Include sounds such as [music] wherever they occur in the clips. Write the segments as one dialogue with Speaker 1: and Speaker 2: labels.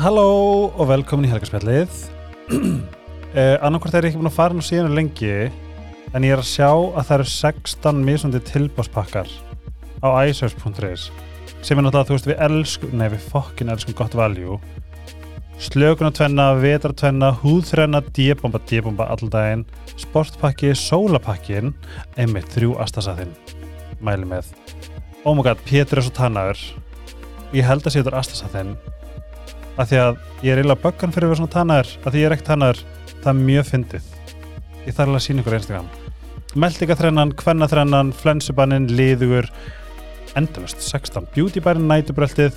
Speaker 1: Halló og velkomin í helgarspjallið [clears throat] uh, Annarkvort er ég ekki búin að fara nú síðan lengi en ég er að sjá að það eru 16 mismundi tilbáspakkar á iSearch.is sem er náttúrulega, þú veist, við elskum nei, við fokkin elskum gott value slökunartvenna, vetartvenna húðþrenna, D-bomba, D-bomba alldaginn, sportpakki, sólapakkin einmitt þrjú astasaðinn mæli með oh my god, Pétur er svo tannaður ég held að sé þetta er astasaðinn af því að ég er eiginlega böggan fyrir að vera svona tannar af því ég er ekki tannar, það er mjög fyndið ég þarf alveg að sína ykkur Instagram meldingatrennan, kvennaþrennan flensubannin, liðugur endalust, 16, beautybærin nætubröltið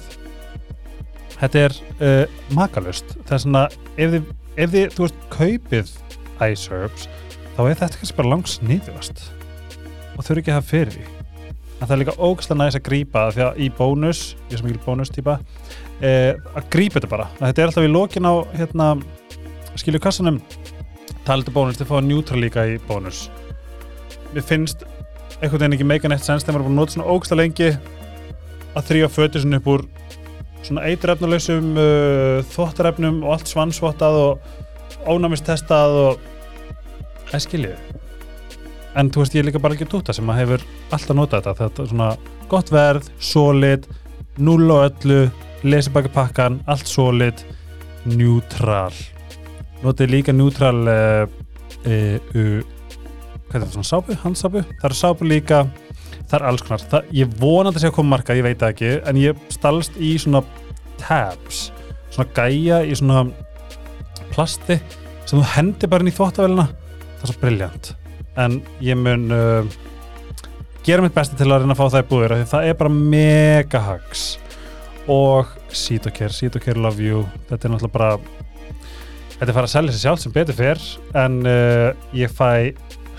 Speaker 1: þetta er uh, makalust það er svona, ef þið, ef þið þú veist, kaupið iSerbs þá er þetta kannski bara langs nýðvast og þau eru ekki að hafa fyrir því en það er líka ógæslega næs að grípa því að í bónus, ég er sem ekki bónus típa eh, að grípa þetta bara að þetta er alltaf í lokin á hérna, skilju kassanum talandi bónus, þið fáið neutral líka í bónus mér finnst einhvern veginn ekki meika neitt sens þegar maður er búin að nota svona ógsta lengi að þrýja fötu sinni upp úr svona eitrefnuleysum uh, þvottarefnum og allt svansvottað og ónámistestað og það skilju en þú veist ég er líka bara ekki dúta sem maður hefur alltaf notað þetta þetta er svona gott verð, solid null og öllu lesibakapakkan, allt solid neutral notið líka neutral uh, uh, uh, hvað er það svona sápu, handsápu, það er sápu líka það er alls konar, það, ég vona að það sé að koma marka, ég veit það ekki, en ég stalst í svona tabs svona gæja í svona plasti sem þú hendir bara inn í þvóttavélina það er svo briljant en ég mun uh, gera mitt besta til að reyna að fá það í búður af því það er bara mega hacks og Sítokir, Sítokir Love You þetta er náttúrulega bara þetta er fara að selja sér sjálf sem betur fyrr en uh, ég fæ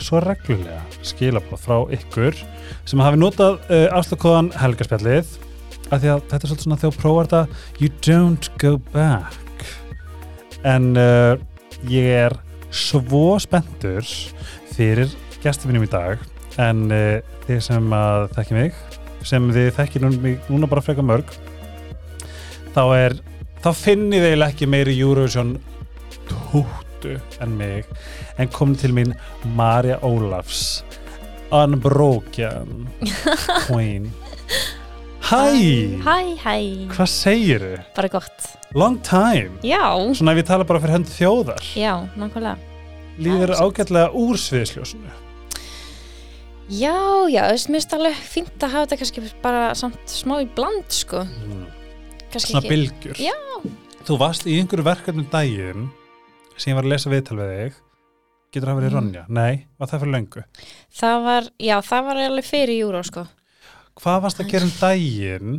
Speaker 1: svo reglulega skilabóð frá ykkur sem hafi notað uh, afslökkóðan helgarspjallið af því að þetta er svolítið svona þegar þú prófar þetta you don't go back en uh, ég er svo spenntur fyrir gestifinum í dag en uh, þið sem að þekki mig sem þið þekki núna, núna bara freka mörg þá er þá finnið þið eiginlega ekki meiri Eurovision tóttu en mig en kom til mín Marja Ólafs Unbroken Queen Hæ,
Speaker 2: Hæ, hæ,
Speaker 1: hvað segiru?
Speaker 2: bara gott
Speaker 1: Long time
Speaker 2: Já,
Speaker 1: Svona ef ég tala bara fyrir hönd þjóðar
Speaker 2: já, nákvæmlega
Speaker 1: Líður ágætlega úr sviðsljósinu
Speaker 2: Já, já, þú veist, mér finnst alveg fínt að hafa þetta kannski bara samt smá í bland, sko
Speaker 1: mm.
Speaker 2: kannski
Speaker 1: Svona bylgjur
Speaker 2: Já.
Speaker 1: Þú varst í einhverju verkefnum daginn sem ég var að lesa viðtal við þig Getur það verið
Speaker 2: Mm.
Speaker 1: Ronja? Nei, var það fyrir löngu?
Speaker 2: Það var, já, það var alveg fyrir júró, sko
Speaker 1: hvað varst að gera um daginn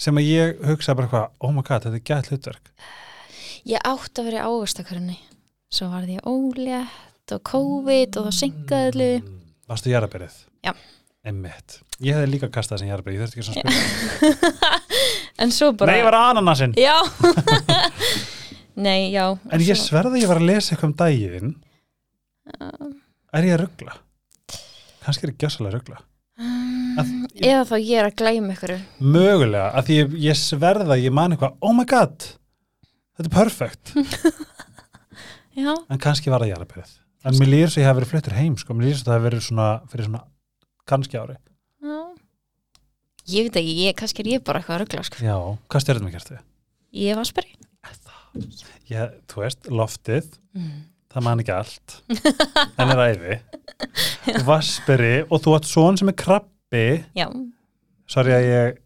Speaker 1: sem að ég hugsaði bara hvað, oh my god, þetta er gætt hlutverk
Speaker 2: Ég átti að vera í ávastakarunni Svo varði ég ólétt og COVID og það syngaði allu
Speaker 1: Mm. Varstu jarðabyrðið?
Speaker 2: Já.
Speaker 1: Einmitt. Ég hefði líka kastað sem jarðabyrðið, ég þurfti
Speaker 2: [laughs]
Speaker 1: ekki svona spil.
Speaker 2: [laughs] En svo bara
Speaker 1: Nei, ég var ananasinn.
Speaker 2: Já [laughs] Nei, já
Speaker 1: En ég sverði að ég var að lesa eitthvað um daginn, er ég að ruggla? Kannski er ég gjössalega að ruggla. Að-
Speaker 2: um, Eða þá ég er að glæma ykkur
Speaker 1: Mögulega, af því ég, ég sverði að ég man eitthvað, oh my god, þetta er perfect.
Speaker 2: Já,
Speaker 1: En kannski var það jarðabyrðið. En mér lýður svo ég hef verið fluttur heim, sko, mér lýður svo það hef verið svona, fyrir svona, kannski ári.
Speaker 2: já Ég veit ekki, ég, kannski er ég bara eitthvað að rugla, sko
Speaker 1: Já, hvað stjörnum ég kerti?
Speaker 2: Ég var spyrri.
Speaker 1: Ég, þú veist, loftið,
Speaker 2: Mm.
Speaker 1: það man ekki [laughs] allt, en er æði, vasperi og þú átt svon sem er krabbi,
Speaker 2: Já,
Speaker 1: sorry að ég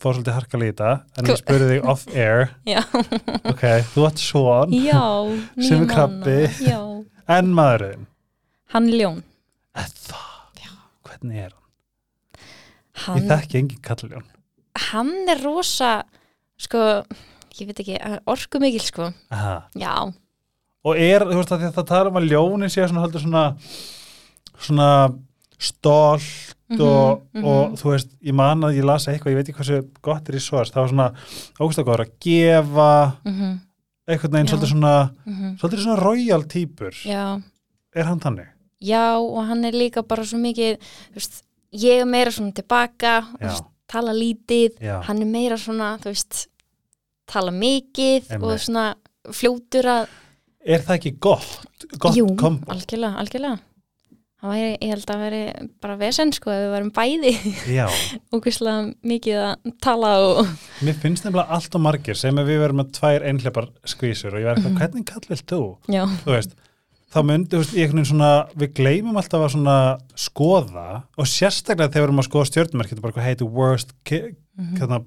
Speaker 1: fór svolítið harkalega í þetta, en
Speaker 2: Cool.
Speaker 1: ég spurði þig off [laughs] air,
Speaker 2: já,
Speaker 1: ok, þú átt
Speaker 2: [laughs]
Speaker 1: svon
Speaker 2: já.
Speaker 1: Sem er
Speaker 2: níu mánaða,
Speaker 1: krabbi.
Speaker 2: Já,
Speaker 1: en maðurinn,
Speaker 2: hann er ljón.
Speaker 1: eða,
Speaker 2: Já.
Speaker 1: hvernig er hann? Ég
Speaker 2: Hann,
Speaker 1: þekki engin kalljón,
Speaker 2: hann er rosa, sko, ég veit ekki, orku mikil, sko.
Speaker 1: aha,
Speaker 2: Já,
Speaker 1: og er, þú veist, að því að það tala um að ljónin sé svona, heldur svona, svona stolt og,
Speaker 2: Mhm, mhm.
Speaker 1: og þú veist, ég man að ég las eitthvað, ég veit ekki hversu gott er í svars, það var svona ógustagóður að gefa
Speaker 2: mm -hmm,
Speaker 1: einhvern veginn
Speaker 2: Já.
Speaker 1: svolítið svona,
Speaker 2: mhm.
Speaker 1: svolítið svona royal týpur,
Speaker 2: já,
Speaker 1: er hann þannig?
Speaker 2: já, og hann er líka bara svo mikið, þú veist, ég er meira svona tilbaka, þú
Speaker 1: Já,
Speaker 2: veist, tala lítið,
Speaker 1: já,
Speaker 2: hann er meira svona, þú veist, tala mikið
Speaker 1: Einmitt.
Speaker 2: og svona fljótur að
Speaker 1: Er það ekki gott? Gott
Speaker 2: Jú,
Speaker 1: kombo?
Speaker 2: algjörlega, algjörlega það væri, ég held að veri bara vesen sko ef við varum bæði [laughs]
Speaker 1: Já,
Speaker 2: ókvæslega mikið að tala og
Speaker 1: mér finnst nefnilega allt og margir sem að við verum með tvær einhleipar skvísur og ég verður
Speaker 2: Mhm.
Speaker 1: eitthvað, hvernig kall vilt þú?
Speaker 2: já,
Speaker 1: Þú veist, þá myndi, þú veist, í einhvern veginn svona, við gleymum alltaf að svona skoða og sérstaklega þegar við erum að skoða stjórnumerkið, bara hvað heiti worst ki-
Speaker 2: Mhm.
Speaker 1: hérna,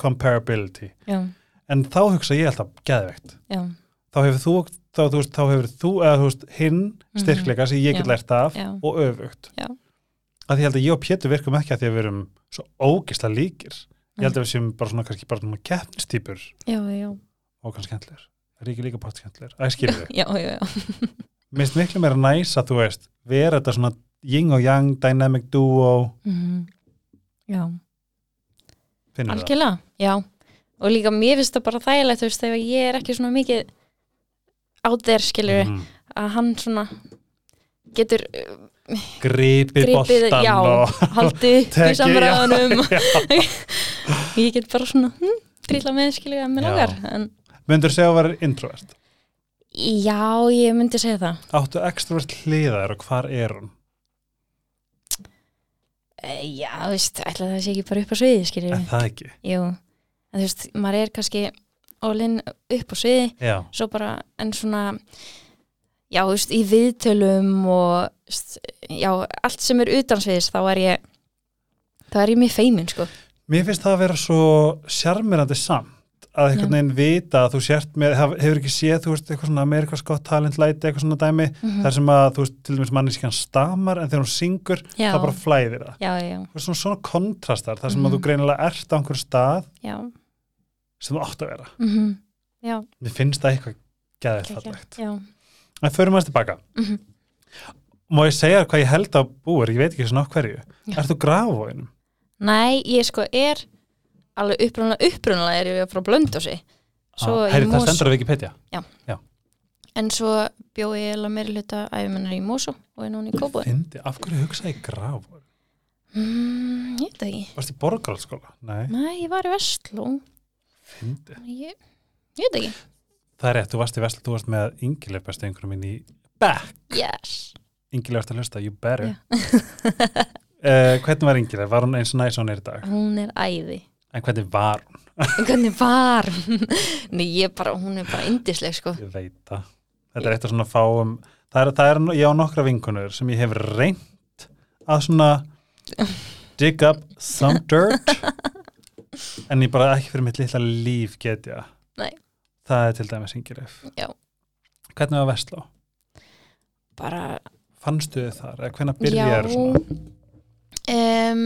Speaker 1: comparability.
Speaker 2: já,
Speaker 1: En þá hugsa ég alltaf geðveikt.
Speaker 2: já,
Speaker 1: Þá hefur þú, þá, þú veist, þá hefur þú, eða þú veist, hinn styrkleika sem ég get
Speaker 2: Mhm. Já.
Speaker 1: lært af
Speaker 2: já,
Speaker 1: og öfugt.
Speaker 2: Já.
Speaker 1: Að því ég held að ég og Pétur virkum ekki að því að við erum svo ógisla líkir. Ég
Speaker 2: Mhm.
Speaker 1: held að við séum bara svona, kannski bara svona keppnistýpur
Speaker 2: já, já,
Speaker 1: og kannski skemmtilegur. Það er ekki líka pott skemmtilegur. Það skilur við.
Speaker 2: já, já, já.
Speaker 1: Mér finnst miklu meira næs að þú veist, vera þetta svona yin og yang, dynamic duo,
Speaker 2: Mhm. já.
Speaker 1: finnur það.
Speaker 2: Algjörlega, já og líka mér finnst það bara þægilegt þú veist þegar ég er ekki svona mikið á þér skilur
Speaker 1: Mhm.
Speaker 2: að hann svona getur uh,
Speaker 1: Gripið,
Speaker 2: gripið,
Speaker 1: boltan
Speaker 2: já,
Speaker 1: og...
Speaker 2: haldið
Speaker 1: [laughs]
Speaker 2: upp í
Speaker 1: Tekið, já. [laughs]
Speaker 2: [laughs] samræðanum ég get bara svona hm, trilla með skilur að mér
Speaker 1: Já.
Speaker 2: langar en
Speaker 1: Myndur segja að vera introvert?
Speaker 2: já, ég myndi segja það
Speaker 1: Áttu extrovert hliðar og hvar er hún?
Speaker 2: Eh, já, þú veist, ætla það sé ekki bara upp á sviði skilur
Speaker 1: Er það ekki?
Speaker 2: jú, en þú veist, maður er kannski ólinn upp á sviði
Speaker 1: Já.
Speaker 2: svo bara, en svona já, þú veist, í viðtölum og, þú veist, já, allt sem er utansviðis, þá er ég þá er ég mjög feimin, sko
Speaker 1: Mér finnst það að vera svo sjarmirandi samt að einhvern
Speaker 2: Já.
Speaker 1: veginn vita að þú sért með, haf- hefur ekki séð, þú veist, eitthvað svona Amerikas Got Talent læti, eitthvað svona dæmi,
Speaker 2: Mm. Mhm.
Speaker 1: þar sem að, þú veist, til dæmis manneskjan stamar en þegar hún syngur,
Speaker 2: já,
Speaker 1: það bara flæðir það.
Speaker 2: já, já,
Speaker 1: Það er svona, svona kontrastar, þar sem
Speaker 2: Mhm.
Speaker 1: að þú greinilega ert á einhverjum stað
Speaker 2: já
Speaker 1: sem þú átt að vera.
Speaker 2: mm já,
Speaker 1: Mér finnst það eitthvað geðið
Speaker 2: ekki,
Speaker 1: fallegt.
Speaker 2: já,
Speaker 1: En förum aðeins tilbaka.
Speaker 2: Mhm.
Speaker 1: Má ég segja þér hvað ég held að búir, ég veit ekki svona á hverju.
Speaker 2: Já.
Speaker 1: Ert þú grafavóinum?
Speaker 2: nei, ég sko er alveg upprunalega, upprunalega er ég frá blöndósi svo í
Speaker 1: Herri, Ah, það
Speaker 2: Mosó,
Speaker 1: stendur á Wikipedia.
Speaker 2: en svo bjó ég alveg meiri hluta æfumennar í Mosó og er núna í Kóbúi
Speaker 1: Fyndi, af hverju hugsaði ég grafavóin?
Speaker 2: mm, ég veit það ekki
Speaker 1: Varst í borgarhaldsskóla? Nei,
Speaker 2: nei, ég var í Vestló
Speaker 1: fyndi.
Speaker 2: ég, ég veit það ekki
Speaker 1: Það er rétt, þú varst í Vestlund, þú varst með yngileg bestu einhverjum minn í back.
Speaker 2: yes
Speaker 1: Yngileg varst að hlusta, you better.
Speaker 2: Já. [laughs]
Speaker 1: uh, hvernig var yngileg? Var hún eins og næs og hún er í dag?
Speaker 2: hún er æði
Speaker 1: En hvernig var hún?
Speaker 2: En hvernig var [laughs] hún? Nei, ég bara, hún er bara indisleg sko
Speaker 1: Ég veit það. Þetta er eitt af svona fáum, það er, það er, ég á nokkra vinkunur sem ég hef reynt að svona dig up some
Speaker 2: [laughs]
Speaker 1: dirt en ég bara ekki fyrir mitt litla líf getja.
Speaker 2: Nei.
Speaker 1: Það er til dæmis yngileg.
Speaker 2: Já.
Speaker 1: Hvernig var Vestló?
Speaker 2: bara,
Speaker 1: Fannstu þið þar? Eða hvernig byrjaði svona?
Speaker 2: um,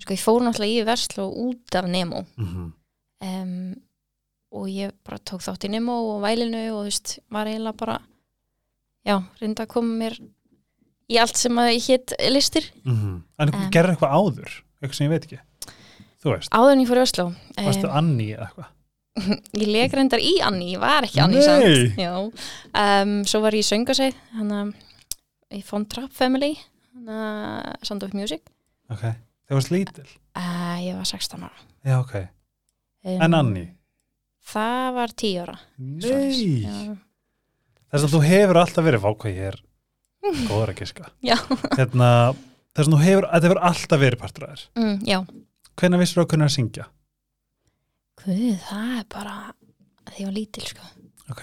Speaker 2: sko ég fór náttúrulega í Vestló út af Nemo
Speaker 1: Mm
Speaker 2: um, og ég bara tók þátt í Nemo og vælinu og þú veist, var eiginlega bara já, reynda að koma mér í allt sem að ég hétt listir
Speaker 1: -hmm. En um,
Speaker 2: Em.
Speaker 1: gerðu eitthvað áður, eitthvað sem ég veit ekki Þú veist,
Speaker 2: áður en ég fór í Vestló
Speaker 1: varstu
Speaker 2: um,
Speaker 1: Anni eða eitthvað
Speaker 2: ég leik reyndar í Anni, ég var ekki Anni
Speaker 1: Nei.
Speaker 2: samt já, um, svo var ég í söngaseg hann að ég fór Trap Family hann að Sound of Music
Speaker 1: Ok, þegar varst lítil
Speaker 2: Uh, ég var 16 ára.
Speaker 1: Já, ok,
Speaker 2: Um,
Speaker 1: en Anni
Speaker 2: Það var 10 ára. svoleiðis.
Speaker 1: Nei, þess að þú hefur alltaf verið Vá hvað ég er góður að giska
Speaker 2: Já.
Speaker 1: Hérna, þess að þú hefur, þetta hefur alltaf verið partur að þér
Speaker 2: Já. Mm, já.
Speaker 1: Hvenær vissir þú að kunna að syngja?
Speaker 2: Guð, það er bara því ég var lítil, sko.
Speaker 1: Ok,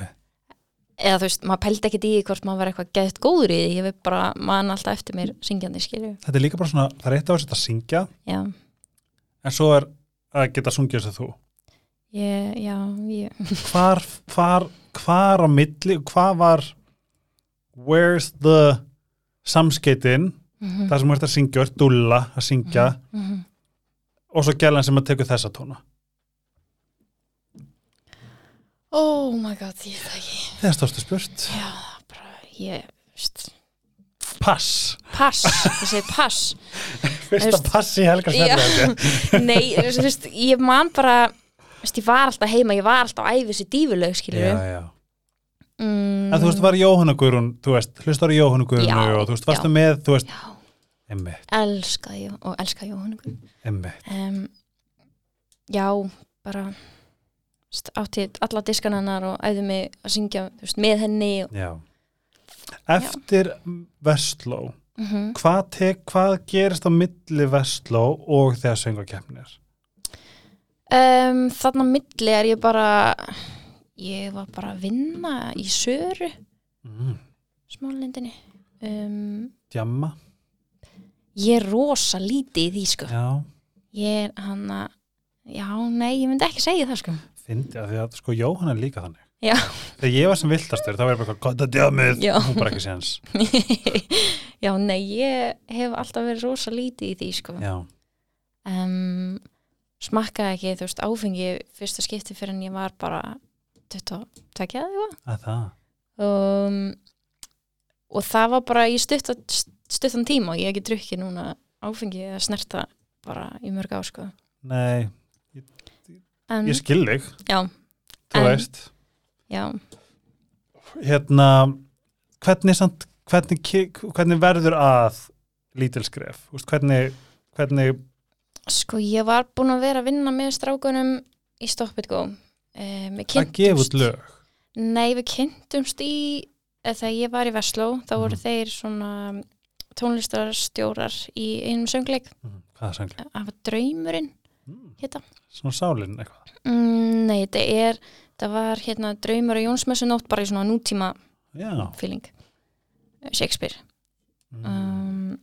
Speaker 2: Eða þú veist, maður pældi ekkit í því hvort maður var eitthvað gett góður í því. Ég veit bara, maður alltaf eftir mér syngjandi, skilju.
Speaker 1: þetta er líka bara svona Það er eitt af þess að syngja
Speaker 2: Já,
Speaker 1: En svo er að geta sungið þess að þú
Speaker 2: ég, já, ég.
Speaker 1: Hvar, hvar, hvar á milli Hvað var Where's the samskeitin
Speaker 2: Mhm,
Speaker 1: það sem þú ert að syngja, ert dúlla að syngja
Speaker 2: mhm.
Speaker 1: og svo gælan sem að tekur þessa tóna
Speaker 2: Oh my god, ég veit það ekki.
Speaker 1: þegar stóðstu spurt,
Speaker 2: Já, það er bara, ég, þú veist,
Speaker 1: pass
Speaker 2: pass. Ég segi pass.
Speaker 1: fyrsta
Speaker 2: Veist-
Speaker 1: pass í helga
Speaker 2: Já. [laughs]
Speaker 1: smerði
Speaker 2: Nei, þú veist, ég man bara, þú veist, ég var alltaf heima, ég var alltaf æfið sér dífulög, skilju. Mm.
Speaker 1: en þú veist, var Jóhanna Guðrún þú veist, hlustar á Jóhanna Guðrún
Speaker 2: Já,
Speaker 1: og þú veist,
Speaker 2: já.
Speaker 1: varstu með, þú veist
Speaker 2: Já,
Speaker 1: emmitt,
Speaker 2: Mm, elska ég og elska Jóhann
Speaker 1: emmitt
Speaker 2: um, Já, bara st- átti alla diskan hennar og æði mig að syngja þú veist, með henni og,
Speaker 1: Já. Eftir Vestló,
Speaker 2: mm
Speaker 1: hvað, tek, hvað gerist á milli Vestló og þegar söngakeppnin er?
Speaker 2: um, Þarna á milli er ég bara ég var bara að vinna í Söru
Speaker 1: Mm.
Speaker 2: smálindinni um,
Speaker 1: Djamma?
Speaker 2: Ég er rosa lítið í því sko
Speaker 1: Já.
Speaker 2: Ég er hann að Já, nei, ég myndi ekki segja það sko [laughs]
Speaker 1: Fyndi að því að sko Jóhann er líka þannig.
Speaker 2: Já.
Speaker 1: Þegar ég var sem viltastur, þá var ég bara gott að djamið.
Speaker 2: Já.
Speaker 1: Hún bara ekki séns.
Speaker 2: Já, nei, ég hef alltaf verið rosa lítið í því sko
Speaker 1: Já.
Speaker 2: um, Smakkaði ekki, þú veist, áfengi fyrsta skipti fyrir en ég var bara 22 eða eitthvað
Speaker 1: Að það.
Speaker 2: um, og það var bara í stutta, stuttan tíma og ég hef ekki drukkið núna áfengi eða snerta bara í mörg ár sko
Speaker 1: Nei,
Speaker 2: en,
Speaker 1: ég skil þig.
Speaker 2: Mm. já,
Speaker 1: Þú
Speaker 2: En-
Speaker 1: veist.
Speaker 2: já,
Speaker 1: Hérna, hvernig, samt, hvernig, ki- hvernig verður að lítilskref? Þú veist, Hvernig, hvernig,
Speaker 2: sko ég var búin að vera að vinna með strákunum í Stop It Go um,
Speaker 1: að gefa út lög?
Speaker 2: nei við kynntumst í eða þegar ég var í Vestló þá
Speaker 1: Mhm.
Speaker 2: voru þeir svona tónlistarstjórar í einum söngleik
Speaker 1: Mm, Hvaða sangli?
Speaker 2: af draumurinn
Speaker 1: Mm.
Speaker 2: hérna
Speaker 1: Svona sálinn eitthvað.
Speaker 2: mm, nei þetta er, það var hérna draumur og Jónsmessunótt bara í svona nútíma
Speaker 1: Já.
Speaker 2: feeling Shakespeare
Speaker 1: Mm.
Speaker 2: um,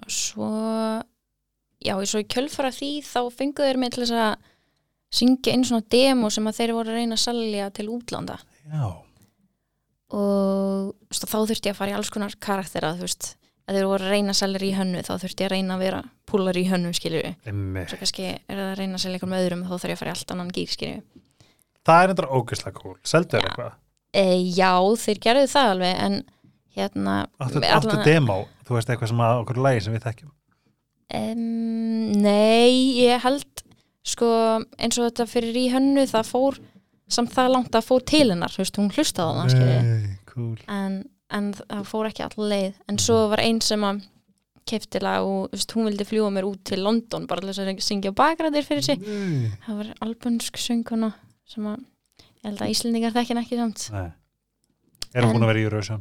Speaker 2: og svo já, og svo í kjölfara því þá fengu þeir mig til þess að syngja einu svona demo sem að þeir voru að reyna að salja til útlanda
Speaker 1: Já.
Speaker 2: og þú veist, þá þurfti ég að fara í alls konar karaktera þú veist, að þeir voru að reyna að salja í hönnu þá þurfti ég að reyna að vera púlar í hönnu skilju,
Speaker 1: Einmitt.
Speaker 2: svo kannski er það að reyna að selja einhverjum öðrum þá þarf ég að fara í allt annan gír skilju
Speaker 1: Það er endur ógeðslega cool. Seldu er
Speaker 2: Já.
Speaker 1: eitthvað.
Speaker 2: e, já, þeir gerðu það alveg en hérna
Speaker 1: Áttu, áttu
Speaker 2: allan-
Speaker 1: demo, þú veist eitthvað sem að okkur lægi sem við þekkjum.
Speaker 2: Um, nei, ég held sko eins og þetta fyrir í hönnu það fór samt það langt að fór til hennar, þú veist, hún hlustaði á það skilurðu.
Speaker 1: Nei, cool.
Speaker 2: en, en það fór ekki all leið en svo var einn sem að kefti lag og þú veist, hún vildi fljúa mér út til London bara til þess að syngja bakræðir fyrir sig
Speaker 1: Nei.
Speaker 2: það var albunsk sönguna sem að ég held að Íslendingar þekkin ekki samt
Speaker 1: Nei. Er hún
Speaker 2: En-
Speaker 1: búin að vera í Eurovision?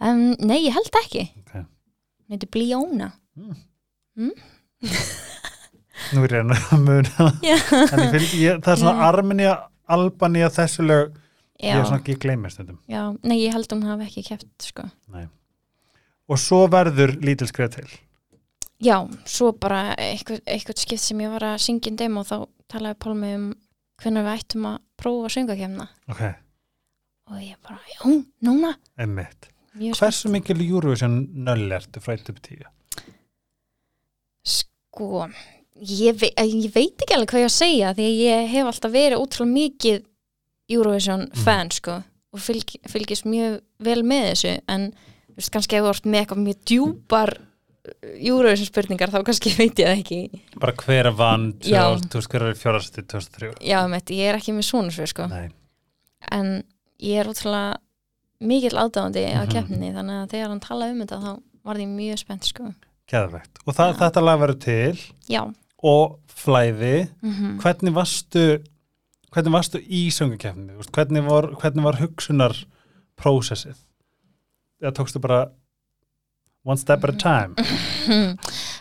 Speaker 2: um, nei, ég held ekki
Speaker 1: Ok.
Speaker 2: hún heiti Blíóna
Speaker 1: Nú er ég að muna.
Speaker 2: [laughs] Já.
Speaker 1: En ég fylg, ég, það er svona
Speaker 2: Já.
Speaker 1: Armenia, Albania, þessu lög. Ég
Speaker 2: já,
Speaker 1: er svona ekki gleymið stundum.
Speaker 2: já, nei, ég held hún hafi ekki keft sko
Speaker 1: Og svo verður lítil skref til.
Speaker 2: Já, svo bara eitthvað, eitthvað skipt sem ég var að syngja en demo þá talaði Pálmi um hvernig við ættum að prófa að söngakefna
Speaker 1: Ok,
Speaker 2: og ég bara, já, núna
Speaker 1: emmitt.
Speaker 2: Mjög
Speaker 1: Hversu mikil Eurovision nöll ertu frá 1 upp 10?
Speaker 2: sko ég, ve eh, ég veit ekki alveg hvað ég á að segja því að ég hef alltaf verið útrúlega mikið Eurovision
Speaker 1: Mhm.
Speaker 2: fan sko og fylg, fylgist mjög vel með þessu en þú veist, kannski ef þú ert með eitthvað mjög djúpar eh, Eurovision spurningar þá kannski [laughs] veit ég það ekki
Speaker 1: Bara hver vann,
Speaker 2: Já.
Speaker 1: 2000, þú veist hver er fjórasti 2003?
Speaker 2: Já, meitt, ég er ekki með svona svo sko
Speaker 1: Nei.
Speaker 2: en ég er ótrúlega mikill aðdáðandi á
Speaker 1: Mhm.
Speaker 2: keppninni þannig að þegar hann talaði um þetta þá varði ég mjög spennt sko
Speaker 1: Geðvegt. Og það, þetta lag verður til
Speaker 2: já,
Speaker 1: og flæði.
Speaker 2: mm [laughs]
Speaker 1: hvernig varstu hvernig varstu í söngakefni hvernig var, hvernig var hugsunar prósessið eða tókstu bara one step at a time
Speaker 2: Mm.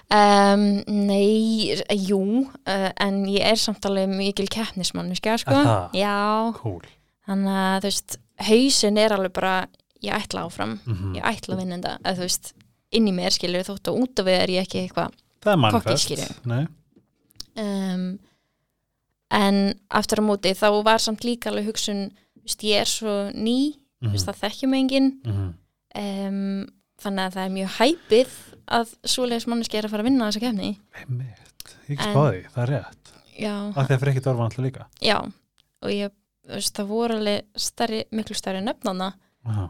Speaker 2: um, nei jú, uh, en ég er samt alveg mikil keppnismann, við sko
Speaker 1: Er það?
Speaker 2: já, [laughs]
Speaker 1: cool
Speaker 2: þannig að þú veist hausin er alveg bara, ég ætla áfram
Speaker 1: mm
Speaker 2: ég ætla að vinna þetta, eða þú veist inn í mér skilur þótt og út af við er ég ekki eitthvað
Speaker 1: það er
Speaker 2: Kokkískýri.
Speaker 1: mannfest Nei.
Speaker 2: um, en aftur á móti þá var samt líka alveg hugsun þú veist, ég er svo ný þú veist,
Speaker 1: Mhm,
Speaker 2: það þekkjum enginn
Speaker 1: mhm.
Speaker 2: um, þannig að það er mjög hæpið að svoleiðis manneski er að fara að vinna þessa kefni
Speaker 1: Einmitt. ég ekki
Speaker 2: En-
Speaker 1: spáði, því, það er rétt
Speaker 2: já,
Speaker 1: af því að fyrir ekkert orðan alltaf líka
Speaker 2: já og ég, þú veist, það voru alveg stærri, miklu stærri nöfnana
Speaker 1: Aha.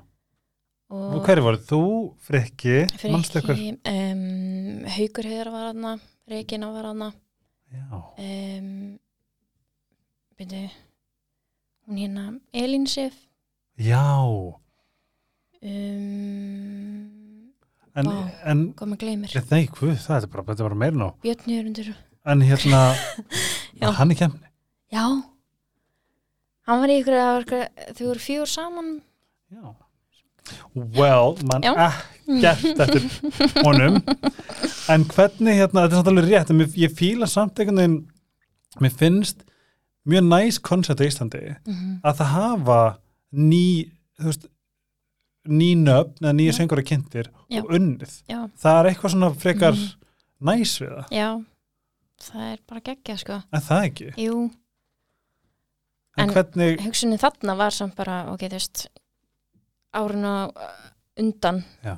Speaker 1: og
Speaker 2: og
Speaker 1: hverju voru þú, Frikki,
Speaker 2: fyrir
Speaker 1: manstu ykkur
Speaker 2: ekki um, Haukur hefur var hana Regina var hana
Speaker 1: já,
Speaker 2: um, byrju hún hérna Elín Sif
Speaker 1: já.
Speaker 2: um,
Speaker 1: en,
Speaker 2: Vá.
Speaker 1: en
Speaker 2: hvað maður gleymir
Speaker 1: nei, hvað, það er bara, þetta er bara meira nú
Speaker 2: [laughs] Björn Jörundur
Speaker 1: en hérna,
Speaker 2: Já.
Speaker 1: hann í kemni
Speaker 2: já, hann var í ykkur, það var ykkur þau voru fjögur saman
Speaker 1: Já. Well, mann
Speaker 2: Já.
Speaker 1: ekkert eftir honum en hvernig hérna, þetta er samt alveg rétt en mér, ég fíla samt einhvern veginn mér finnst mjög næs koncept á Íslandi að það hafa ný þú veist, ný nöfn eða nýja
Speaker 2: Já.
Speaker 1: söngur að kynntir
Speaker 2: Já. Mhm.
Speaker 1: og unnið
Speaker 2: Já.
Speaker 1: það er eitthvað svona frekar næs við það,
Speaker 2: já, það er bara geggja sko
Speaker 1: en það ekki
Speaker 2: jú,
Speaker 1: en,
Speaker 2: En-
Speaker 1: hvernig,
Speaker 2: hugsunin þarna var samt bara, ok, þú veist árun og undan
Speaker 1: Já.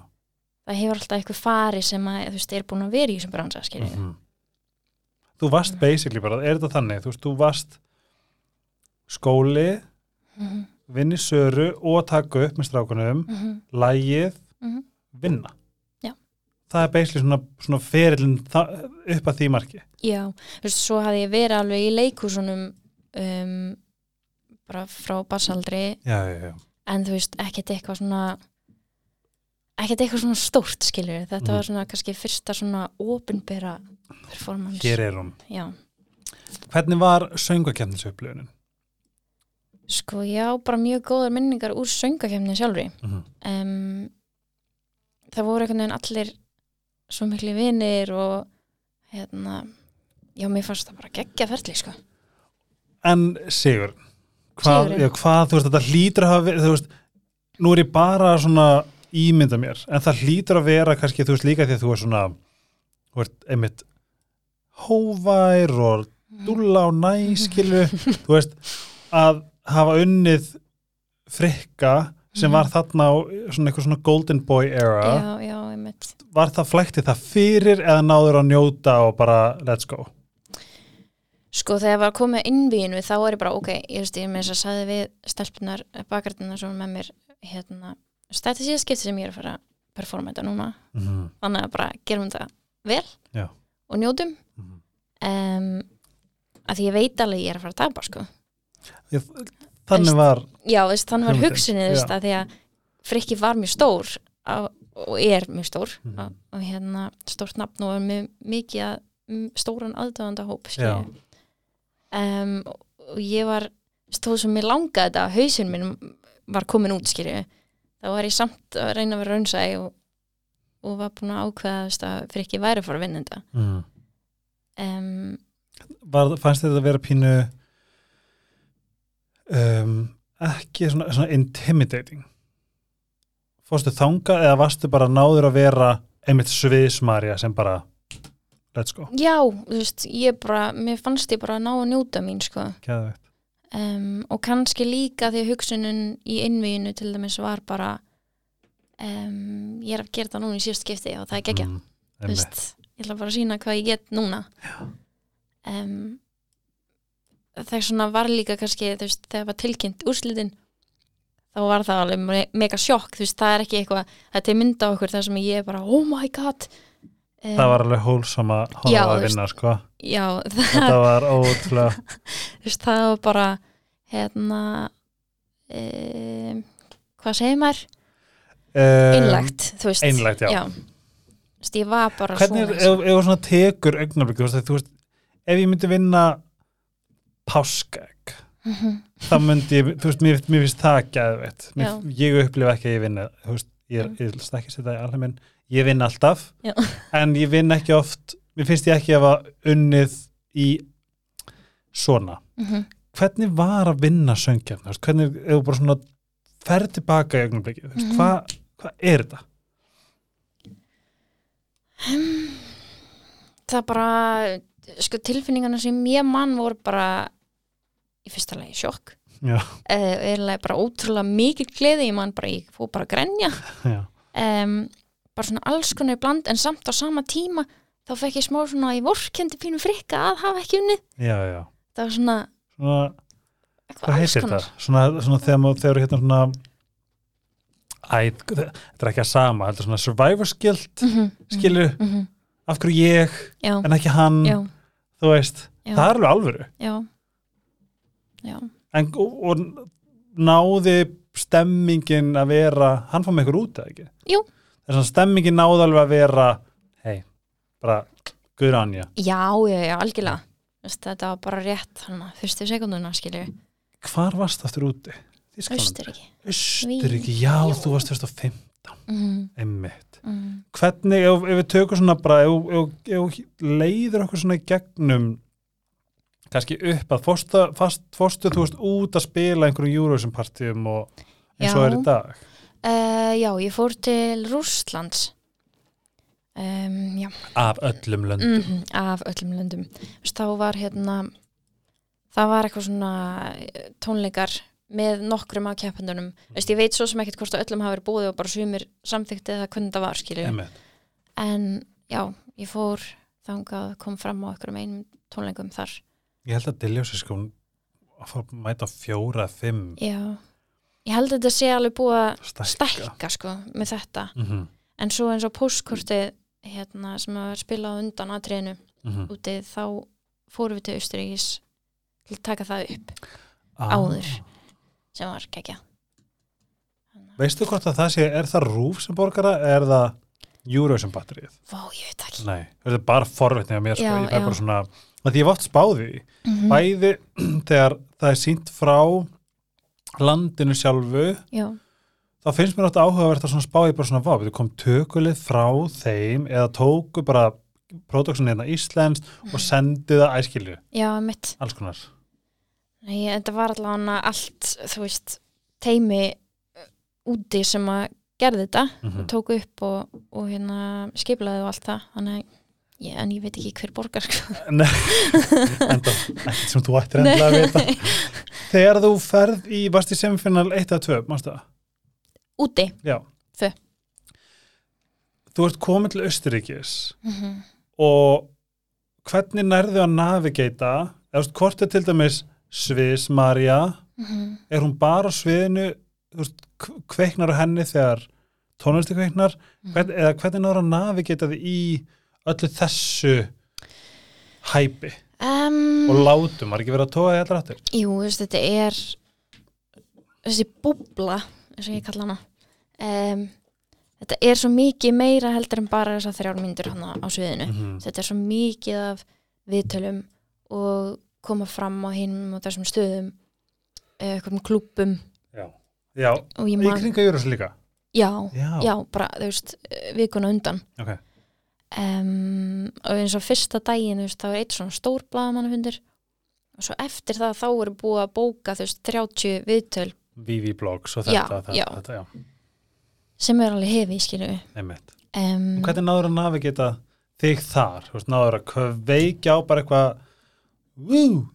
Speaker 2: það hefur alltaf eitthvað fari sem að, þú veist, er búin að vera í þessum bransa, skiljið
Speaker 1: mm þú varst basically bara, er þetta þannig þú veist, þú varst skóli
Speaker 2: Mhm,
Speaker 1: vinni söru og taka upp með strákunum,
Speaker 2: mhm,
Speaker 1: lægið
Speaker 2: mhm.
Speaker 1: vinna
Speaker 2: Já.
Speaker 1: það er basically svona, svona ferillin upp að því marki
Speaker 2: Já, þú veist, svo hafði ég verið alveg í leikúsunum um, bara frá barsaldri
Speaker 1: já, já, já.
Speaker 2: en þú veist, ekkert eitthvað svona ekkert eitthvað svona stórt skilur þetta
Speaker 1: Mhm.
Speaker 2: var svona kannski fyrsta svona opinbera performance
Speaker 1: hér er hún
Speaker 2: Já,
Speaker 1: hvernig var söngakefnisupplöfunin?
Speaker 2: sko ég á bara mjög góðar minningar úr söngakefni sjálfri
Speaker 1: Mm
Speaker 2: um, það voru einhvern veginn allir svo miklu vinir og hérna já, mér fannst það bara geggja ferli sko.
Speaker 1: en Sigur hvað,
Speaker 2: Sigurinn.
Speaker 1: já, hvað þú veist, þetta hlýtur að hafa verið, þú veist, nú er ég bara svona ímynda mér, en það hlýtur að vera kannski, þú veist, líka því að þú er svona þú ert einmitt hóvær og dúlla og næskilu
Speaker 2: [laughs]
Speaker 1: þú veist, að hafa unnið frikka sem
Speaker 2: Mhm.
Speaker 1: var þarna á svona eitthvað svona golden boy era
Speaker 2: já, já, einmitt
Speaker 1: var það flæktið það fyrir eða náður að njóta og bara let's go
Speaker 2: sko þegar var komið innvíinu þá er ég bara ok, ég veist ég með þess að sagði við stelpunar, bakardunar sem voru með mér hérna, þetta er síðan skipti sem ég er að fara að performa þetta núna
Speaker 1: mm -hmm.
Speaker 2: þannig að bara gerum þetta vel
Speaker 1: Já.
Speaker 2: og njótum um, að því ég veit alveg að ég er að fara að tapa sko
Speaker 1: þannig
Speaker 2: Veist-
Speaker 1: var
Speaker 2: já, þú veist, þannig var
Speaker 1: Hugmyndin,
Speaker 2: hugsunni þú veist,
Speaker 1: já.
Speaker 2: að því að Frikki var mjög stór á, og er mjög stór
Speaker 1: Mhm.
Speaker 2: og, og hérna stórt nafn og er mjög mikið að, m- stóran aðdöðanda hóp
Speaker 1: Já.
Speaker 2: um, og ég var stóð sem mér langaði þetta að hausinn minn var komin út skilju þá var ég samt að reyna að vera raunsæ og, og var búin að ákveða þú veist, að Frikki væri að fara að vinna þetta
Speaker 1: mm.
Speaker 2: um,
Speaker 1: var, fannst þetta að vera pínu um, ekki svona, svona intimidating fórstu þanga eða varstu bara náður að vera einmitt sviðsmarja sem bara let's go,
Speaker 2: já, þú veist, ég bara mér fannst ég bara að ná að njóta mín sko
Speaker 1: geðveikt
Speaker 2: um, og kannski líka því að hugsunin í innvíinu til dæmis var bara um, ég er að gera það núna í síðust skipti og það er geggja,
Speaker 1: mm,
Speaker 2: þú
Speaker 1: einmitt.
Speaker 2: veist ég ætla bara að sína hvað ég get núna um, þegar svona var líka kannski þú veist, þegar var tilkynnt úrslitin þá var það alveg me- mega sjokk þú veist, það er ekki eitthvað, þetta er mynda okkur þar sem ég er bara, oh my god um,
Speaker 1: það var alveg hólsama
Speaker 2: Já,
Speaker 1: hóða
Speaker 2: þú
Speaker 1: að vinna sko
Speaker 2: [laughs] já,
Speaker 1: þetta var ótrúlega
Speaker 2: þú veist, það var bara hérna um, hvað segir maður?
Speaker 1: um,
Speaker 2: Einlægt, þú veist
Speaker 1: einlægt, já.
Speaker 2: Þú veist, ég var bara
Speaker 1: hvernig er,
Speaker 2: svona
Speaker 1: ef, ef þú svona tekur augnablik þú veist, að þú veist, ef ég myndi vinna páskæk
Speaker 2: Mhm.
Speaker 1: þá myndi ég, þú veist, mér, mér finnst það geðveitt, mér,
Speaker 2: Já.
Speaker 1: ég upplifa ekki að ég vinna, þú veist, ég, er- ég ætla ekki að setja í alveg minn, ég vinn alltaf
Speaker 2: Já.
Speaker 1: en ég vinn ekki oft mér finnst ég ekki að hafa unnið í svona
Speaker 2: Mhm.
Speaker 1: hvernig var að vinna söngjarn, þú veist, hvernig ef þú bara svona ferð tilbaka í augnablikið, þú veist,
Speaker 2: Mhm.
Speaker 1: hvað hva er þetta? [laughs]
Speaker 2: það bara sko tilfinningarna sem ég mann voru bara í fyrsta lagi sjokk
Speaker 1: Já.
Speaker 2: Eh, eiginlega bara ótrúlega mikil gleði ég mann bara, ég fór bara að grenja
Speaker 1: Já,
Speaker 2: um, bara svona alls konar bland en samt á sama tíma þá fekk ég smá svona í vorkendi pínu frikka að hafa ekki unnið
Speaker 1: já, já
Speaker 2: það var svona
Speaker 1: svona
Speaker 2: eitthvað
Speaker 1: Hvað
Speaker 2: alls
Speaker 1: heitir
Speaker 2: konar.
Speaker 1: það? Svona, svona þegar maður þegar hérna svona Æ, þetta er ekki að sama heldur svona survivor's guilt
Speaker 2: Mhm,
Speaker 1: skilur,
Speaker 2: mhm, mhm.
Speaker 1: af hverju ég
Speaker 2: já,
Speaker 1: en ekki hann,
Speaker 2: já,
Speaker 1: þú veist
Speaker 2: já,
Speaker 1: það er alveg alvöru
Speaker 2: já, já,
Speaker 1: en, og, og náði stemmingin að vera hann fór með ykkur út eða ekki
Speaker 2: Jú.
Speaker 1: þess að stemmingin náði alveg að vera hei, bara guður anja
Speaker 2: já, já, já, algjörlega Þú veist, þetta var bara rétt hann fyrstu sekunduna skilju
Speaker 1: hvar varst aftur úti? Þýskalandi?
Speaker 2: Austuríki
Speaker 1: Austuríki, já,
Speaker 2: Jú.
Speaker 1: þú varst 2005
Speaker 2: mm,
Speaker 1: einmitt.
Speaker 2: mm.
Speaker 1: Hvernig, ef, ef við tökum svona bara, ef, ef, ef þú leiðir okkur svona í gegnum kannski upp að fórstu, fast, fórstu þú veist út að spila einhverjum Eurovision partíum og eins og
Speaker 2: Já.
Speaker 1: er í dag
Speaker 2: Uh, já, ég fór til Rússlands um, já,
Speaker 1: af öllum lönd
Speaker 2: mm af öllum löndum Þú veist, þá var hérna það var eitthvað svona eh, tónleikar með nokkrum af keppendunum Vist, ég veit svo sem ekkert hvort að öllum hafa verið búið og bara sumir samþykti eða hvernig það var skilju
Speaker 1: einmitt.
Speaker 2: en já, ég fór þangað kom fram á einhverjum einum tónleikum þar
Speaker 1: Ég held að Diljósi sko hún- að fara að mæta á fjóra, fimm
Speaker 2: já, ég held að þetta sé alveg búið að
Speaker 1: stækka
Speaker 2: stækka sko með þetta
Speaker 1: mm -hmm.
Speaker 2: en svo eins og postkortið hérna, sem að spila undan atriðinu
Speaker 1: mhm.
Speaker 2: úti þá fórum við til Austuríkis til að taka það upp áður. sem var kekja
Speaker 1: Veistu hvort að það sé, er það rúf sem borgara er það Eurovision batterið?
Speaker 2: Vá, ég veit ekki
Speaker 1: Nei, þetta er bara forvitni á mér sko,
Speaker 2: Já,
Speaker 1: ég fæ
Speaker 2: já.
Speaker 1: bara svona að því ég hef oft spáði því,
Speaker 2: Mhm.
Speaker 1: bæði [clears throat] þegar það er sínt frá landinu sjálfu
Speaker 2: Já,
Speaker 1: þá finnst mér átt áhugavert að svona spáði bara svona, vá, við kom tökulið frá þeim eða tóku bara production hérna íslenskt
Speaker 2: Mhm.
Speaker 1: og sendu það æskilju,
Speaker 2: já, mitt
Speaker 1: alls konar
Speaker 2: Nei, þetta var allavega allt, þú veist teimi eh, úti sem að gerði þetta
Speaker 1: mm
Speaker 2: [laughs]
Speaker 1: -hmm.
Speaker 2: tóku upp og, og hérna skiplaði og allt það þannig að ég, en ég veit ekki hver borgar sko.
Speaker 1: enda, ekkert sem þú ættir endla að vita þegar þú ferð í, varst í semifinal 1 að 2, mástu það?
Speaker 2: [laughs] úti
Speaker 1: Já.
Speaker 2: Tvö.
Speaker 1: Þú ert komin til Östuríkis
Speaker 2: mm
Speaker 1: og hvernig nærðu að navigata, eða þú veist, hvort er til dæmis Sviss Maria, er hún bara á sviðinu, þú veist, k- kveiknar á henni þegar tónlisti kveiknar,
Speaker 2: Mm.
Speaker 1: hvern, eða hvernig nærðu að navigata þið í öllu þessu hæpi
Speaker 2: um,
Speaker 1: og látum, var ekki verið að toga í allar áttir?
Speaker 2: Jú, þú veist, þetta er þessi búbla eins og ég kalla hana um, þetta er svo mikið meira heldur en bara þessar þrjár myndur hana á sviðinu
Speaker 1: -hmm.
Speaker 2: þetta er svo mikið af viðtölum og koma fram á hinum og þessum stöðum eh, einhverjum klúppum
Speaker 1: Já, já,
Speaker 2: og ég
Speaker 1: í
Speaker 2: man,
Speaker 1: kringa Júrus líka
Speaker 2: já,
Speaker 1: Já,
Speaker 2: já, bara, þú veist eh, vikuna undan
Speaker 1: ok
Speaker 2: um, og eins og fyrsta daginn þú veist, þá er eitt svona stór blaðamannafundir og svo eftir það þá eru búið að bóka þú veist, 30 viðtöl
Speaker 1: VV Blogs og
Speaker 2: Já,
Speaker 1: þetta, þetta,
Speaker 2: já.
Speaker 1: þetta, já,
Speaker 2: sem er alveg hefi, skilju
Speaker 1: einmitt. Mm.
Speaker 2: um, [laughs]
Speaker 1: Hvernig náður að navigita þig þar? Þú veist, náður að kveikja á bara eitthvað, wú,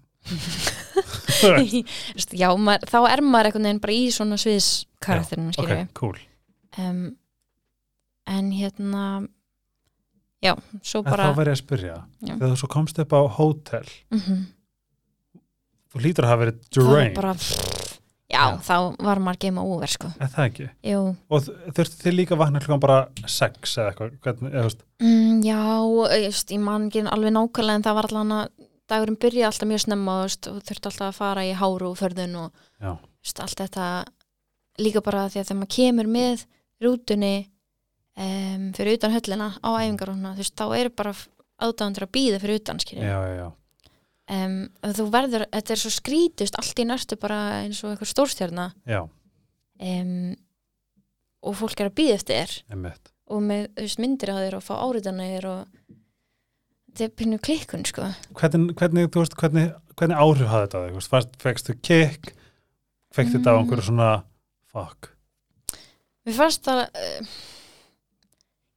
Speaker 2: veist, já, maður, þá er maður einhvern veginn bara í svona sviðskarakterinu,
Speaker 1: ok,
Speaker 2: skilju
Speaker 1: cool.
Speaker 2: um, en hérna já, svo
Speaker 1: En
Speaker 2: bara
Speaker 1: þá verð ég að spyrja,
Speaker 2: Já.
Speaker 1: þegar þú svo komst upp á hótel,
Speaker 2: mhm,
Speaker 1: þú lítur að hafa verið
Speaker 2: þá var
Speaker 1: drain,
Speaker 2: bara já,
Speaker 1: Já.
Speaker 2: þá var maður geima úver, sko
Speaker 1: eða það ekki?
Speaker 2: Jú,
Speaker 1: Og þ- þurftu þið líka að vakna klukkan bara sex eða eitthvað, hvernig, eða þú veist,
Speaker 2: mm, já, ég veist, ég man ekki alveg nákvæmlega en það var allan að dagurinn byrjaði alltaf mjög snemma þú veist, og þurfti alltaf að fara í háru og förðun og
Speaker 1: já,
Speaker 2: veist, allt þetta líka bara því að þegar maður kemur með rútunni um, fyrir utan höllina á æfingar og svona, þú veist, þá eru bara aðdáðandur að býða fyrir utan,
Speaker 1: já,
Speaker 2: skilja
Speaker 1: já, já.
Speaker 2: um, þú verður, þetta er svo skrítust allt í nörstu bara eins og eitthvað stórstjörna
Speaker 1: Já,
Speaker 2: um, og fólk er að býða eftir þér
Speaker 1: einmitt.
Speaker 2: og með þú veist, myndir að þér og fá áriðanir og þetta er pínu klikkun, sko
Speaker 1: Hvernig, hvernig, þú veist, hvernig, hvernig áhrif hafði þetta á þig? Þú veist, fannst- Fékkstu kick, fekst þetta á
Speaker 2: Mm.
Speaker 1: einhverju svona, fuck,
Speaker 2: Mér fannst það uh,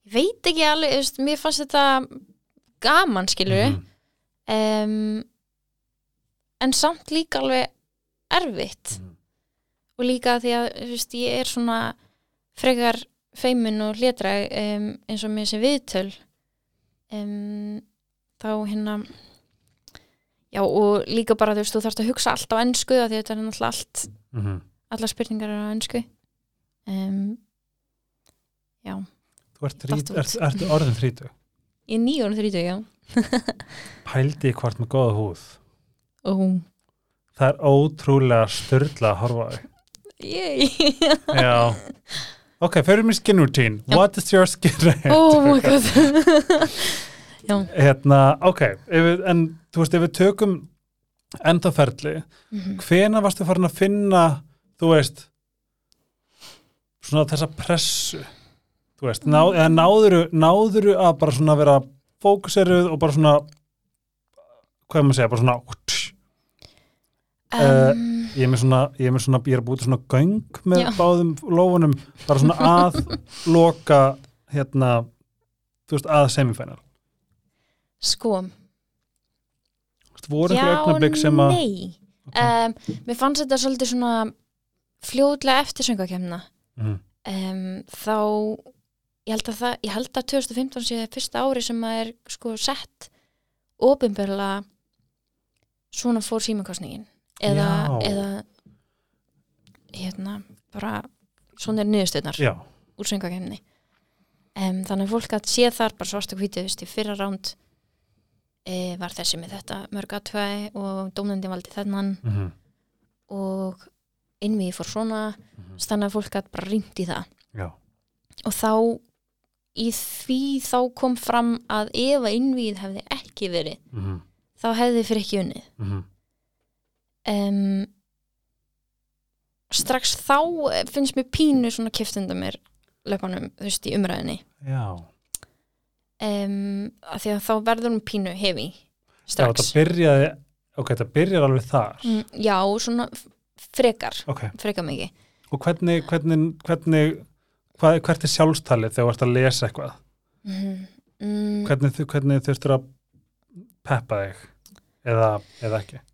Speaker 2: ég veit ekki alveg þú veist, mér fannst þetta gaman skilur
Speaker 1: Mhm.
Speaker 2: um, en samt líka alveg erfitt
Speaker 1: Mhm.
Speaker 2: og líka því að þú veist, ég er svona frekar feimin og hlétra um, eins og með þessi viðtöl um, þá hérna já og líka bara þú veist þú þarfst að hugsa allt á ennsku því að þetta er náttúrulega allt
Speaker 1: Mhm.
Speaker 2: allar spurningar eru á ennsku um,
Speaker 1: Þú ert,
Speaker 2: Datt
Speaker 1: rít,
Speaker 2: út.
Speaker 1: ert, ert orðin 30
Speaker 2: ég er 930 já
Speaker 1: Pældi í hvort með góða húð
Speaker 2: og hún
Speaker 1: Það er ótrúlega störla að horfa á þig. [laughs] Já Ok, förum í skin routine
Speaker 2: Já.
Speaker 1: What is your skin routine?
Speaker 2: oh my god
Speaker 1: Hérna, ok, ef við, en þú veist, ef við tökum en það ferli
Speaker 2: Mhm.
Speaker 1: hvena varstu farin að finna þú veist svona þessa pressu þú veist, ná, eða náðuru náðuru að bara svona vera fókuseruð og bara svona hvað er maður að segja, bara svona [laughs] Eh,
Speaker 2: Um,
Speaker 1: ég er með svona, ég er með svona, ég er að búti svona göng með
Speaker 2: Já.
Speaker 1: báðum lófunum bara svona að loka hérna, þú veist, að semifænar
Speaker 2: sko,
Speaker 1: voru
Speaker 2: já,
Speaker 1: einhver augnablik sem að
Speaker 2: nei um, Mér fannst þetta svolítið svona fljótlega eftir söngakemna
Speaker 1: Mhm.
Speaker 2: um, þá ég held, að það, ég held að 2015 sé fyrsta ári sem að er sko sett opinberlega svona fór símakostningin eða,
Speaker 1: Já.
Speaker 2: eða hérna bara svona er niðurstöðnar
Speaker 1: já,
Speaker 2: úr söngakemni um, þannig að fólk að sé þar bara svart og hvítið veist, í fyrra ránd e, var þessi með þetta mörg aðtvæði og dómnendin valdi þennan
Speaker 1: mm
Speaker 2: og innviði fór svona
Speaker 1: Mhm.
Speaker 2: þannig að fólk að bara rýmt í það
Speaker 1: já
Speaker 2: og þá í því þá kom fram að ef að innvíð hefði ekki verið
Speaker 1: mm -hmm.
Speaker 2: þá hefði fyrir ekki unnið
Speaker 1: Mhm.
Speaker 2: um, strax þá eh, finnst mér pínu svona kift undan mér löpunum, þú veist, í umræðinni
Speaker 1: já,
Speaker 2: um, að því að þá verður hún pínu hefi
Speaker 1: já, það
Speaker 2: strax
Speaker 1: byrjaði ok, það byrjar alveg þar
Speaker 2: Mm, já, svona f- frekar
Speaker 1: ok,
Speaker 2: frekar mikið
Speaker 1: og hvernig, hvernig, hvernig hvað, hvert er sjálfstalið þegar þú ert að lesa eitthvað
Speaker 2: mm, mm,
Speaker 1: hvernig, þu- hvernig þurftur að peppa þig eða, eða ekki
Speaker 2: ég,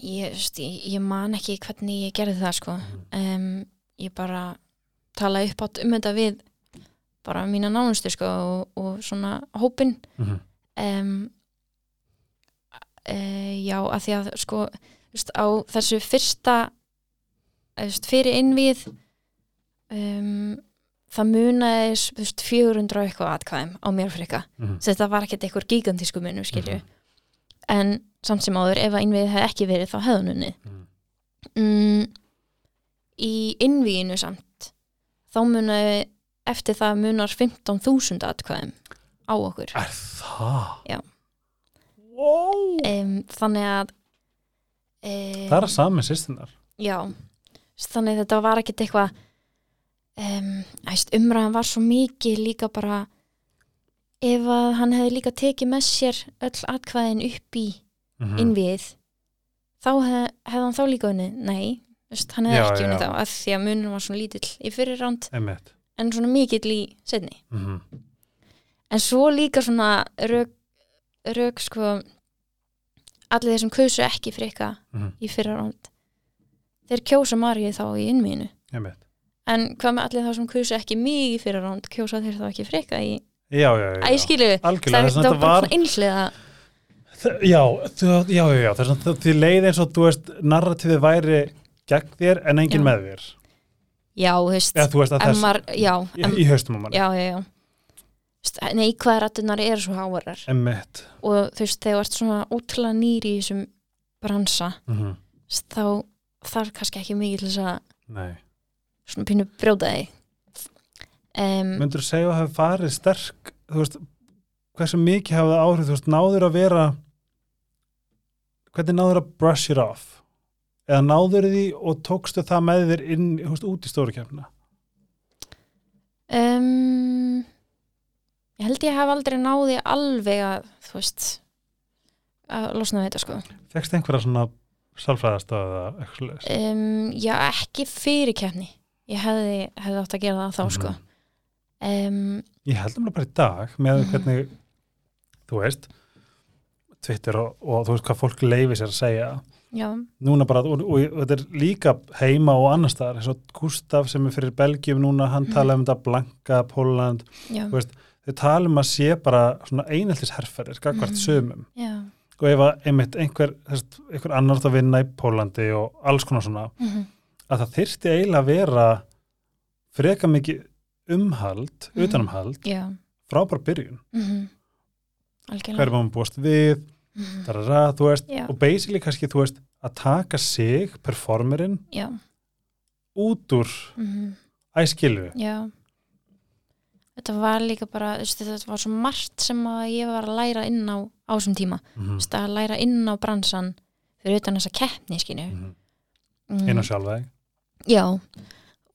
Speaker 2: þú veist, ég, ég man ekki hvernig ég gerði það sko um, ég bara talaði upp átt um þetta við bara mína nánustu sko og, og svona hópin
Speaker 1: mm -hmm.
Speaker 2: um, uh, já að því að sko þú veist, á þessu fyrsta eh, þú veist, fyrir innvið um, það munaði þú veist, 400 og eitthvað atkvæðum á mér frika
Speaker 1: Mhm.
Speaker 2: þetta var ekkert eitthvað gigantísku munum skilju en samt sem áður ef að innviðið hefði ekki verið þá hefði hún unnið
Speaker 1: Mhm.
Speaker 2: mm, í innvíinu samt þá munaði eftir það munar 15.000 atkvæðum á okkur
Speaker 1: er það?
Speaker 2: Já.
Speaker 1: wow.
Speaker 2: um, þannig að um,
Speaker 1: það er að sami sýstunar
Speaker 2: já, þannig að þetta var ekkit eitthvað um, æst, umræðan var svo mikið líka bara ef að hann hefði líka tekið með sér öll atkvæðin upp í
Speaker 1: mm
Speaker 2: innviðið þá hef, hefði hann þá líka unni nei, þú veist, hann hefði
Speaker 1: Já,
Speaker 2: ekki unni
Speaker 1: já.
Speaker 2: þá að því að munur var svona lítill í fyrir ránd
Speaker 1: einmitt
Speaker 2: en svona mikill í setni
Speaker 1: mm
Speaker 2: en svo líka svona rauk, rauk sko allir þeir sem kausu ekki frikka
Speaker 1: Mhm.
Speaker 2: í fyrir ránd þeir kjósa margið þá í innviðinu
Speaker 1: einmitt
Speaker 2: en hvað með allir þá sem kausu ekki mig í fyrir ránd kjósa þeir þá ekki frikka í
Speaker 1: já, já, já, já.
Speaker 2: Æ, skilu,
Speaker 1: algjörlega,
Speaker 2: það,
Speaker 1: þess að
Speaker 2: það var
Speaker 1: þetta
Speaker 2: bara
Speaker 1: var
Speaker 2: svona einhliða
Speaker 1: Þa- Já, þú- já, já, já, þess að þið leið eins og þú veist, narratífið væri gegn þér en engin
Speaker 2: Já.
Speaker 1: með þér
Speaker 2: já, þú veist,
Speaker 1: eða þú veist að
Speaker 2: en
Speaker 1: þess
Speaker 2: maður, já,
Speaker 1: í,
Speaker 2: en
Speaker 1: í haustum á manni,
Speaker 2: já, já, já Veist, Nei, hvaða rættunar eru svo hávarar
Speaker 1: emmitt
Speaker 2: og þú veist, þegar þú ert svona útla nýri í þessum bransa
Speaker 1: mm
Speaker 2: þú veist, þá þarf kannski ekki mikið til þess að
Speaker 1: Nei,
Speaker 2: svona pínu brjóta þig um,
Speaker 1: myndur þú segja að hafa farið sterk þú veist, hversu mikið hafa það áhrif, þú veist, náður að vera hvernig náður að brush it off eða náður því og tókstu það með þér inn, þú veist, út í stóru kemna
Speaker 2: um, Ég held ég hef aldrei náði alveg að þú veist að losna við þetta sko
Speaker 1: Fekst einhverja svona sálfræðastöða eitthvað svoleiðis?
Speaker 2: um, Já, ekki fyrir kefni ég hefði, hefði átt að gera það þá sko
Speaker 1: Mhm.
Speaker 2: um,
Speaker 1: Ég held um bara í dag með
Speaker 2: Mhm.
Speaker 1: hvernig, þú veist, Twitter og, og þú veist hvað fólk leifi sér að segja.
Speaker 2: Já,
Speaker 1: Núna bara, og, og, og þetta er líka heima og annars staðar, eins og Gustaf sem er fyrir Belgium núna, hann
Speaker 2: Mhm.
Speaker 1: talaði um þetta Blanka, Póland,
Speaker 2: já,
Speaker 1: Þú veist, þau tala um að sé bara svona einheltis herferðir, gagvart
Speaker 2: Mhm.
Speaker 1: sömum.
Speaker 2: já
Speaker 1: Og ef að einmitt einhver, þess, einhver annar átt að vinna í Pólandi og alls konar svona,
Speaker 2: mm
Speaker 1: að það þyrfti eiginlega að vera freka mikið umhald,
Speaker 2: Mhm.
Speaker 1: utanumhald,
Speaker 2: Já
Speaker 1: frá bara byrjun.
Speaker 2: mm
Speaker 1: Hver
Speaker 2: Algjörlega
Speaker 1: maður búast við,
Speaker 2: Mhm.
Speaker 1: darara, þú veist
Speaker 2: Já.
Speaker 1: og basically kannski, þú veist, að taka sig performerinn
Speaker 2: Já,
Speaker 1: út úr
Speaker 2: mhm,
Speaker 1: æskilu
Speaker 2: já þetta var líka bara, þú veist, þetta var svo margt sem að ég var að læra inn á á þessum tíma, þú
Speaker 1: Mhm.
Speaker 2: veist, að læra inn á bransan fyrir utan þessa keppni, skinu
Speaker 1: Mhm.
Speaker 2: mm.
Speaker 1: Inn á sjálfa þig.
Speaker 2: Já,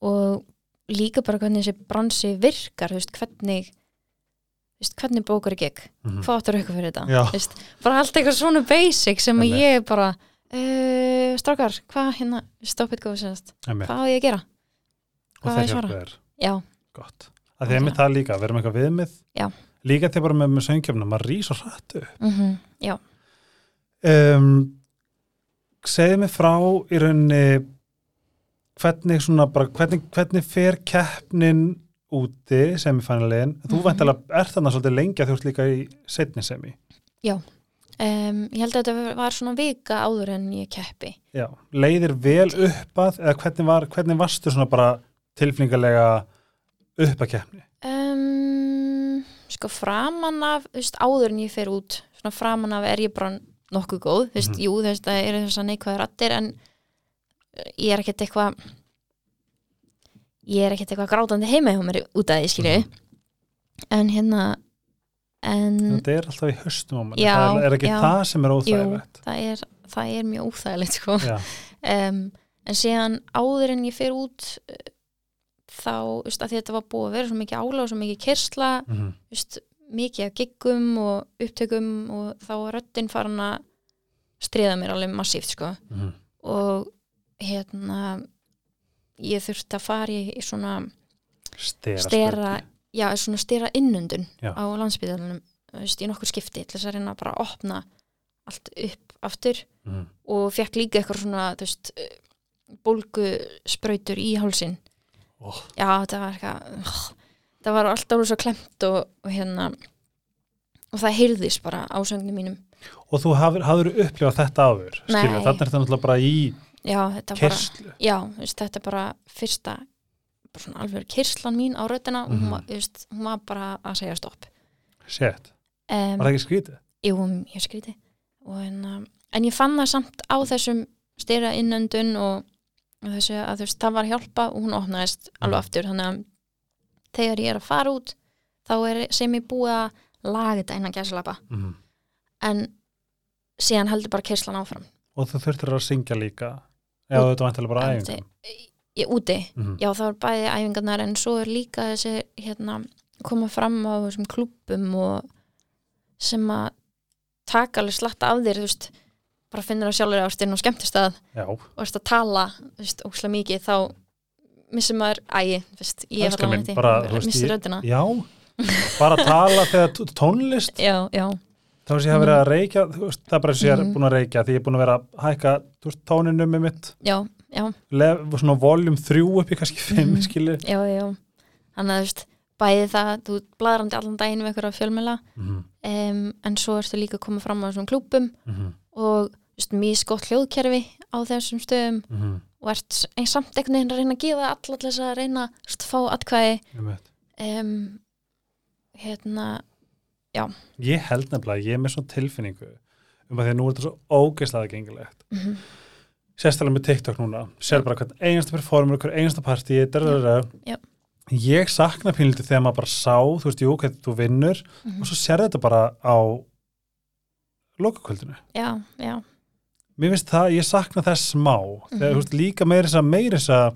Speaker 2: og líka bara hvernig þessi bransi virkar, þú veist, hvernig þú veist, hvernig bókar ég gekk,
Speaker 1: Mhm.
Speaker 2: hvað áttur ykkur fyrir þetta
Speaker 1: Já.
Speaker 2: Þú veist, bara allt eitthvað svona basic sem að
Speaker 1: Einmitt.
Speaker 2: ég bara uh, strákar, hvað hérna, stopp eitthvað sérst,
Speaker 1: Einmitt.
Speaker 2: hvað á ég að gera
Speaker 1: Og
Speaker 2: hvað á
Speaker 1: það
Speaker 2: ég að svara?
Speaker 1: hjálpa þér.
Speaker 2: já,
Speaker 1: Gott. Að því að einmitt það líka, við erum eitthvað viðmið.
Speaker 2: Já.
Speaker 1: Líka þegar bara með, með söngjöfnum, maður rís og hrættu.
Speaker 2: mhm, já
Speaker 1: um, segðu mig frá í rauninni hvernig svona bara, hvernig, hvernig fer keppnin úti semifinalin, þú mm
Speaker 2: Mhm.
Speaker 1: -hmm. væntalega ert þarna svolítið lengi að þú ert líka í setni semi,
Speaker 2: um, ég held að þetta var svona vika áður en ég keppi
Speaker 1: já, leiðir vel upp að, eða hvernig var, hvernig varstu svona bara tilflingalega upp að keppni,
Speaker 2: um, sko framan af þú veist, áður en ég fer út svona framan af er ég bara nokkuð góð þú veist,
Speaker 1: Mhm.
Speaker 2: jú, þú veist, það eru þess að neikvæða rattir en eh, ég er ekkert eitthvað ég er ekkert eitthvað grátandi heima hjá mér út af því skilju en hérna en
Speaker 1: þetta er alltaf í höstum á manni,
Speaker 2: Mm. Já,
Speaker 1: það er, er ekki
Speaker 2: já.
Speaker 1: það sem er
Speaker 2: jú,
Speaker 1: óþægilegt
Speaker 2: það er, það er mjög óþægilegt sko.
Speaker 1: já,
Speaker 2: um, en síðan áður en ég fer út eh, þá, þú veist, að því þetta var búið að vera svo mikið ála og svo mikið kersla
Speaker 1: mm
Speaker 2: veist, mikið af giggum og upptökum og þá var röddinn farin að stríða mér alveg massíft sko.
Speaker 1: -hmm.
Speaker 2: og hérna ég þurfti að fara í, í svona
Speaker 1: stera,
Speaker 2: stera,
Speaker 1: spurning.
Speaker 2: já, svona stera innundun
Speaker 1: Já.
Speaker 2: á landsbyðanum í nokkur skipti til þess að reyna bara að opna allt upp aftur
Speaker 1: Mhm.
Speaker 2: og fekk líka eitthvað svona þú veist, bólgu sprautur í hálsin
Speaker 1: Ó.
Speaker 2: já, þetta var eitthvað oh, það var alltaf svo klemt og, og hérna og það heyrðis bara á söngnum mínum
Speaker 1: og þú hafður, hafður upplifað þetta áður skilja,
Speaker 2: Nei.
Speaker 1: þannig er þetta náttúrulega bara í
Speaker 2: já, þetta var
Speaker 1: kerslu
Speaker 2: já, þú veist, þetta er bara fyrsta bara svona alveg kyrslan mín á röddina og hún
Speaker 1: Mhm.
Speaker 2: var, þú veist, hún var bara að segja stopp
Speaker 1: Shit,
Speaker 2: um,
Speaker 1: var það ekki skrítið?
Speaker 2: Jú, ég skríti og en, um, en ég fann það samt á þessum styrra innöndun og og þessu að þú veist, það var hjálpa og hún opnaðist alveg aftur þannig að þegar ég er að fara út þá er sem ég búið að laga þetta innan gæslappa
Speaker 1: Mm.
Speaker 2: en síðan heldur bara kyrslan áfram
Speaker 1: Og þú þurftir að syngja líka Já,
Speaker 2: Út-
Speaker 1: þetta vantilega bara
Speaker 2: Andi.
Speaker 1: æfingum
Speaker 2: ég, úti,
Speaker 1: mm.
Speaker 2: já þá er bæði æfingarnar en svo er líka þessi hérna, koma fram á þessum klubbum og sem að taka alveg slatta af þér þú veist, bara finnir að sjálfur ástinn og skemmtist að
Speaker 1: Já,
Speaker 2: og ert að tala þú veist, óslega mikið þá missir maður, æ, þú veist, ég
Speaker 1: Elskan mín,
Speaker 2: ekki-
Speaker 1: bara, þú veist,
Speaker 2: missir
Speaker 1: ég-
Speaker 2: röddina
Speaker 1: já Bara að tala þegar t- tónlist
Speaker 2: já, já,
Speaker 1: Þá sé ég að vera að reykja þú veist, Það er bara eins og ég er
Speaker 2: Mhm.
Speaker 1: búin að reykja Því ég er búin að vera að hækka þú veist, tóninum með mitt
Speaker 2: já, já,
Speaker 1: lef, Svona voljum þrjú upp í kannski fimm
Speaker 2: Mhm.
Speaker 1: mm. skilu
Speaker 2: já, já þannig að þú veist, bæði það þú ert bladrandi allan daginn við einhverja fjölmela
Speaker 1: mm.
Speaker 2: um, en svo ertu líka að koma fram á þessum klúbum
Speaker 1: Mm.
Speaker 2: og þú veist, misgott hljóðkerfi á þessum stöðum
Speaker 1: Mm.
Speaker 2: og ert s- ein, samt einhvern veginn að reyna að gefa allar þess að reyna þú veist, að fá atkvæði
Speaker 1: Einmitt.
Speaker 2: um, hérna,
Speaker 1: Ég held nefnilega, að ég er með svona tilfinningu um að því að nú er þetta svo ógeðslega gengilegt
Speaker 2: mhm
Speaker 1: sérstaklega með TikTok núna sér bara hvern einasta performer, hvern einasta partí
Speaker 2: Já.
Speaker 1: ég sakna pínlítið þegar maður bara sá þú veist, jú, hvernig þú vinnur
Speaker 2: Mhm.
Speaker 1: og svo sér þetta bara á lokakvöldinu
Speaker 2: já, já,
Speaker 1: mér finnst það, ég sakna þess smá þegar,
Speaker 2: Mhm.
Speaker 1: þú veist, líka meira þess að meira þess að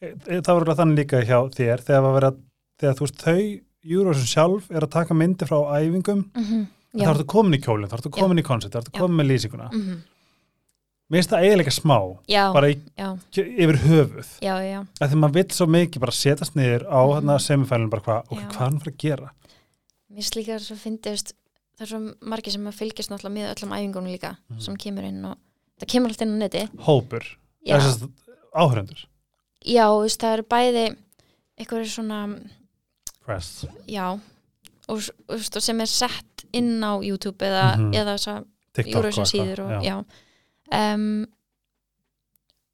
Speaker 1: e, e, það var alveg þannig líka hjá þér þegar, var verið að, þegar þú veist, þau Eurovision sjálf er að taka myndi frá æfingum
Speaker 2: mhm,
Speaker 1: þá
Speaker 2: já
Speaker 1: ertu komin í kjólinn, þá ertu komin í koncept þá ertu
Speaker 2: Já.
Speaker 1: komin með lýsinguna
Speaker 2: mhm,
Speaker 1: mér finnst það eiginlega smá,
Speaker 2: já,
Speaker 1: bara í,
Speaker 2: já
Speaker 1: yfir höfuð
Speaker 2: já, já,
Speaker 1: að því maður vill svo mikið bara setjast niður á mm. hérna semifælunum bara hvað, ok,
Speaker 2: Mhm. Já.
Speaker 1: hvað er hann fyrir að gera
Speaker 2: mér slíkar svo fyndist það er svo margir sem að fylgjast náttúrulega með öllum æfingunum líka
Speaker 1: Mhm.
Speaker 2: sem kemur inn og það kemur allt inn á neti
Speaker 1: hópur,
Speaker 2: já,
Speaker 1: eða þess að áhörendur
Speaker 2: já þú veist, það eru bæði eitthvað svona,
Speaker 1: press,
Speaker 2: já og, s- og þú veist, og sem er sett inn á YouTube eða,
Speaker 1: Mhm.
Speaker 2: eða þess að
Speaker 1: TikTok
Speaker 2: Eurovision síður og,
Speaker 1: já.
Speaker 2: já. Um,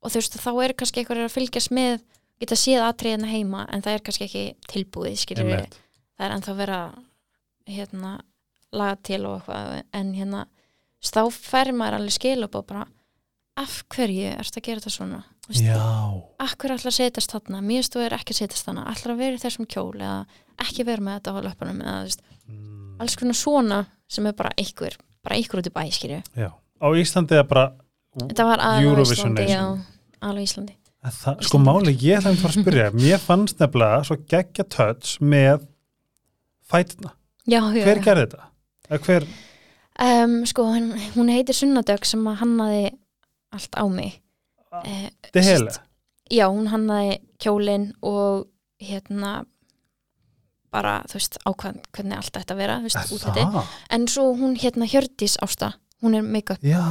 Speaker 2: og þú veist, þá er kannski eitthvað að fylgjast með geta séð atriðina heima en það er kannski ekki tilbúið skilur við
Speaker 1: einmitt.
Speaker 2: það er ennþá vera hérna, laga til og eitthvað en hérna, þá fær maður alveg skilabóð bara af hverju ertu að gera þetta svona Þú veist,
Speaker 1: já,
Speaker 2: af hverju ætla að setjast þarna, mér veist þú er ekki að setjast þarna ætlar að vera í þessum kjól eða ekki vera með þetta á löpunum eða þú veist,
Speaker 1: Mm.
Speaker 2: alls konar svona sem er bara einhver, bara einhver út í bæ skilju
Speaker 1: Já. Á Íslandi er bara
Speaker 2: þetta var alveg á
Speaker 1: Eurovision
Speaker 2: Íslandi já,
Speaker 1: Nation.
Speaker 2: alveg á Íslandi
Speaker 1: En Það, sko máli, ég ætlaði að fara að
Speaker 2: [laughs]
Speaker 1: spyrja Mér fannst nefnilega svo geggja touch með fætina
Speaker 2: já, já,
Speaker 1: Hver
Speaker 2: já.
Speaker 1: gerði þetta? Eða Hver,
Speaker 2: Um, sko, hún, hún heitir Sunnadögg sem að hannaði allt á mig
Speaker 1: Ah.
Speaker 2: uh,
Speaker 1: þetta er heila
Speaker 2: já, hún hannaði kjólinn og hérna bara, þú veist, ákvæðan hvernig allt þetta vera, þú veist, út þetta
Speaker 1: Það?
Speaker 2: en svo hún hérna Hjördís Ásta hún er make-up,
Speaker 1: Já,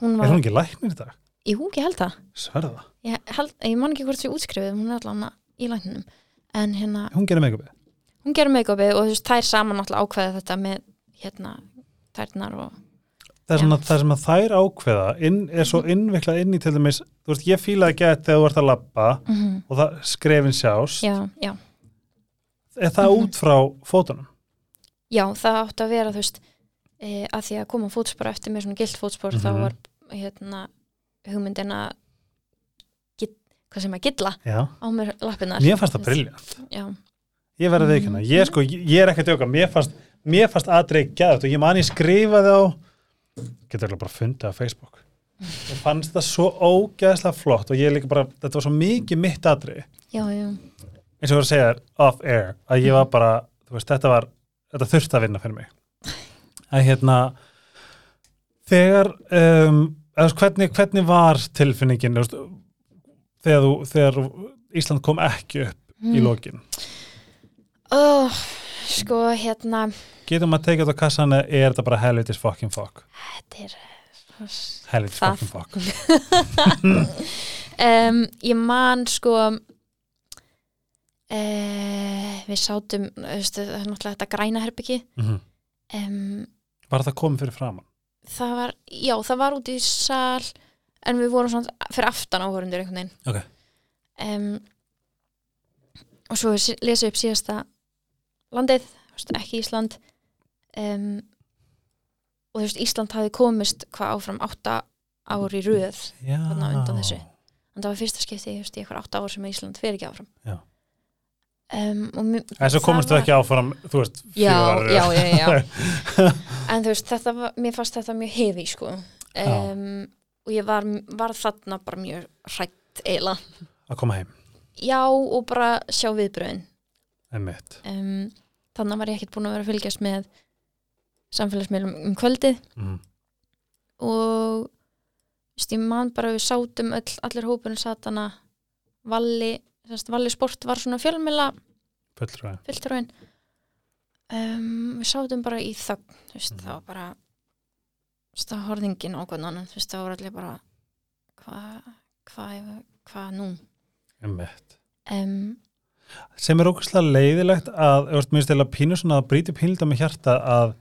Speaker 2: hún
Speaker 1: er
Speaker 2: var,
Speaker 1: hún ekki læknir í dag?
Speaker 2: jú, ég held það
Speaker 1: Sverða,
Speaker 2: ég, held, ég man ekki hvort því útskrifið hún er allan í lækninum en hérna,
Speaker 1: hún gerir make
Speaker 2: hún gerir make-upið og þú veist, þær saman alltaf ákveða þetta með hérna, tærnar og
Speaker 1: Það er
Speaker 2: Já.
Speaker 1: svona það sem að þær ákveða inn, er svo innviklað inn í til dæmis þú veist, ég fíla að geta þegar þú ert að labba
Speaker 2: mm
Speaker 1: og það skrefin sjást
Speaker 2: já, já,
Speaker 1: er það
Speaker 2: Mhm.
Speaker 1: út frá fótunum?
Speaker 2: já, það átti að vera þú veist, e, að því að koma fótspor eftir með svona gilt fótspor þá
Speaker 1: Mhm.
Speaker 2: var hérna hugmyndin að git- hvað sem að gilla
Speaker 1: Já,
Speaker 2: á mér lappinnar
Speaker 1: mér fannst það briljant
Speaker 2: já,
Speaker 1: ég verði
Speaker 2: Mhm.
Speaker 1: veikina, ég sko, ég ég er ekki að djóka mér fannst, mér fannst aðrið gæðut og ég man ég skrifaði á getur ekki bara fundið á Facebook
Speaker 2: Mm.
Speaker 1: og fannst það svo ógæðslega flott og ég líka bara, þetta var svo mikið mitt atrið
Speaker 2: já, já,
Speaker 1: eins og ég var að segja þér off air að ég var
Speaker 2: Mhm.
Speaker 1: bara, þú veist, þetta var þetta þurfti að vinna fyrir mig að hérna þegar um, eða, þú veist, hvernig, hvernig var tilfinningin þú veist, þegar, þú, þegar Ísland kom ekki upp
Speaker 2: Mm. Mhm.
Speaker 1: í lokin
Speaker 2: oh, sko, hérna
Speaker 1: getum að teka þetta á kassan eða er þetta bara helvitis fucking fuck
Speaker 2: þetta er
Speaker 1: helvitis
Speaker 2: Það.
Speaker 1: fucking fuck
Speaker 2: um, ég man sko uh, við sátum veistu, það er náttúrulega þetta græna herbyggi
Speaker 1: mm
Speaker 2: um,
Speaker 1: var það komið fyrir framann
Speaker 2: það var, já það var út í sal en við vorum svona fyrir aftan áhörundur einhvern veginn
Speaker 1: Ok.
Speaker 2: um, og svo við lesum upp síðasta landið veistu, ekki Ísland um, og þú veist Ísland hafi komist hvað áfram átta ár í röð
Speaker 1: já,
Speaker 2: Þarna á undan þessu. en það var fyrsta skipti þú veist, í eitthvað átta ár sem Ísland fer ekki áfram
Speaker 1: Já.
Speaker 2: um, og mér-
Speaker 1: en svo
Speaker 2: það
Speaker 1: komist þau
Speaker 2: var-
Speaker 1: ekki áfram þú veist,
Speaker 2: já,
Speaker 1: fjögur
Speaker 2: já, já, já. en þú veist, þetta var, mér fannst þetta mjög hefi sko. um, og ég var, var þarna bara mjög hrætt eila
Speaker 1: að koma heim,
Speaker 2: já og bara sjá viðbröðin
Speaker 1: emmitt
Speaker 2: um, þannig var ég ekkert búin að vera að fylgjast með samfélagsmiðlum um kvöldið
Speaker 1: mm.
Speaker 2: og þú veist, ég man bara að við sátum öll, allir hópunum satana Valli, sérst, Valli Sport var svona fjölmila
Speaker 1: fulltrúi
Speaker 2: fulltrúin um, við sátum bara í þögn þú veist,
Speaker 1: Mhm.
Speaker 2: það var bara þú veist, það var horðingin á hvernig annan þú veist, það voru allir bara hvað hva, hva nú
Speaker 1: emmitt
Speaker 2: um,
Speaker 1: sem er ógustlega leiðilegt að, þú veist, mér stila pínu svona að bríti pínlita með hjarta að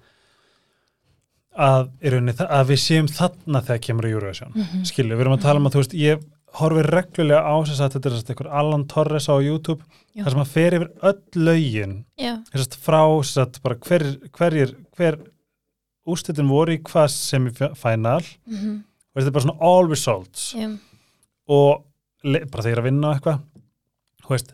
Speaker 1: að, í rauninni, þa- að við séum þarna þegar kemur í Eurovision mm
Speaker 2: Mhm.
Speaker 1: við erum að tala um að, þú veist, ég horfi reglulega á þess að þetta er þess að einhver Alan Torres á YouTube,
Speaker 2: Já.
Speaker 1: þar sem að fer yfir öll lögin,
Speaker 2: já,
Speaker 1: þess að frá þess að bara hver, hverjir, hver úrslitin voru í hvað sem í final,
Speaker 2: mm
Speaker 1: og þetta er bara svona all results
Speaker 2: já,
Speaker 1: og le- bara þeir eru að vinna á eitthvað þú veist,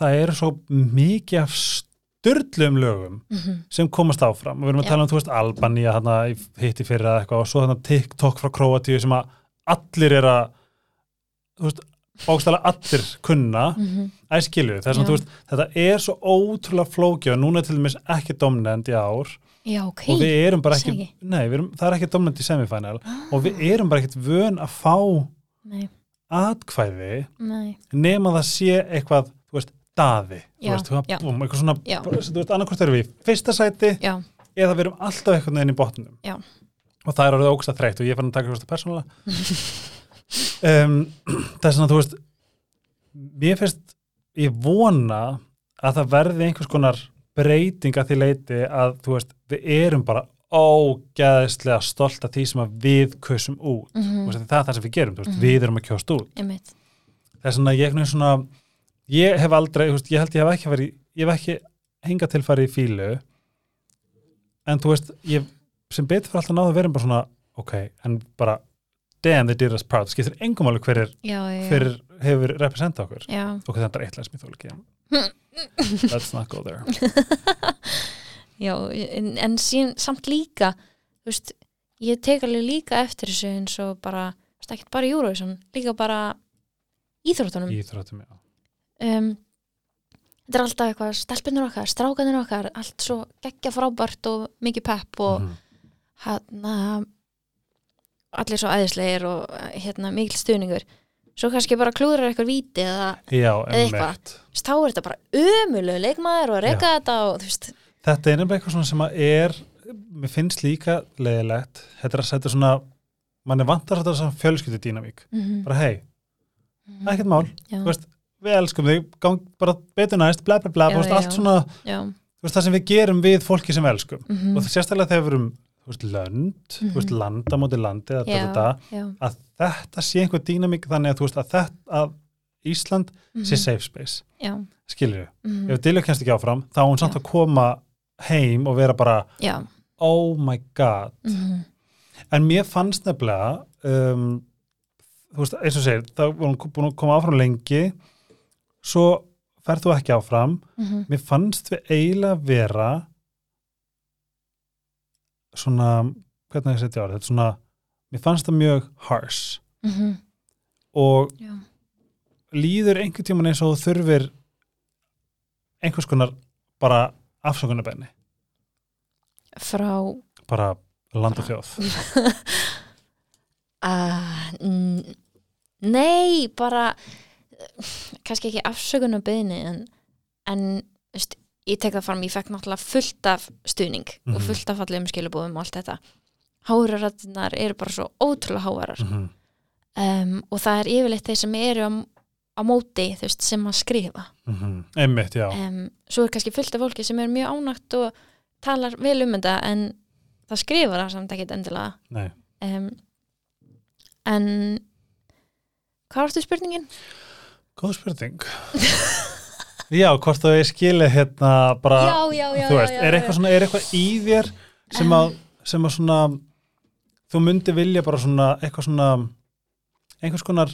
Speaker 1: það eru svo mikið af styrlum lögum
Speaker 2: mhm,
Speaker 1: sem komast áfram og við erum að
Speaker 2: Já.
Speaker 1: tala um, þú veist, Albania hana, hitti fyrir eða eitthvað og svo þarna TikTok frá Kroatíu sem að allir er að þú veist, bókstæla allir kunna
Speaker 2: mhm,
Speaker 1: æskilu, það er svona,
Speaker 2: Já.
Speaker 1: þú veist, þetta er svo ótrúlega flókið og núna er til dæmis ekki domnend í ár
Speaker 2: já, ok
Speaker 1: og við erum bara
Speaker 2: segi.
Speaker 1: ekki, nei, við erum, það er ekki domnend í semifinal
Speaker 2: Ah.
Speaker 1: og við erum bara ekkit vön að fá
Speaker 2: nei,
Speaker 1: atkvæði
Speaker 2: nei,
Speaker 1: nema það sé eitthvað, þú veist, daði
Speaker 2: Já,
Speaker 1: þú veist, þú
Speaker 2: já.
Speaker 1: veist, búm, eitthvað svona
Speaker 2: Já.
Speaker 1: bara, þú veist, annarkvort erum við í fyrsta sæti
Speaker 2: já,
Speaker 1: eða við erum alltaf eitthvað neginn í botnum
Speaker 2: Já.
Speaker 1: og það er orðið ógsta þreytt og ég fann að taka eitthvað
Speaker 2: [laughs]
Speaker 1: persónulega um, það er svona, þú veist mér finnst ég vona að það verði einhvers konar breyting að því leiti að, þú veist, við erum bara ógeðslega stolt af því sem að við kusum út mm.
Speaker 2: mhm,
Speaker 1: veist, það er það sem við gerum, þú veist,
Speaker 2: Mhm.
Speaker 1: við erum að kjóst út
Speaker 2: einmitt
Speaker 1: þess vegna ég einhvern veginn svona ég hef aldrei, þú veist, ég held ég hef ekki verið ég hef ekki hinga til farið í fílu en þú veist ég, sem betur fyrir alltaf náðu verið bara svona ok, en bara damn they did us proud, Það skiptir engum alveg hverir
Speaker 2: já, já, já,
Speaker 1: hverir hefur representað okkur
Speaker 2: já,
Speaker 1: ok, þetta er eitt læs mér þó ekki en- Let's not go
Speaker 2: [laughs]
Speaker 1: there.
Speaker 2: Já, en, en sín, samt líka þú veist, ég tek alveg líka eftir þessu eins og bara þú veist, ekkert bara í Eurovision, líka bara íþróttunum
Speaker 1: Íþróttum, já.
Speaker 2: um, þetta er alltaf eitthvað stelpunir okkar, strákanir okkar allt svo geggja frábært og mikið pepp og
Speaker 1: Mhm.
Speaker 2: hérna allir svo æðislegir og eh, hérna mikil stuðningur svo kannski bara klúðrar eitthvað víti eða
Speaker 1: Já,
Speaker 2: Eða eitthvað.
Speaker 1: einmitt.
Speaker 2: þú veist, þá er þetta bara ömulegu leikmaður og að reka þetta og þú veist,
Speaker 1: Þetta er nefnilega eitthvað svona sem að er, mér finnst líka leiðilegt, þetta er að setja svona, mann er vantar þetta svona fjölskyldu dýnavík.
Speaker 2: mm
Speaker 1: Bara hei, ekkert mál,
Speaker 2: já,
Speaker 1: þú veist, við elskum þig, gang bara betur næst, bla bla bla,
Speaker 2: Já,
Speaker 1: þú veist,
Speaker 2: já.
Speaker 1: allt svona,
Speaker 2: já,
Speaker 1: þú veist, það sem við gerum við fólki sem við elskum.
Speaker 2: mhm,
Speaker 1: Og sérstaklega þegar við erum, þú veist, lönd, þú veist,
Speaker 2: Mhm.
Speaker 1: landa móti landi, þetta,
Speaker 2: Já.
Speaker 1: þetta,
Speaker 2: já
Speaker 1: að þetta sé einhver dýnamík þannig að þú veist að þetta að Ísland sé
Speaker 2: mhm,
Speaker 1: safe space,
Speaker 2: já,
Speaker 1: skilur við
Speaker 2: mhm,
Speaker 1: ef Dillu kennst ekki áfram, þá á hún samt að koma heim og vera bara
Speaker 2: já
Speaker 1: oh my god,
Speaker 2: mhm,
Speaker 1: en mér fannst nefnilega um, þú veist, eins og segir þá var hún búin að koma áfram lengi svo ferð þú ekki áfram
Speaker 2: mhm,
Speaker 1: mér fannst við eiginlega vera svona hvernig ég setja á þetta, svona mér fannst það mjög harsh
Speaker 2: mhm,
Speaker 1: og
Speaker 2: já,
Speaker 1: líður einhvern tíman eins og þú þurfir einhvers konar bara afsökunarbenni
Speaker 2: frá
Speaker 1: bara land og þjóð
Speaker 2: Ah, n- nei, bara kannski ekki afsökunum beðinni en, en þú veist, ég tek það fram, ég fekk náttúrulega fullt af stuðning og
Speaker 1: Mhm.
Speaker 2: fullt af allegum skilubóðum og allt þetta háraratnar eru bara svo ótrúlega hávarar
Speaker 1: Mhm.
Speaker 2: um, og það er yfirleitt þeir sem eru á, á móti þú veist, sem að skrifa
Speaker 1: Mhm. einmitt, já
Speaker 2: um, svo er kannski fullt af fólki sem er mjög ánægt og talar vel um þetta en það skrifar það samt ekkert endilega
Speaker 1: Nei.
Speaker 2: um, en hvað varstu spurningin?
Speaker 1: góð spurning [laughs] já, hvort þú er skilið hérna bara,
Speaker 2: já, já, já,
Speaker 1: þú
Speaker 2: já,
Speaker 1: veist,
Speaker 2: já,
Speaker 1: er eitthvað svona er eitthvað í þér sem að, sem að svona þú myndi vilja bara svona eitthvað svona einhvers konar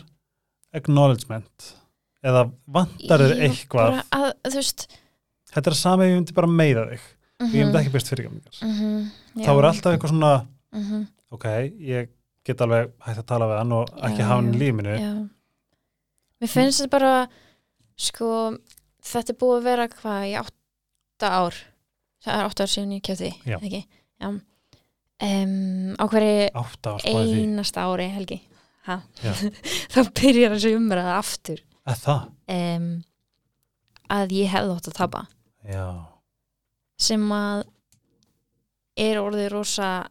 Speaker 1: acknowledgement eða vantar þér
Speaker 2: Ég-
Speaker 1: eitthvað
Speaker 2: bara að, þú veist
Speaker 1: þetta er sami, ég myndi bara meiða þig
Speaker 2: mm
Speaker 1: ég myndi ekki byrst fyrirgæmingar
Speaker 2: -hmm,
Speaker 1: þá er alltaf eitthvað svona
Speaker 2: mm -hmm,
Speaker 1: ok, ég get alveg hægt að tala við hann og ekki
Speaker 2: Já,
Speaker 1: hafa hann
Speaker 2: já,
Speaker 1: í lífinu
Speaker 2: já. mér finnst þetta bara sko, þetta er búið að vera hvað í átta ár það er átta ár síðan ég kjöfði
Speaker 1: Já.
Speaker 2: ekki? Já. Um, á hverju
Speaker 1: átt að spáði því
Speaker 2: einasta ári helgi Ha?
Speaker 1: Já.
Speaker 2: [laughs] þá byrjar þessu umræða aftur
Speaker 1: að það,
Speaker 2: um, að ég hefði átt að tapa
Speaker 1: já,
Speaker 2: sem að er orðið rosa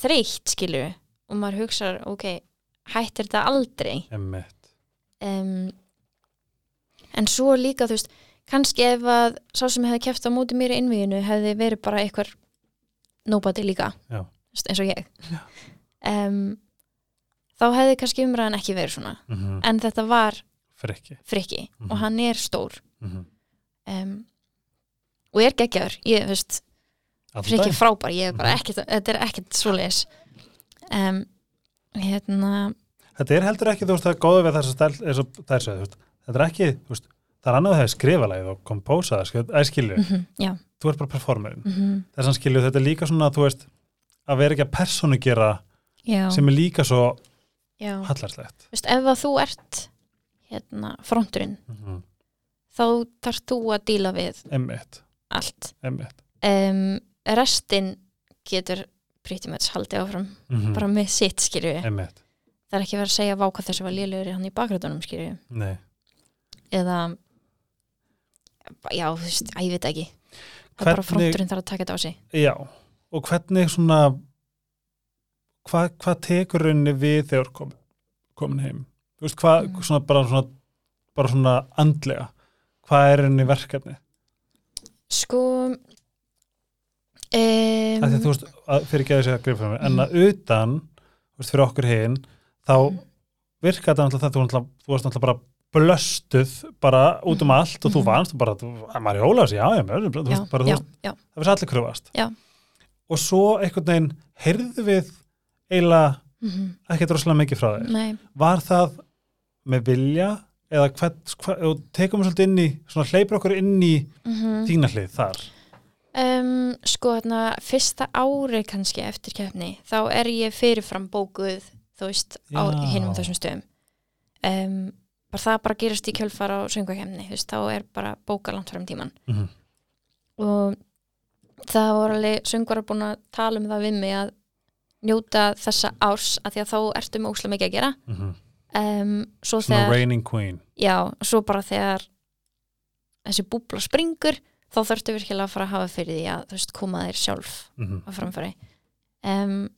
Speaker 2: þreytt skilur og maður hugsar, ok, hættir þetta aldrei
Speaker 1: emmitt
Speaker 2: um, en svo líka þú veist, kannski ef að sá sem hefði kæft á móti mér í innvíðinu hefði verið bara eitthvað nobody líka,
Speaker 1: Já.
Speaker 2: Þú veist, eins og ég um, þá hefði kannski umræðan ekki verið svona
Speaker 1: mm -hmm.
Speaker 2: en þetta var
Speaker 1: frikki
Speaker 2: frikki
Speaker 1: Mhm.
Speaker 2: og hann er stór
Speaker 1: mm -hmm.
Speaker 2: um, og er geggjaður ég, þú veist, frikki frábær ég er bara
Speaker 1: Mhm.
Speaker 2: ekkert, þetta er ekkert svoleiðis um, hérna
Speaker 1: þetta er heldur ekki, þú veist, það er góðu við þess að það er svo, þú veist, þetta er ekki þú veist, það er annað að það er skrifalægið og kompósað að skilju,
Speaker 2: mm já
Speaker 1: þú ert bara performerin
Speaker 2: mm
Speaker 1: þess að skilju, þetta er líka svona, þú veist að vera ekki að personu gera
Speaker 2: já,
Speaker 1: sem er líka svo
Speaker 2: já.
Speaker 1: hallarslegt
Speaker 2: Þú veist, ef að þú ert hérna, fronturinn
Speaker 1: mm -hmm.
Speaker 2: þá þarf þú að díla við
Speaker 1: emmitt,
Speaker 2: allt
Speaker 1: emmitt
Speaker 2: um, restin getur pretty much haldið áfram
Speaker 1: mm
Speaker 2: bara með sitt skilju
Speaker 1: emmitt,
Speaker 2: það er ekki verið að segja vá hvað þessi var lélugur hann í bakgröndunum skilju
Speaker 1: nei
Speaker 2: eða já, þú veist, að ég veit það ekki það er bara
Speaker 1: Hvernig-
Speaker 2: fronturinn þarf að taka þetta á sig
Speaker 1: Já, og hvernig svona hvað hva tekur rauninni við þegar kom, komin heim? Þú veist, hvað
Speaker 2: Mm.
Speaker 1: svona, bara, svona, bara svona andlega hvað er rauninni verkefni?
Speaker 2: sko um,
Speaker 1: Um, Þegar þú veist, að, fyrir ekki að þessi að gripa fyrir mig, en
Speaker 2: Mhm.
Speaker 1: að utan, þú veist, fyrir okkur hinn, þá
Speaker 2: Mm.
Speaker 1: virkar þetta náttúrulega það, þú, náttúrulega- þú varst náttúrulega bara blöstuð bara út um allt og þú
Speaker 2: Mhm.
Speaker 1: vannst og bara, þú, að maður í ólási, já, já, já, þú
Speaker 2: já,
Speaker 1: veist, bara, þú
Speaker 2: já,
Speaker 1: veist,
Speaker 2: já,
Speaker 1: það fyrir allir kröfast.
Speaker 2: Já.
Speaker 1: Og svo einhvern veginn heyrðu við eiginlega
Speaker 2: mhm,
Speaker 1: ekkert rosalega mikið frá þér.
Speaker 2: nei
Speaker 1: Var það með vilja eða hvað, hvað og tekum við svolítið inn í, svona hleypur okkur inn í þína hlið þar
Speaker 2: Um, mhm. sko hérna, fyrsta ári kannski eftir keppni, þá er ég fyrirfram bókuð, þú veist, á
Speaker 1: Já.
Speaker 2: hinum þessum stöðum. Um, bara það bara gerist í kjölfar á söngvakefni, þú veist, þá er bara bóka langt fram í tímann.
Speaker 1: mm
Speaker 2: Og það voru alveg söngvarar búin að tala um það við mig að njóta þessa árs, að því að þá ertu með óslega mikið að gera. Um, svo
Speaker 1: mhm. svona
Speaker 2: þegar,
Speaker 1: reigning queen
Speaker 2: já, svo bara þegar þessi búbla springur, þá þurftu virkilega að fara að hafa fyrir því að, þú veist, koma þér sjálf
Speaker 1: mm
Speaker 2: á framfæri um,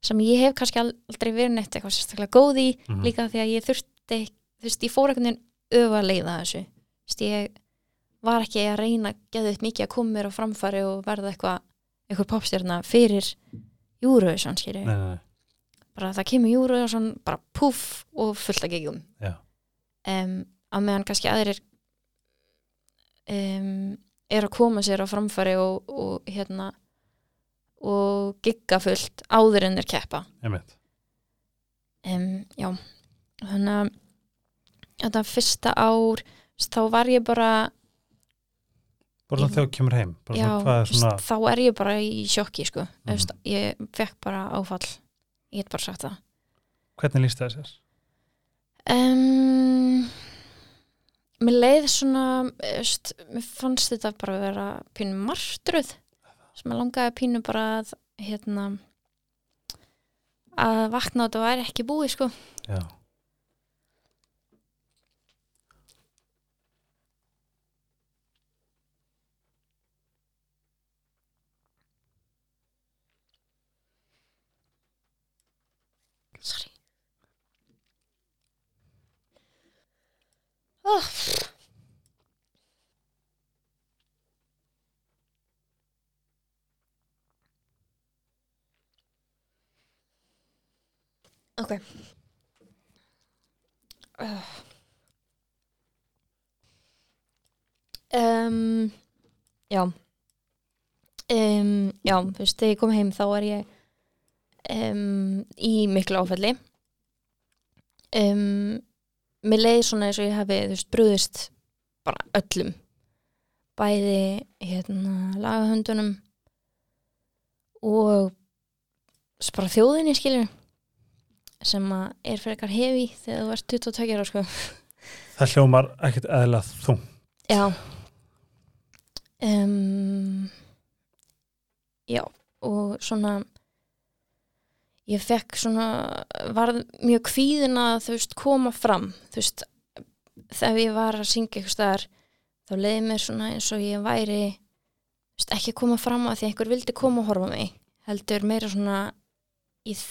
Speaker 2: sem ég hef kannski al- aldrei verið neitt eitthvað sérstaklega góð í
Speaker 1: Mhm.
Speaker 2: líka því að ég þurfti ek- þú veist, ég fór einhvern veginn öfa að leiða þessu þú veist, ég var ekki að reyna að geða upp mikið að koma mér á framfæri og verða eitthvað eitthvað popstjörna fyrir Eurovision
Speaker 1: nei,
Speaker 2: skýri
Speaker 1: nei, nei.
Speaker 2: bara það kemur Eurovision, bara puff og fullt að gigjum
Speaker 1: Já.
Speaker 2: um, á meðan kannski aðrir um, er að koma sér á framfæri og, og hérna og gigga fullt áður en þeir keppa
Speaker 1: einmitt
Speaker 2: um, já þannig að þetta fyrsta ár þá var ég bara,
Speaker 1: bara svona þegar þú kemur heim bara
Speaker 2: já,
Speaker 1: svona hvað er svona Mhm.
Speaker 2: þá er ég bara í sjokki sko, mm -hmm. ég fekk bara áfall ég get bara sagt það
Speaker 1: hvernig líst það sér?
Speaker 2: Um, mér leið svona eðst, mér fannst þetta bara að vera pínu martruð sem að langaði pínu bara að hérna að vakna og þetta væri ekki búið sko
Speaker 1: Já.
Speaker 2: Sorry oh. Ok uh. um, Já um, Já, þú veist, þegar ég kom heim þá var ég um, í miklu áfælli um, Mér leið svona eins og ég hafi, þú veist, brúðist bara öllum bæði hérna lagahöndunum og s- bara þjóðinni skilur sem að er fyrir eitthvað hefi þegar þú ert 22 ára sko
Speaker 1: það hljómar ekkert eðla þú
Speaker 2: Já um, Já og svona ég fekk svona varð mjög kvíðin að þú veist koma fram þú veist þegar ég var að syngja eitthvað staðar þá leiði mér svona eins og ég væri þú veist, ekki að koma fram að því að einhver vildi koma og horfa á mig heldur meira svona ég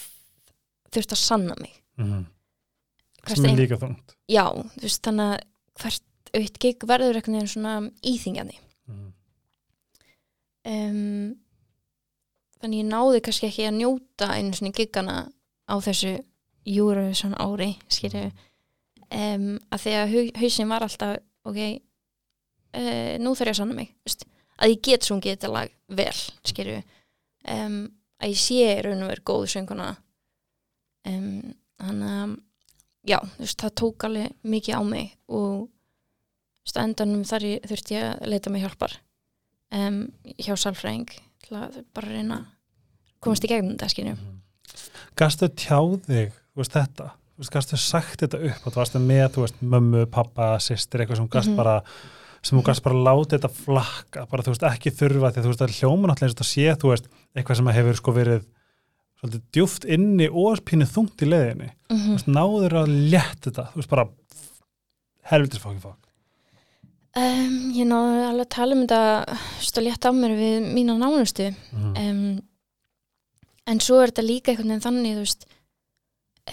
Speaker 2: þurfti að sanna mig
Speaker 1: mm.
Speaker 2: Hvert
Speaker 1: sem
Speaker 2: ein-
Speaker 1: er líka þungt
Speaker 2: Já, þú veist þannig að hvert aukt gig verður einhvern veginn svona íþingjandi
Speaker 1: mm.
Speaker 2: um, þannig ég náði kannski ekki að njóta einu svona giggana á þessu Eurovision ári skýrðu um, að því að hau- hausinn var alltaf ok, uh, nú þarf ég að sanna mig veist, að ég get sungið þetta lag vel skýrðu um, að ég sé í raun og verið góð sönguna um, þannig að já, þú veist, það tók alveg mikið á mig og þú veist, á endanum þar ég, þurfti ég að leita mig hjálpar um, hjá salfræðing til að bara reyna að komast í gegnum þetta skynjum
Speaker 1: mhm. gastu tjáð þig þú veist þetta Þú veist, gastu sagt þetta upp og þú varst með þú veist mömmu, pappa, systir eitthvað sem þú gast
Speaker 2: Mhm.
Speaker 1: bara sem þú gast bara látið þetta flakka bara þú veist ekki þurfa því að þú veist það er hljóma náttúrulega eins og það sé þú veist eitthvað sem hefur sko verið svolítið djúft inni og pínu þungt í leiðinni
Speaker 2: mm
Speaker 1: þú veist náður að létt þetta þú veist bara helvitis fokkin fokk
Speaker 2: um, ég náði alveg að tala um þetta stóð létt á mér við mína nánustu
Speaker 1: mm.
Speaker 2: um, en svo er þetta líka einhvern veginn þannig þú veist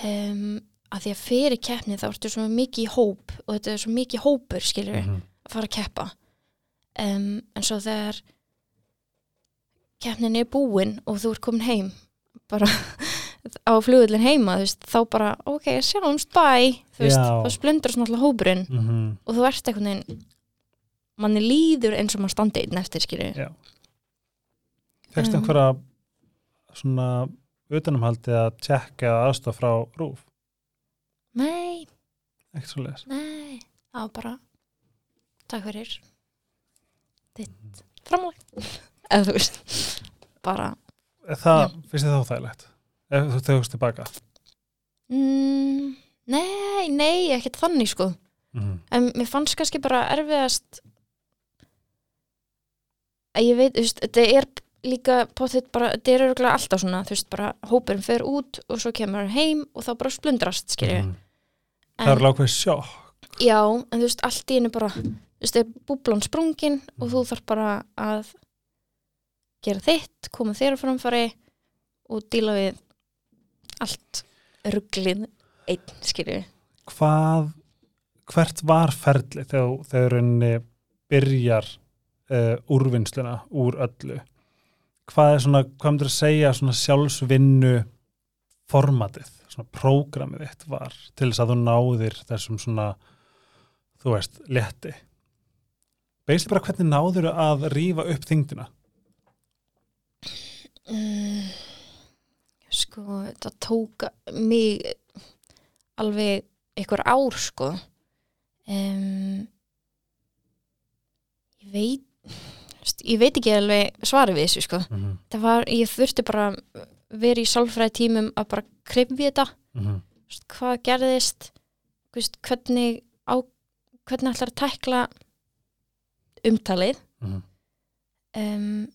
Speaker 2: um, að því að fyrir keppni þá ertu svo mikið í hóp og þetta er svo mikið hópur skilur
Speaker 1: mm.
Speaker 2: að fara að keppa um, en svo þegar keppnin er búin og þú ert komin heim bara [laughs] á flugullin heima þú veist, þá bara, ok, sjáumst bæ þú veist,
Speaker 1: Já.
Speaker 2: þá splundur svona alltaf hópurinn
Speaker 1: Mm -hmm.
Speaker 2: og þú ert einhvern veginn manni líður eins og maður standi einn eftir skilju
Speaker 1: Já. Fekstu
Speaker 2: Um.
Speaker 1: einhverja svona utanumhaldi að tjekka eða aðstof frá rúf?
Speaker 2: nei,
Speaker 1: ekkert svo leiðis
Speaker 2: Nei, það var bara takk fyrir þitt framlag [laughs] eða þú veist bara
Speaker 1: það
Speaker 2: Já.
Speaker 1: finnst þið þá þægilegt ef þú tegust tilbaka
Speaker 2: mm, Nei, nei, ekkert þannig sko
Speaker 1: mm.
Speaker 2: en mér fannst kannski bara erfiðast að ég veit, þú veist, þetta er líka potið bara, þetta er örgulega alltaf svona þú veist, bara hópurinn fer út og svo kemur hann heim og þá bara splundrast, skilju
Speaker 1: mm. það er lákveð sjokk
Speaker 2: Já, en þú veist, allt í einu bara þú veist, er búblan sprungin og þú þarf bara að gera þitt, koma þér á framfari og díla við allt rugglið einn, skilju
Speaker 1: hvað hvert var ferli þegar, þegar rauninni byrjar uh, úrvinnsluna úr öllu hvað er svona, hvað myndir að segja svona sjálfsvinnu formatið, svona prógramið þitt var til þess að þú náðir þessum svona, þú veist létti basically bara hvernig náður að rífa upp þyngdina
Speaker 2: mm, Sko, þetta tók mig alveg einhver ár, sko um, Ég veit þú veist, ég veit ekki alveg svarið við þessu, sko
Speaker 1: mm -hmm.
Speaker 2: það var, ég þurfti bara að vera í sálfræði tímum að bara krifja þetta,
Speaker 1: Mm -hmm.
Speaker 2: þú veist, hvað gerðist þú veist, hvernig á, hvernig ætlar að tækla umtalið
Speaker 1: Mhm.
Speaker 2: um,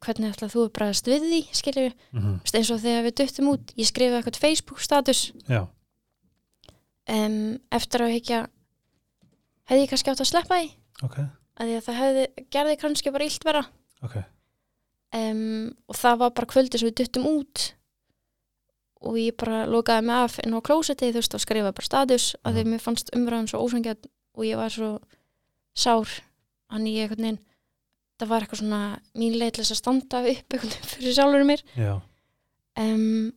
Speaker 2: hvernig ætlar þú að bregðast við því skilur, veist, eins og þegar við duttum út ég skrifaði eitthvað Facebook status
Speaker 1: já,
Speaker 2: um, eftir að hekja hefði ég kannski átt að sleppa því
Speaker 1: ok,
Speaker 2: af því að það hefði, gerði kannski bara illt vera
Speaker 1: ok
Speaker 2: um, og það var bara kvöldi sem við duttum út og ég bara lokaði mig af inn á klósetti þú veist og skrifaði bara status mm. að því mér fannst umræðan svo ósangjöld og ég var svo sár hann ég einhvern veginn það var eitthvað svona mín leið til þess að standa upp einhvern veginn fyrir sjálfur mér
Speaker 1: já,
Speaker 2: um,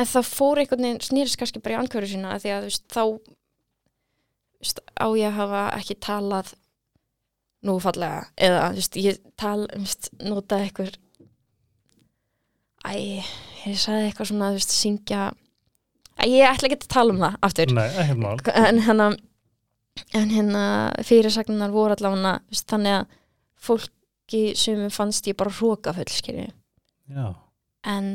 Speaker 2: en það fór einhvern veginn snýrist kannski bara í anköru sína af því að þú veist þá þú veist, á ég að hafa ekki talað nú fallega eða þú veist ég tal þú veist, nota eitthvað æ, ég sagði eitthvað svona þú veist syngja æ, ég ætla ekki að tala um það aftur
Speaker 1: nei, ekkert mál
Speaker 2: en hérna en hérna fyrirsagnar voru allavega þú veist, þannig að fólki sem fannst ég bara hrókafull skilju
Speaker 1: já.
Speaker 2: en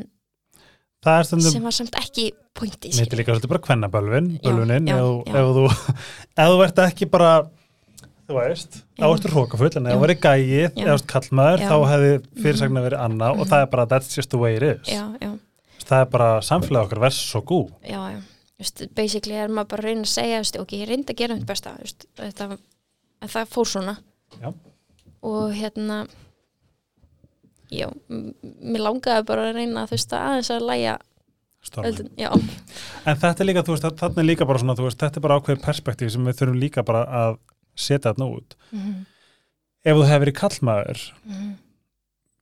Speaker 1: það er stundum
Speaker 2: sem var samt ekki pointi
Speaker 1: Mér er
Speaker 2: skilju
Speaker 1: líka svolítið bara kvennabölvin,
Speaker 2: Já,
Speaker 1: bölvunin,
Speaker 2: já,
Speaker 1: ef,
Speaker 2: já.
Speaker 1: ef þú [laughs] ef þú ert ekki bara þú veist, þá
Speaker 2: Já.
Speaker 1: ertu hrókafull en ef
Speaker 2: Já.
Speaker 1: þú verið gæi, ef
Speaker 2: Já.
Speaker 1: þú ert kallmaður
Speaker 2: Já.
Speaker 1: þá hefði fyrirsagnar verið annað og
Speaker 2: Mhm.
Speaker 1: það er bara that's just the way it is
Speaker 2: já, já,
Speaker 1: það er bara samfélag okkar versus so gú
Speaker 2: já, já Þú veist, basically er maður bara að reyna að segja þú veist, ok, ég reyndi að gera mitt besta þú veist, þetta, en það fór svona
Speaker 1: Já.
Speaker 2: og hérna já, m- mér langaði bara að reyna þú veist, að aðeins að læja
Speaker 1: en
Speaker 2: já,
Speaker 1: þetta er líka, þú veist, þarna er líka bara svona þú veist, þetta er bara ákveðið perspektíf sem við þurfum líka bara að setja þarna út
Speaker 2: mm -hmm.
Speaker 1: ef þú hefur verið kallmaður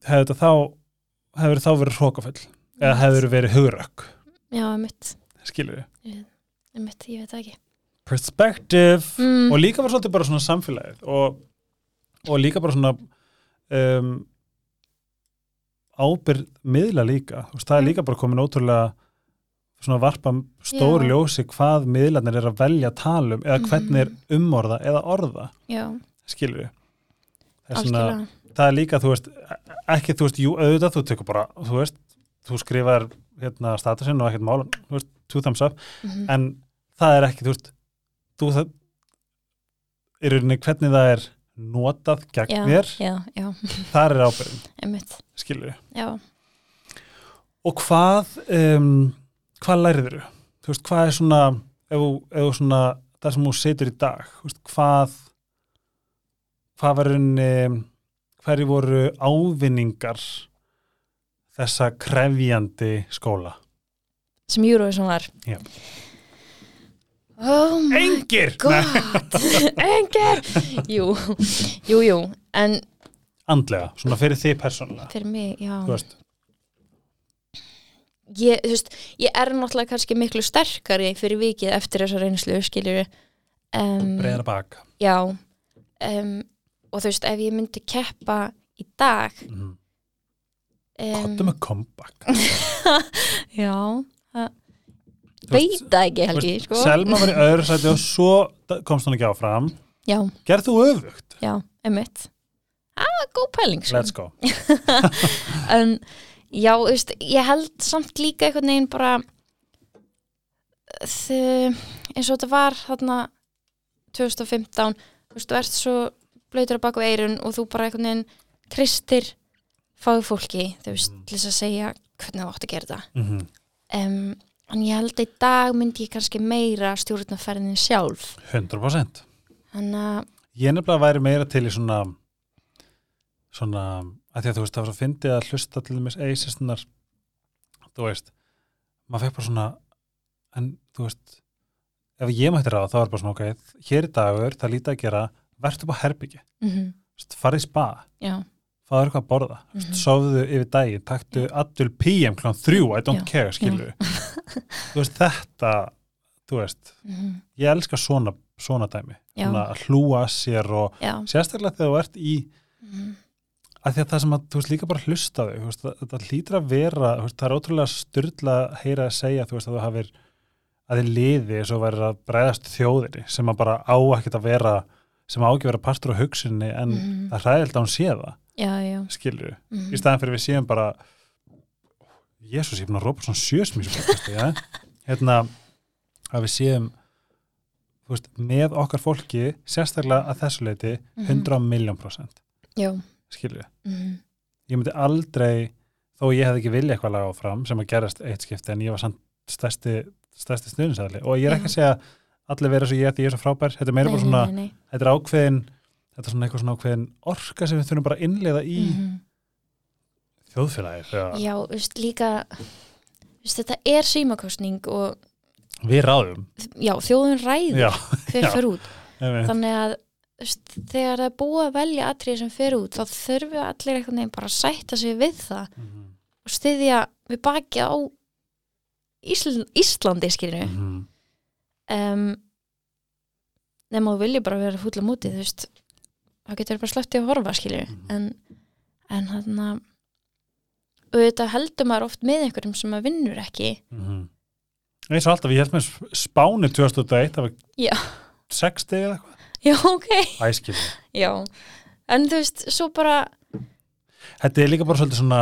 Speaker 1: hefur þetta þá hefur þá verið hrókafull eða hefur verið hugrökk,
Speaker 2: já, mitt,
Speaker 1: skilur við
Speaker 2: mitt ég veit það ekki
Speaker 1: perspective
Speaker 2: Mm.
Speaker 1: og líka bara svolítið bara svona samfélagið og, og líka bara svona um, ábyrð miðla líka Þú veist, það er
Speaker 2: Mm.
Speaker 1: líka bara komin ótrúlega svona varpa stóru
Speaker 2: Já.
Speaker 1: ljósi hvað miðlarnir er að velja að tala um eða
Speaker 2: Mhm.
Speaker 1: hvernig er umorða eða orða
Speaker 2: já,
Speaker 1: skilur við það er, svona,
Speaker 2: algjörlega
Speaker 1: það er líka, þú veist ekki, þú veist, jú, auðvitað, þú tekur bara þú veist, þú skrifar hérna statusinn og ekkert mál, þú veist, two thumbs up
Speaker 2: Mhm.
Speaker 1: en það er ekki, þú veist þú það er rauninni hvernig það er notað gegn
Speaker 2: já,
Speaker 1: mér,
Speaker 2: já, já,
Speaker 1: þar er ábyrðin
Speaker 2: einmitt
Speaker 1: skilur við.
Speaker 2: já,
Speaker 1: Og hvað um, hvað læriður þú? Þú veist, hvað er svona ef, þú- ef þú svona, það sem þú setur í dag þú veist, hvað hvað var rauninni hverju voru ávinningar þessa krefjandi skóla?
Speaker 2: sem Eurovision var
Speaker 1: Já.
Speaker 2: oh my
Speaker 1: Engir! Nei,
Speaker 2: god [laughs] engar jú, jú, jú en
Speaker 1: andlega, svona fyrir þig persónulega
Speaker 2: fyrir mig, já
Speaker 1: þú veist,
Speaker 2: ég, þú veist, ég er náttúrulega kannski miklu sterkari fyrir vikið eftir þessa reynslu skiljur um,
Speaker 1: breyðar bak
Speaker 2: já um, og þú veist, ef ég myndi keppa í dag
Speaker 1: mm.
Speaker 2: um,
Speaker 1: Kottu með comeback
Speaker 2: Já, það, veit það ekki helgi
Speaker 1: veist,
Speaker 2: sko.
Speaker 1: Selma var í öðru sæti og svo da- komst hún ekki áfram
Speaker 2: já,
Speaker 1: Gerð þú öfugt?
Speaker 2: já, emitt ah, góð pæling sko.
Speaker 1: Let's go
Speaker 2: en já, þú veist, ég held samt líka einhvern veginn bara þau, eins og þetta var þarna 2015 þú veist, þú ert svo blöytur á baku eirun og þú bara einhvern veginn kristir fagfólki, þú veist, til þess að segja hvernig þú átt að gera þetta
Speaker 1: mm
Speaker 2: um, en ég held að í dag myndi ég kannski meira stjórnaferðin sjálf
Speaker 1: 100%
Speaker 2: þannig að,
Speaker 1: Ég nefnilega væri meira til í svona svona að því að þú veist það var svo fyndið að hlusta til þeimis eisistunar þú veist maður fekk bara svona en þú veist ef ég mætti ráða þá var bara svona ok hér er dagur, það er lítið að gera vertu bara herbyggi,
Speaker 2: mm
Speaker 1: farið í spa
Speaker 2: já,
Speaker 1: fáðu eitthvað að borða, mm
Speaker 2: Mhm.
Speaker 1: sofðu yfir daginn taktu allur PM klán þrjú I don't
Speaker 2: Já.
Speaker 1: care, skilu
Speaker 2: [laughs]
Speaker 1: þú veist þetta, þú veist
Speaker 2: mm
Speaker 1: ég elska svona, svona dæmi
Speaker 2: Já.
Speaker 1: svona að hlúa að sér og
Speaker 2: já
Speaker 1: sérstaklega þegar þú ert í
Speaker 2: mm
Speaker 1: að því að það sem að, þú veist, líka bara hlusta þau, þú veist, það- þetta hlýtur að vera þú veist, það er ótrúlega styrla að heyra að segja þú veist, að þú hafir að þið liði eins og væri að bregðast þjóðinni sem að bara á ekkert að vera sem á ekki að vera partur á hugsinni en
Speaker 2: Mhm.
Speaker 1: það er hræðilt að hún sé það,
Speaker 2: já, já
Speaker 1: skilju
Speaker 2: mm
Speaker 1: Mm. í staðan fyrir við séum bara Jésús, ég er búin að rópa svona sjösmísum ja? hérna að við séum þú veist, með okkar fólki sérstaklega að þessu leiti
Speaker 2: Mhm.
Speaker 1: 100 miljón prosent,
Speaker 2: já,
Speaker 1: skilju
Speaker 2: mm
Speaker 1: ég myndi aldrei, þó ég hefði ekki vilja eitthvað laga áfram sem að gerast eitt skipti en ég var samt stærsti, stærsti snuðinsæðli og ég er ekki að segja allir vera svo ég því ég er svo frábær, þetta er meira bara svona
Speaker 2: Mhm. nei, nei.
Speaker 1: þetta er ákveðin, þetta er svona eitthvað svona ákveðin orka sem við þurfum bara að innleiða í Ah. mm
Speaker 2: Mhm.
Speaker 1: þjóðfélagi þegar
Speaker 2: Já, þú veist, líka þú veist, þetta er símakostning og
Speaker 1: við ráðum
Speaker 2: já, þjóðun ræður
Speaker 1: Já,
Speaker 2: hver
Speaker 1: já.
Speaker 2: fer út
Speaker 1: einmitt.
Speaker 2: þannig að þú veist, þegar það er búið að velja atrið sem fer út þá þurfi allir einhvern veginn bara að sætta sig við það
Speaker 1: Mhm.
Speaker 2: og styðja við bakið á Ísl Íslandi skýrinu
Speaker 1: Mhm.
Speaker 2: um, nema þú vilji bara vera fúll á móti þú veist þá getur bara slöftið að horfa skilju
Speaker 1: Mhm.
Speaker 2: en, en þarna auðvitað heldur maður oft með einhverjum sem maður vinnur ekki [laughs]
Speaker 1: Mhm. eins og alltaf, ég held með spáni 2001, það var
Speaker 2: Já.
Speaker 1: 60 eða eitthvað,
Speaker 2: já ok
Speaker 1: æskil
Speaker 2: já. en þú veist svo bara
Speaker 1: þetta er líka bara svolítið svona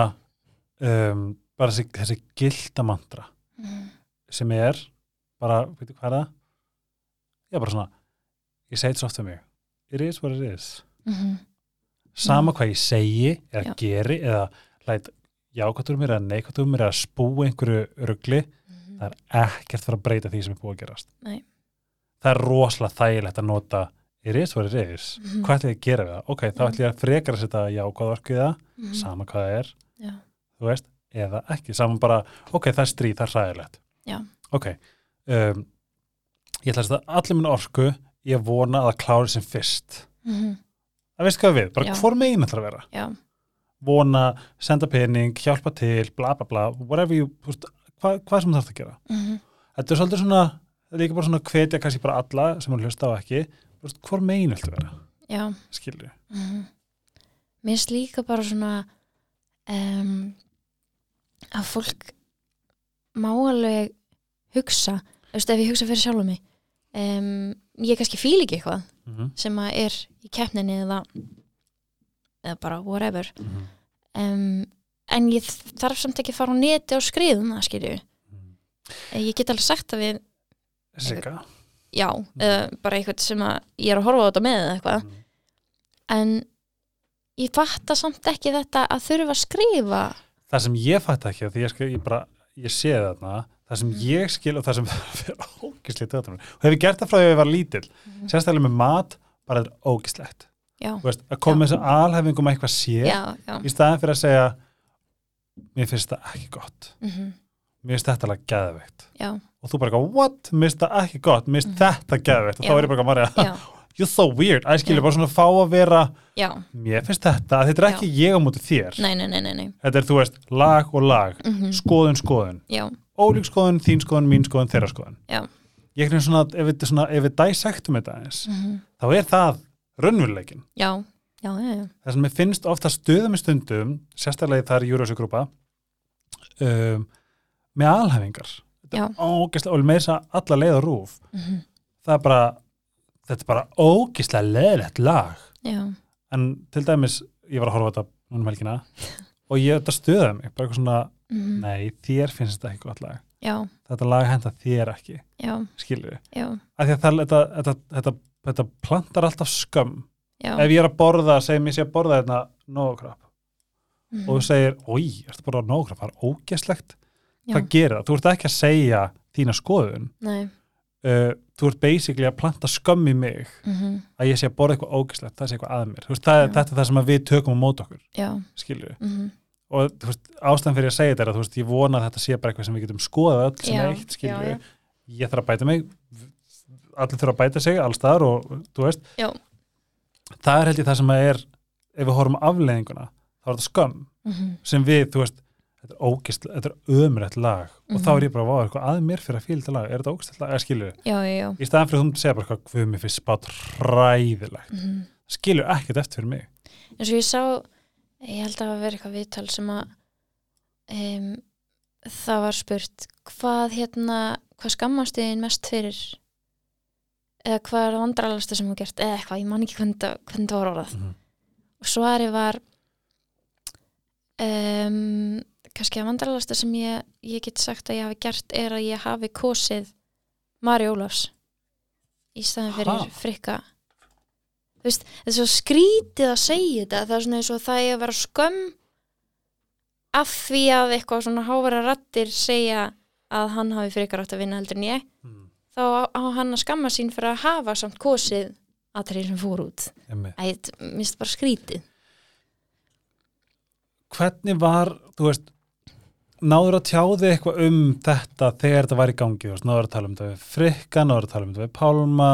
Speaker 1: um, bara þessi, þessi gildamantra
Speaker 2: mm,
Speaker 1: sem er bara, veitir hvað er það? Já, bara svona ég segi þetta svo oft um mig, it is what it is
Speaker 2: mhm,
Speaker 1: sama hvað ég segi eða
Speaker 2: Mm. Já.
Speaker 1: geri eða læt jákvæmt úr mér eða neikvæmt úr mér eða spúi einhverju rugli
Speaker 2: mhm,
Speaker 1: það er ekkert fyrir að breyta því sem er búið að gerast
Speaker 2: Nei.
Speaker 1: það er rosalega þægilegt að nota it is what it is
Speaker 2: mhm,
Speaker 1: hvað ætlum ég að gera við það? Ok, þá
Speaker 2: Mm.
Speaker 1: ætlum ég að frekar að setja jákvæð orku í það,
Speaker 2: mhm.
Speaker 1: sama hvað það er
Speaker 2: Já.
Speaker 1: þú veist, eða ekki, saman bara ok, það er stríð, það er ræðilegt
Speaker 2: Já.
Speaker 1: ok, um, ég ætla að setja allir minn orku ég vona að það klári sem fyrst
Speaker 2: Mhm,
Speaker 1: það veist hvað við, bara
Speaker 2: Já.
Speaker 1: hvor megin ætla að vera
Speaker 2: já,
Speaker 1: vona, senda pening, hjálpa til bla bla bla, whatever you þú veist, hvað, hvað sem þarf að gera
Speaker 2: mhm,
Speaker 1: þetta er svolítið svona, þetta er líka bara svona hvetja kannski bara alla sem hún hlusta á ekki þú veist, hvor megin ætla að vera,
Speaker 2: já
Speaker 1: skilju
Speaker 2: Mhm. Mér finnst líka bara svona um, að fólk má alveg hugsa, þú veist ef ég hugsa fyrir sjálfum mig um, ég kannski fíl ekki eitthvað
Speaker 1: mm -hmm.
Speaker 2: sem að er í keppninni eða, eða bara whatever um, en ég þarf samt ekki að fara á neti og skriðum það skilju ég get alveg sagt það við
Speaker 1: Sigga
Speaker 2: já, eða bara eitthvað sem að ég er að horfa á þetta með eða eitthvað
Speaker 1: Mhm.
Speaker 2: en ég fatta samt ekki þetta að þurfa að skrifa
Speaker 1: það sem ég fætt ekki af því ég, skal, ég, bara, ég sé það þarna það
Speaker 2: Mhm.
Speaker 1: sem ég skil og það sem [laughs] fyrir ógislegt og hefur gert það frá því að ég var lítill sérstaklega með mat, bara þetta er ógislegt
Speaker 2: Mhm. já,
Speaker 1: Þú veist, að koma með þessum alhæfingum að eitthvað sé
Speaker 2: já, já
Speaker 1: í staðan fyrir að segja mér finnst það ekki gott
Speaker 2: mhm,
Speaker 1: mér finnst þetta alveg geðveikt
Speaker 2: já,
Speaker 1: og þú bara eitthvað, what, mér finnst það ekki gott mér finnst þetta geðveikt og þá
Speaker 2: Mhm.
Speaker 1: er
Speaker 2: Já.
Speaker 1: ég bara eitthvað marja
Speaker 2: já,
Speaker 1: [laughs] you're so weird, að ég skilja
Speaker 2: Já.
Speaker 1: bara svona fá að vera
Speaker 2: já
Speaker 1: mér finnst þetta, þetta er
Speaker 2: Já.
Speaker 1: ekki ég á múti þér
Speaker 2: nei, nei, nei, nei, nei
Speaker 1: þetta er, þú veist, lag og lag
Speaker 2: mhm,
Speaker 1: skoðun, skoðun
Speaker 2: já,
Speaker 1: ólík skoðun, þín skoðun, mín skoðun, þeirra skoðun
Speaker 2: Já.
Speaker 1: ég er svona, ef við, svona, ef við dissectum þetta aðeins,
Speaker 2: mhm,
Speaker 1: þá er það raunveruleikin,
Speaker 2: já já, já, já,
Speaker 1: það sem mér finnst ofta stöðum í stundum, sérstaklega þar í Júriðsjögrúpa um, með alhæfingar þetta
Speaker 2: Já.
Speaker 1: er ógeðslega, og meira þess að alla leið á rúf
Speaker 2: Mhm.
Speaker 1: það er bara, þetta er bara ógeðslega leiðilegt lag
Speaker 2: já,
Speaker 1: en til dæmis, ég var að horfa á þetta núna um
Speaker 2: [laughs]
Speaker 1: helgina og ég þetta stuðaði mig, bara eitthvað svona,
Speaker 2: mhm,
Speaker 1: nei, þér finnst þetta ekki gott lag,
Speaker 2: já,
Speaker 1: þetta lag henda þér ekki,
Speaker 2: já,
Speaker 1: skilur við
Speaker 2: já,
Speaker 1: af því að það, þetta, þetta, þetta, þetta plantar alltaf skömm,
Speaker 2: já.
Speaker 1: ef ég er að borða segjum ég sé að borða þetta nógrap
Speaker 2: mhm,
Speaker 1: og þú segir, oi, ertu að borða nógrap það er ógeslegt,
Speaker 2: Já.
Speaker 1: hvað gerir það þú ert ekki að segja þína skoðun
Speaker 2: nei,
Speaker 1: uh, þú ert basically að planta skömm í mig
Speaker 2: mhm,
Speaker 1: að ég sé að borða eitthvað ógeslegt, það sé eitthvað að mér Þú veist, það,
Speaker 2: Já.
Speaker 1: þetta er það sem að við tökum á mót okkur
Speaker 2: já,
Speaker 1: skilur við
Speaker 2: mhm,
Speaker 1: og þú veist, ástæðan fyrir að segja þetta er að þú veist, ég vona að þetta sé bara eitthvað sem við getum skoðað öll sem
Speaker 2: Já,
Speaker 1: eitt, skiljum
Speaker 2: já,
Speaker 1: við ég þarf að bæta mig, allir þurfa að bæta sig allstaðar og þú veist
Speaker 2: Já.
Speaker 1: það er held ég það sem að er ef við horfum á afleiðinguna, þá er þetta skömm
Speaker 2: mhm,
Speaker 1: sem við, þú veist, þetta er ógist þetta er ömrætt lag og
Speaker 2: Mhm.
Speaker 1: þá er ég bara váður eitthvað að mér fyrir að fíla þetta lag, er þetta ógist lag, skilju,
Speaker 2: já, já, já,
Speaker 1: í staðan fyrir að þú myndir segja bara eitthvað, hvað mér finnst spátt ræðilegt
Speaker 2: mhm.
Speaker 1: skilju ekkert eftir fyrir mig
Speaker 2: eins og ég sá ég held að það hafa verið eitthvað viðtal sem að um, það var spurt hvað hérna, hvað skammast þið mest fyrir eða hvað er það vandraralasta sem þú hefur gert eða eitthvað, ég man ekki hvernig, það- hvernig það var orðað
Speaker 1: Mhm.
Speaker 2: og svari var um, kannski að vandraralasta sem ég, ég get sagt að ég hafi gert er að ég hafi kosið Mari Ólafs í staðan fyrir
Speaker 1: Ha?
Speaker 2: frikka þú veist, þetta er svo skrítið að segja þetta það er svona eins og það er að vera skömm af því að eitthvað svona hávara rattir segja að hann hafi frekar átt að vinna heldur en ég
Speaker 1: mm.
Speaker 2: þá á, á hann að skamma sín fyrir að hafa samt kosið aðtrið sem fór út
Speaker 1: Emmi.
Speaker 2: Æ, þetta minnst bara skrítið
Speaker 1: hvernig var, þú veist náður að tjáði eitthvað um þetta þegar þetta var í gangi, þú veist, náður að tala um þetta við Frikka, náður að tala um þetta við Pálma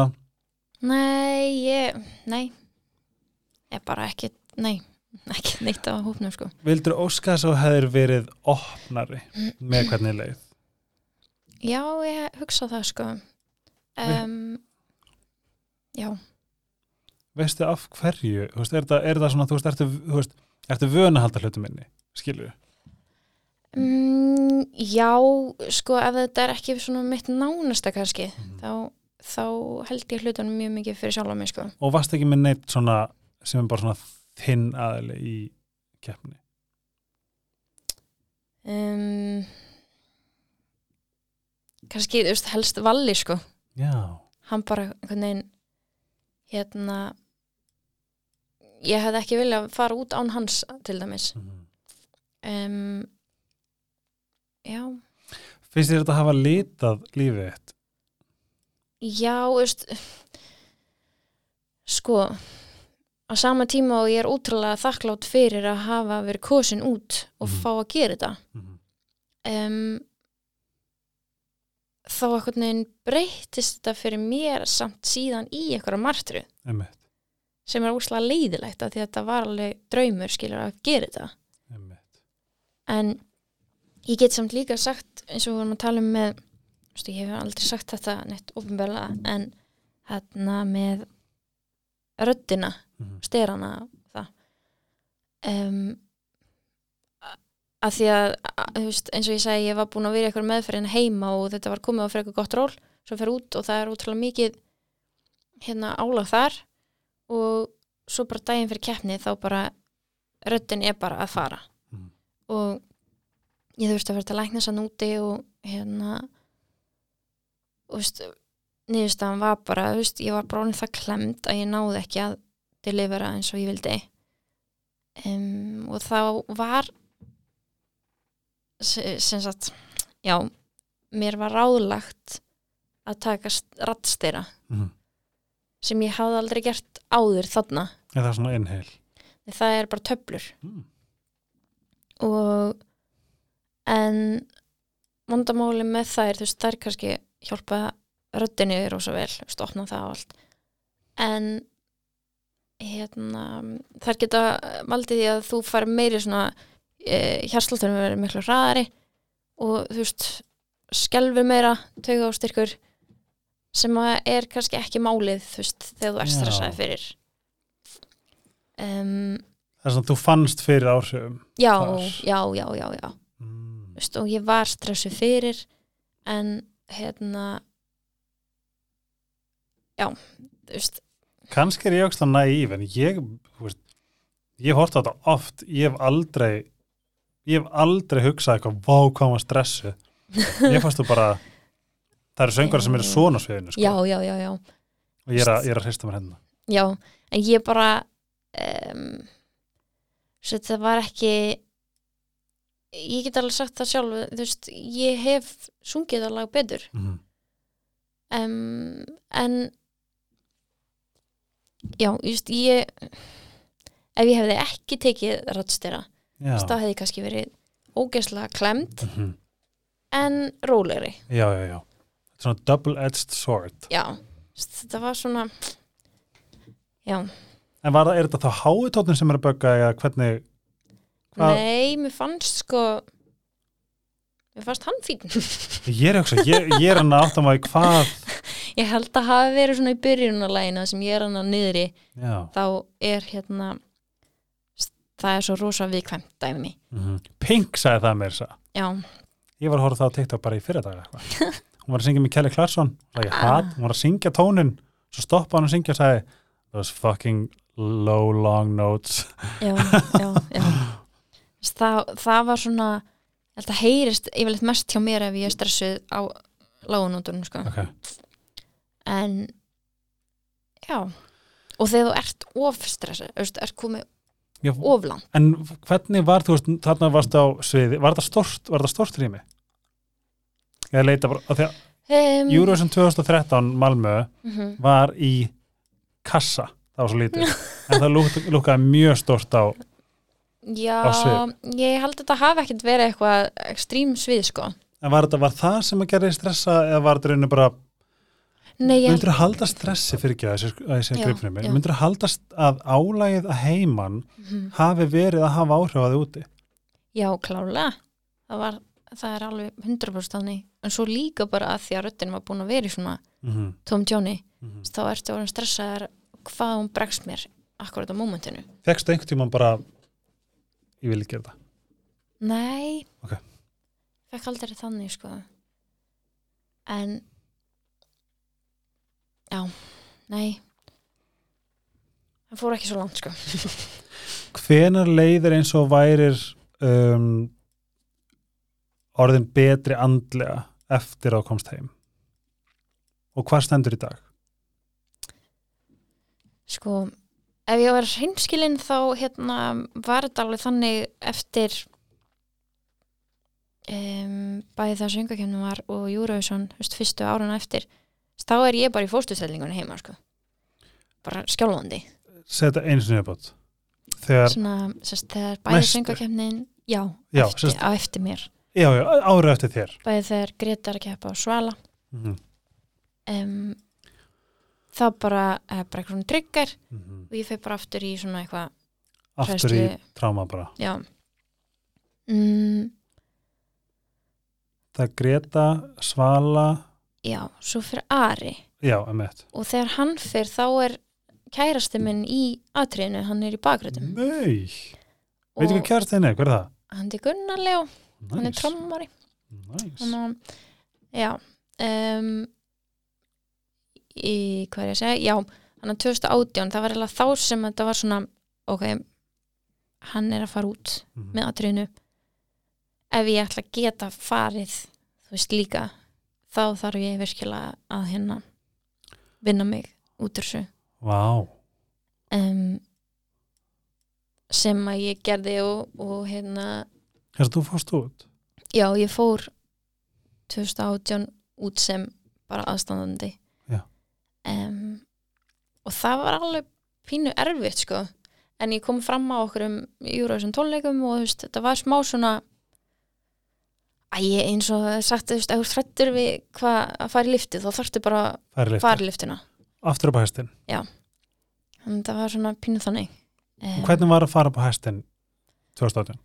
Speaker 2: Nei, ég, nei ég bara ekki, nei ekki neitt á hópnum sko
Speaker 1: vildur óska þess að þú hefðir verið opnari með hvernig leið
Speaker 2: Já, ég hugsa það sko um, Já,
Speaker 1: veistu af hverju, þú veist, er það, er það svona, þú veist, ertu, þú veist, ertu vön að halda hlutum inni, skilju
Speaker 2: Mm, já, sko ef þetta er ekki svona mitt nánasta kannski
Speaker 1: Mhm.
Speaker 2: þá, þá held ég hlutunum mjög mikið fyrir sjálf á mig sko.
Speaker 1: og varst ekki með neitt svona sem er bara svona þinn aðili í keppni
Speaker 2: Um, kannski þú veist, helst Valli sko
Speaker 1: já,
Speaker 2: hann bara einhvern veginn hérna ég hefði ekki viljað fara út án hans til dæmis
Speaker 1: mhm
Speaker 2: um, Já,
Speaker 1: finnst þér þetta hafa litað lífið þitt
Speaker 2: Já, þú veist sko á sama tíma og ég er útrúlega þakklátt fyrir að hafa verið kosin út og
Speaker 1: Mhm.
Speaker 2: fá að gera þetta
Speaker 1: Mhm.
Speaker 2: um, þá eitthvað neginn breytist þetta fyrir mér samt síðan í eitthvað martru
Speaker 1: einmitt,
Speaker 2: sem er úrslega leiðilegt af því að þetta var alveg draumur skilur að gera þetta
Speaker 1: einmitt
Speaker 2: en ég get samt líka sagt eins og við vorum að tala um með stu, ég hef aldrei sagt þetta neitt ofinbjörlega en hérna með röddina,
Speaker 1: Mhm.
Speaker 2: sterana og það um, að því að, að þú veist, eins og ég segi ég var búin að vera í eitthvað meðferðin heima og þetta var komið á fyrir eitthvað gott ról svo fer út og það er útrúlega mikið hérna álag þar og svo bara daginn fyrir keppni þá bara röddin er bara að fara
Speaker 1: Mhm.
Speaker 2: og ég þurfti að vera til lækna sann úti og hérna og veist niðurstaðan var bara, þú veist, ég var bara orðin það klemd að ég náði ekki að delivera eins og ég vildi um, og þá var se- sem sagt já, mér var ráðlagt að taka rattstýra
Speaker 1: Mhm.
Speaker 2: sem ég hafði aldrei gert áður þarna
Speaker 1: er það svona einheil
Speaker 2: það er bara töflur
Speaker 1: mm.
Speaker 2: og en vandamáli með þær, þú veist, þær kannski hjálpa röddinni rosa vel þú veist, opna það og allt en hérna, þær geta valdið því að þú fari meiri svona e, hjarsláttunum verið miklu hraðari og þú veist skelfur meira, tauga og styrkur sem að er kannski ekki málið þú veist, þegar þú ert
Speaker 1: Já.
Speaker 2: stressaði fyrir um,
Speaker 1: það er svona, þú fannst fyrir áhrifum
Speaker 2: já,
Speaker 1: Þar.
Speaker 2: já, já, já, já
Speaker 1: mm.
Speaker 2: veist, og ég var stressu fyrir en hérna já, þú veist
Speaker 1: kannski er ég ógst að næv en ég þú veist, ég hef hort á þetta oft ég hef aldrei ég hef aldrei hugsað eitthvað vá hvað maður stressu
Speaker 2: [laughs]
Speaker 1: ég fannst þú bara það eru söngur sem eru svona á sviðinu sko.
Speaker 2: já, já, já, já
Speaker 1: og ég er að, ég er að hrista mér hérna
Speaker 2: Já, en ég bara um, svo það var ekki ég get alveg sagt það sjálf þú veist, ég hef sungið það lag betur
Speaker 1: mm.
Speaker 2: um, en já, just ég ef ég hefði ekki tekið rattstera,
Speaker 1: já.
Speaker 2: þá hefði ég kannski verið ógeðslega klemd
Speaker 1: Mhm.
Speaker 2: en rólegri,
Speaker 1: já, já, já Þetta er svona double-edged sword
Speaker 2: já Just, þetta var svona já,
Speaker 1: en var það, er þetta þá háutóttin sem er að bögga eða hvernig Hvað-
Speaker 2: nei, mér fannst sko mér fannst hann fín [laughs]
Speaker 1: ég er hugsa, ég, ég er hann að átta maður hvað
Speaker 2: Ég held að hafi verið svona í byrjunarlægina sem ég er hann að niðri
Speaker 1: já,
Speaker 2: þá er hérna s- það er svo rosa viðkvæmt dæmi
Speaker 1: mm Pink sagði það mér þess að
Speaker 2: Já,
Speaker 1: ég var að horfa það á TikTok bara í fyrirdag hún var að syngja með Kelly Clarkson og ég hatt, hún var að syngja tónin svo stoppa hann að syngja og sagði those fucking low long notes
Speaker 2: já, já, já. Þess, Það, það var svona ég held að heyrist yfirleitt mest hjá mér ef ég er stressuð á lágunóttunum sko.
Speaker 1: ok,
Speaker 2: en já og þegar þú ert of stressuð þú veist, ert komið
Speaker 1: já,
Speaker 2: oflan
Speaker 1: en hvernig var þú veist, þarna varst á sviði var það stort, var það stort rými? ég leita bara, af því að
Speaker 2: um,
Speaker 1: Eurovision 2013 Malmö
Speaker 2: mhm.
Speaker 1: var í kassa, það var svo lítið en það lúk, lúkaði mjög stort á
Speaker 2: Já,
Speaker 1: á svið.
Speaker 2: ég held að þetta hafi ekkert verið eitthvað ekstrím svið sko.
Speaker 1: en var, þetta, var það sem að gera í stressa eða var þetta reynu bara
Speaker 2: Nei, ég held
Speaker 1: Myndur að halda stressi fyrir ekki að þessi- að þessi
Speaker 2: Já,
Speaker 1: gripfrið mér?
Speaker 2: já.
Speaker 1: Myndur að halda st- að álægið að heiman
Speaker 2: Mhm.
Speaker 1: hafi verið að hafa áhrif að þið úti?
Speaker 2: Já, klálega. Það, var, það er alveg 100% þannig. En svo líka bara að því að röddinn var búin að vera í svona
Speaker 1: Mm
Speaker 2: Tom Johnny,
Speaker 1: -hmm.
Speaker 2: þá ertu orðin stressaðar hvað hún bregst mér akkurat á mómentinu.
Speaker 1: Fekstu einhvern tímann bara ég vil ekki gera þetta.
Speaker 2: Nei.
Speaker 1: Ok.
Speaker 2: Fekk aldrei þannig, sko. En já, nei. Það fór ekki svo langt, sko.
Speaker 1: Hvenar leiðir eins og værir um, orðin betri andlega eftir að þú komst heim? Og hvað stendur í dag?
Speaker 2: Sko, ef ég var hreinskilin þá hérna var þetta alveg þannig eftir um, bæði það söngakefnum var og Júrausson fyrstu áruna eftir þá er ég bara í fóstustellingunni heima sko. bara skjálfandi
Speaker 1: Seta eins og nefnbót. Þegar,
Speaker 2: Svona, sest, þegar bæði
Speaker 1: Næstu.
Speaker 2: söngakefnin já,
Speaker 1: Já,
Speaker 2: eftir,
Speaker 1: sest-
Speaker 2: á eftir mér
Speaker 1: já, já, árið eftir þér.
Speaker 2: bæði þegar Gretar að keppa á Svala
Speaker 1: Mm
Speaker 2: um, þá bara er bara eitthvað svona tryggar
Speaker 1: -hmm.
Speaker 2: og ég fyrir bara aftur í svona eitthvað
Speaker 1: Aftur í tráma bara.
Speaker 2: já mm,
Speaker 1: Það er Greta, Svala,
Speaker 2: já, svo fyrir Ari
Speaker 1: Já, emmett.
Speaker 2: og þegar hann fyrir þá er kærasti minn í atriðinu, hann er í bakgröðum
Speaker 1: Nei. Veitu hvað
Speaker 2: og
Speaker 1: kjærstinn er? Hver er það?
Speaker 2: hann er Gunnar Leo,
Speaker 1: Nice.
Speaker 2: hann er trommari
Speaker 1: Nice.
Speaker 2: hann á, já um, í hvað er ég að segja, já hann er 2018, það var eiginlega þá sem þetta var svona, ok hann er að fara út
Speaker 1: Mhm.
Speaker 2: með atriðinu ef ég ætla að geta farið þú veist líka þá þarf ég virkilega að hérna vinna mig út úr þessu
Speaker 1: Vá.
Speaker 2: um, sem að ég gerði og, og hérna
Speaker 1: Hérst þú fórst út?
Speaker 2: já ég fór 2018 út sem bara aðstandandi
Speaker 1: Já.
Speaker 2: um, og það var alveg pínu erfitt sko en ég kom fram á okkur um Eurovision tónleikum og þú veist, þetta var smá svona að ég eins og það er sagt þú veist, ef þú þrættur við hvað að fara í lifti þá þarftu bara að
Speaker 1: Færi lift.
Speaker 2: fara í liftina
Speaker 1: Aftur upp á hestin.
Speaker 2: þannig að það var svona pínu þannig um,
Speaker 1: Hvernig var að fara upp á hestin 2018?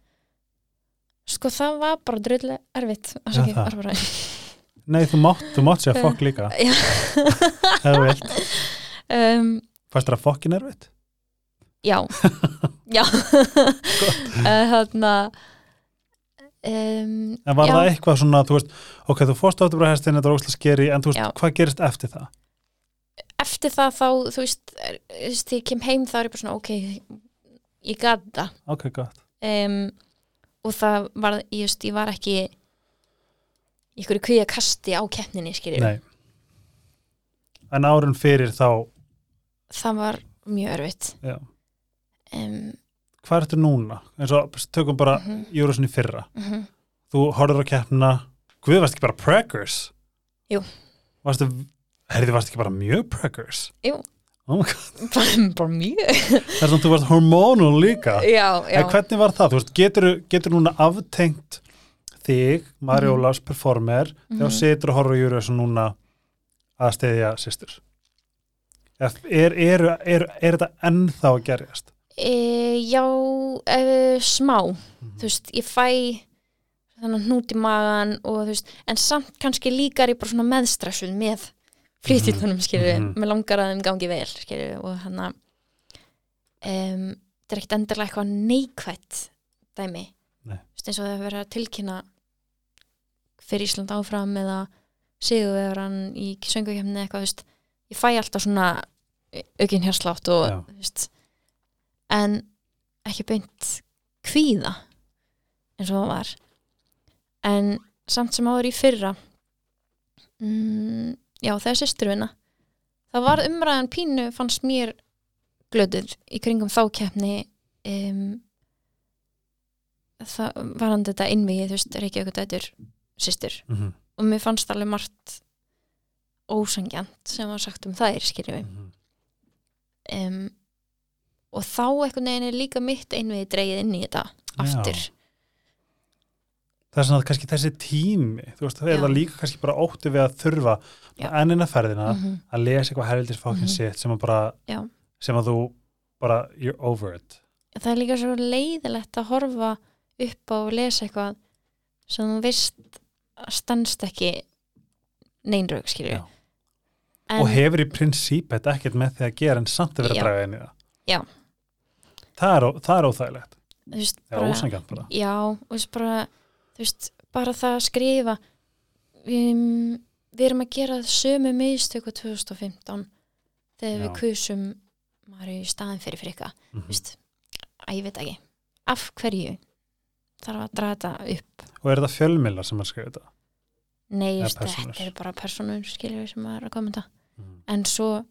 Speaker 2: Sko það var bara drullu erfitt
Speaker 1: Já,
Speaker 2: Afsakið,
Speaker 1: það.
Speaker 2: var bara-
Speaker 1: Nei, þú mátt, þú mátt segja
Speaker 2: Já.
Speaker 1: fokk líka.
Speaker 2: [laughs] Já.
Speaker 1: Ef þú vilt.
Speaker 2: um,
Speaker 1: Fæst þér að fokkin er vitt? [laughs]
Speaker 2: [laughs] hérna, Já Já Eh, Þarna um,
Speaker 1: En var
Speaker 2: Já.
Speaker 1: það eitthvað svona, þú veist, ok, þú fórst á afturbræðhestin, þetta var óslega skeri, en þú veist,
Speaker 2: Já.
Speaker 1: hvað gerist eftir það?
Speaker 2: eftir það þá, þú veist, er, þú veist þegar ég kem heim þá er ég bara svona, ok, ég gat það
Speaker 1: Ok, gott.
Speaker 2: um, og það var, ég veist, ég var ekki í einhverju kvíða kasti á keppninni, skiljum
Speaker 1: Nei. En árun fyrir þá,
Speaker 2: það var mjög örfitt
Speaker 1: Já.
Speaker 2: um,
Speaker 1: hvað ertu núna? En svo tökum bara mm
Speaker 2: Mhm.
Speaker 1: í fyrra. Þú horfður á keppnina, guð, varst ekki bara preggers?
Speaker 2: Jú.
Speaker 1: Varstu, herrið, varst ekki bara mjög preggers?
Speaker 2: Jú.
Speaker 1: Oh my god,
Speaker 2: bara, bara mjög
Speaker 1: það er svona, þú varst hormonal líka.
Speaker 2: [laughs] já, já,
Speaker 1: En hvernig var það? Þú veist, getur, getur núna aftengt þig,
Speaker 2: Mhm.
Speaker 1: Marjólas, mm performer, þegar þú situr og horfður á Eurovision núna að steyðja sýstur? Er, er, er, er, er þetta ennþá að gerjast?
Speaker 2: e, já e, smá,
Speaker 1: Mhm.
Speaker 2: þú veist, ég fæ þannig hnút í magan og þú veist, en samt kannski líkar ég bara svona meðstressuð með flýttitunum, skilur við,
Speaker 1: Mhm.
Speaker 2: mér langar að þeim gangi vel, skilur við, og hann að um, þetta er ekkit endilega eitthvað neikvætt dæmi,
Speaker 1: Nei.
Speaker 2: þú veist, eins og það er verið að tilkynna fyrir Ísland áfram eða sigurvegaran í söngukefni eitthvað, þú veist, ég fæ alltaf svona aukinn hérslátt og
Speaker 1: Já.
Speaker 2: þú veist, en ekki beint kvíða eins og það var en samt sem áður í fyrra mm, já þegar systur vinna það var umræðan pínu fannst mér glöður í kringum þá keppni um, það var hann þetta innvigið þú veist Reykjavík dætur systur
Speaker 1: Mm -hmm.
Speaker 2: og mér fannst alveg margt ósangjant sem var sagt um þær skýrjum
Speaker 1: Mhm.
Speaker 2: við um, og þá einhvern veginn er líka mitt einvið dreigið inn í þetta aftur
Speaker 1: það er svona kannski þessi tími þú veist, það er
Speaker 2: Já.
Speaker 1: það líka kannski bara ótti við að þurfa
Speaker 2: Já.
Speaker 1: ennina ferðina
Speaker 2: mm -hmm.
Speaker 1: að lesa eitthvað herildis fókin
Speaker 2: Mhm.
Speaker 1: sitt sem að bara,
Speaker 2: Já.
Speaker 1: sem að þú bara, you're over it
Speaker 2: það er líka svo leiðilegt að horfa upp á og lesa eitthvað sem þú veist að stannst ekki neinraug skilju
Speaker 1: Já. og hefur í prinsíp þetta ekkert með því að gera en samt að vera
Speaker 2: Já.
Speaker 1: að draga inn í það
Speaker 2: Já.
Speaker 1: það er, ó- það er óþægilegt
Speaker 2: veist,
Speaker 1: það er ósangjant bara
Speaker 2: já, þú veist, bara, þú veist, bara það að skrifa um, við erum að gera sömu meðstöku 2015 þegar
Speaker 1: Já.
Speaker 2: við kusum maður í staðin fyrir frikka
Speaker 1: Mhm.
Speaker 2: þú veist, að ég veit ekki af hverju þarf að draga þetta upp
Speaker 1: og er þetta fjölmiðlar sem að skrifa þetta
Speaker 2: Nei,
Speaker 1: Eða
Speaker 2: just,
Speaker 1: persónur.
Speaker 2: þetta er bara personur skiljur sem maður er að kommenta
Speaker 1: Mhm.
Speaker 2: en svo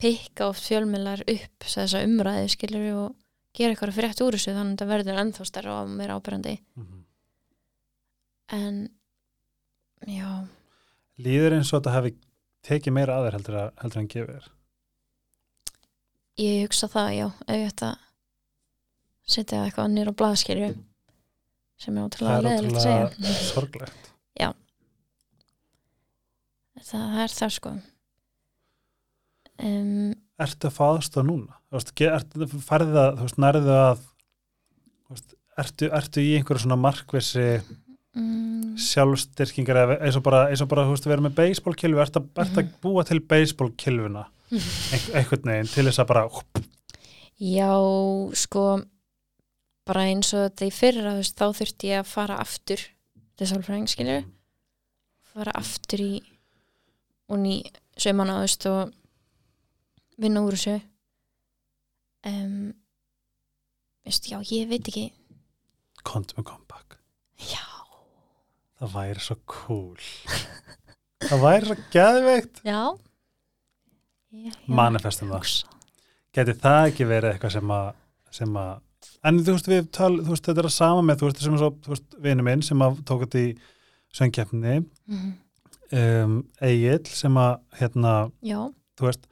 Speaker 2: pikka oft fjölmiðlar upp þess að umræði skiljur og gera eitthvað frétt úr þessu þannig að þetta verður ennþá stærra og meira ábyrjandi
Speaker 1: Mhm.
Speaker 2: en já,
Speaker 1: líður eins og þetta hafi tekið meira aðeir heldur, að, heldur en gefið þér
Speaker 2: ég hugsa það já, ef ég ætti að setja eitthvað nýr á blaðskilju sem er
Speaker 1: það
Speaker 2: ótrúlega
Speaker 1: er
Speaker 2: leðilegt að segja
Speaker 1: ótrúlega sorglegt
Speaker 2: það, það er það sko um,
Speaker 1: ertu að fá aðstoð núna? Þú veist, ge- ertu, færðu það, þú veist, nærðu að þú veist, ertu, ertu í einhverju svona markvissi
Speaker 2: Mhm. mm,
Speaker 1: sjálfstyrkingar eða eins og bara, eins og bara þú veist, við erum með baseballkilfu, ertu, að- ertu að
Speaker 2: Mhm.
Speaker 1: búa til baseballkilfuna ein- einhvern veginn til þess að bara húp,
Speaker 2: Já, sko bara eins og þetta í fyrra þú veist, þá þurfti ég að fara aftur til sálfræðing, skilur fara aftur í og ný sömana, þú veist og vinna úr þessu um, veist, já, ég veit ekki
Speaker 1: kontum með comeback
Speaker 2: já,
Speaker 1: það væri svo cool það væri svo geðveikt
Speaker 2: já Ég- ég-
Speaker 1: manifestum það,
Speaker 2: hugsa.
Speaker 1: geti það ekki verið eitthvað sem að, sem að en þú veist, við tal, þú veist, þetta er að sama með þú veist, sem er svo, þú veist, vinur minn sem að tók þetta í söngkeppni
Speaker 2: Mhm.
Speaker 1: um, Egil sem að hérna,
Speaker 2: Já,
Speaker 1: þú veist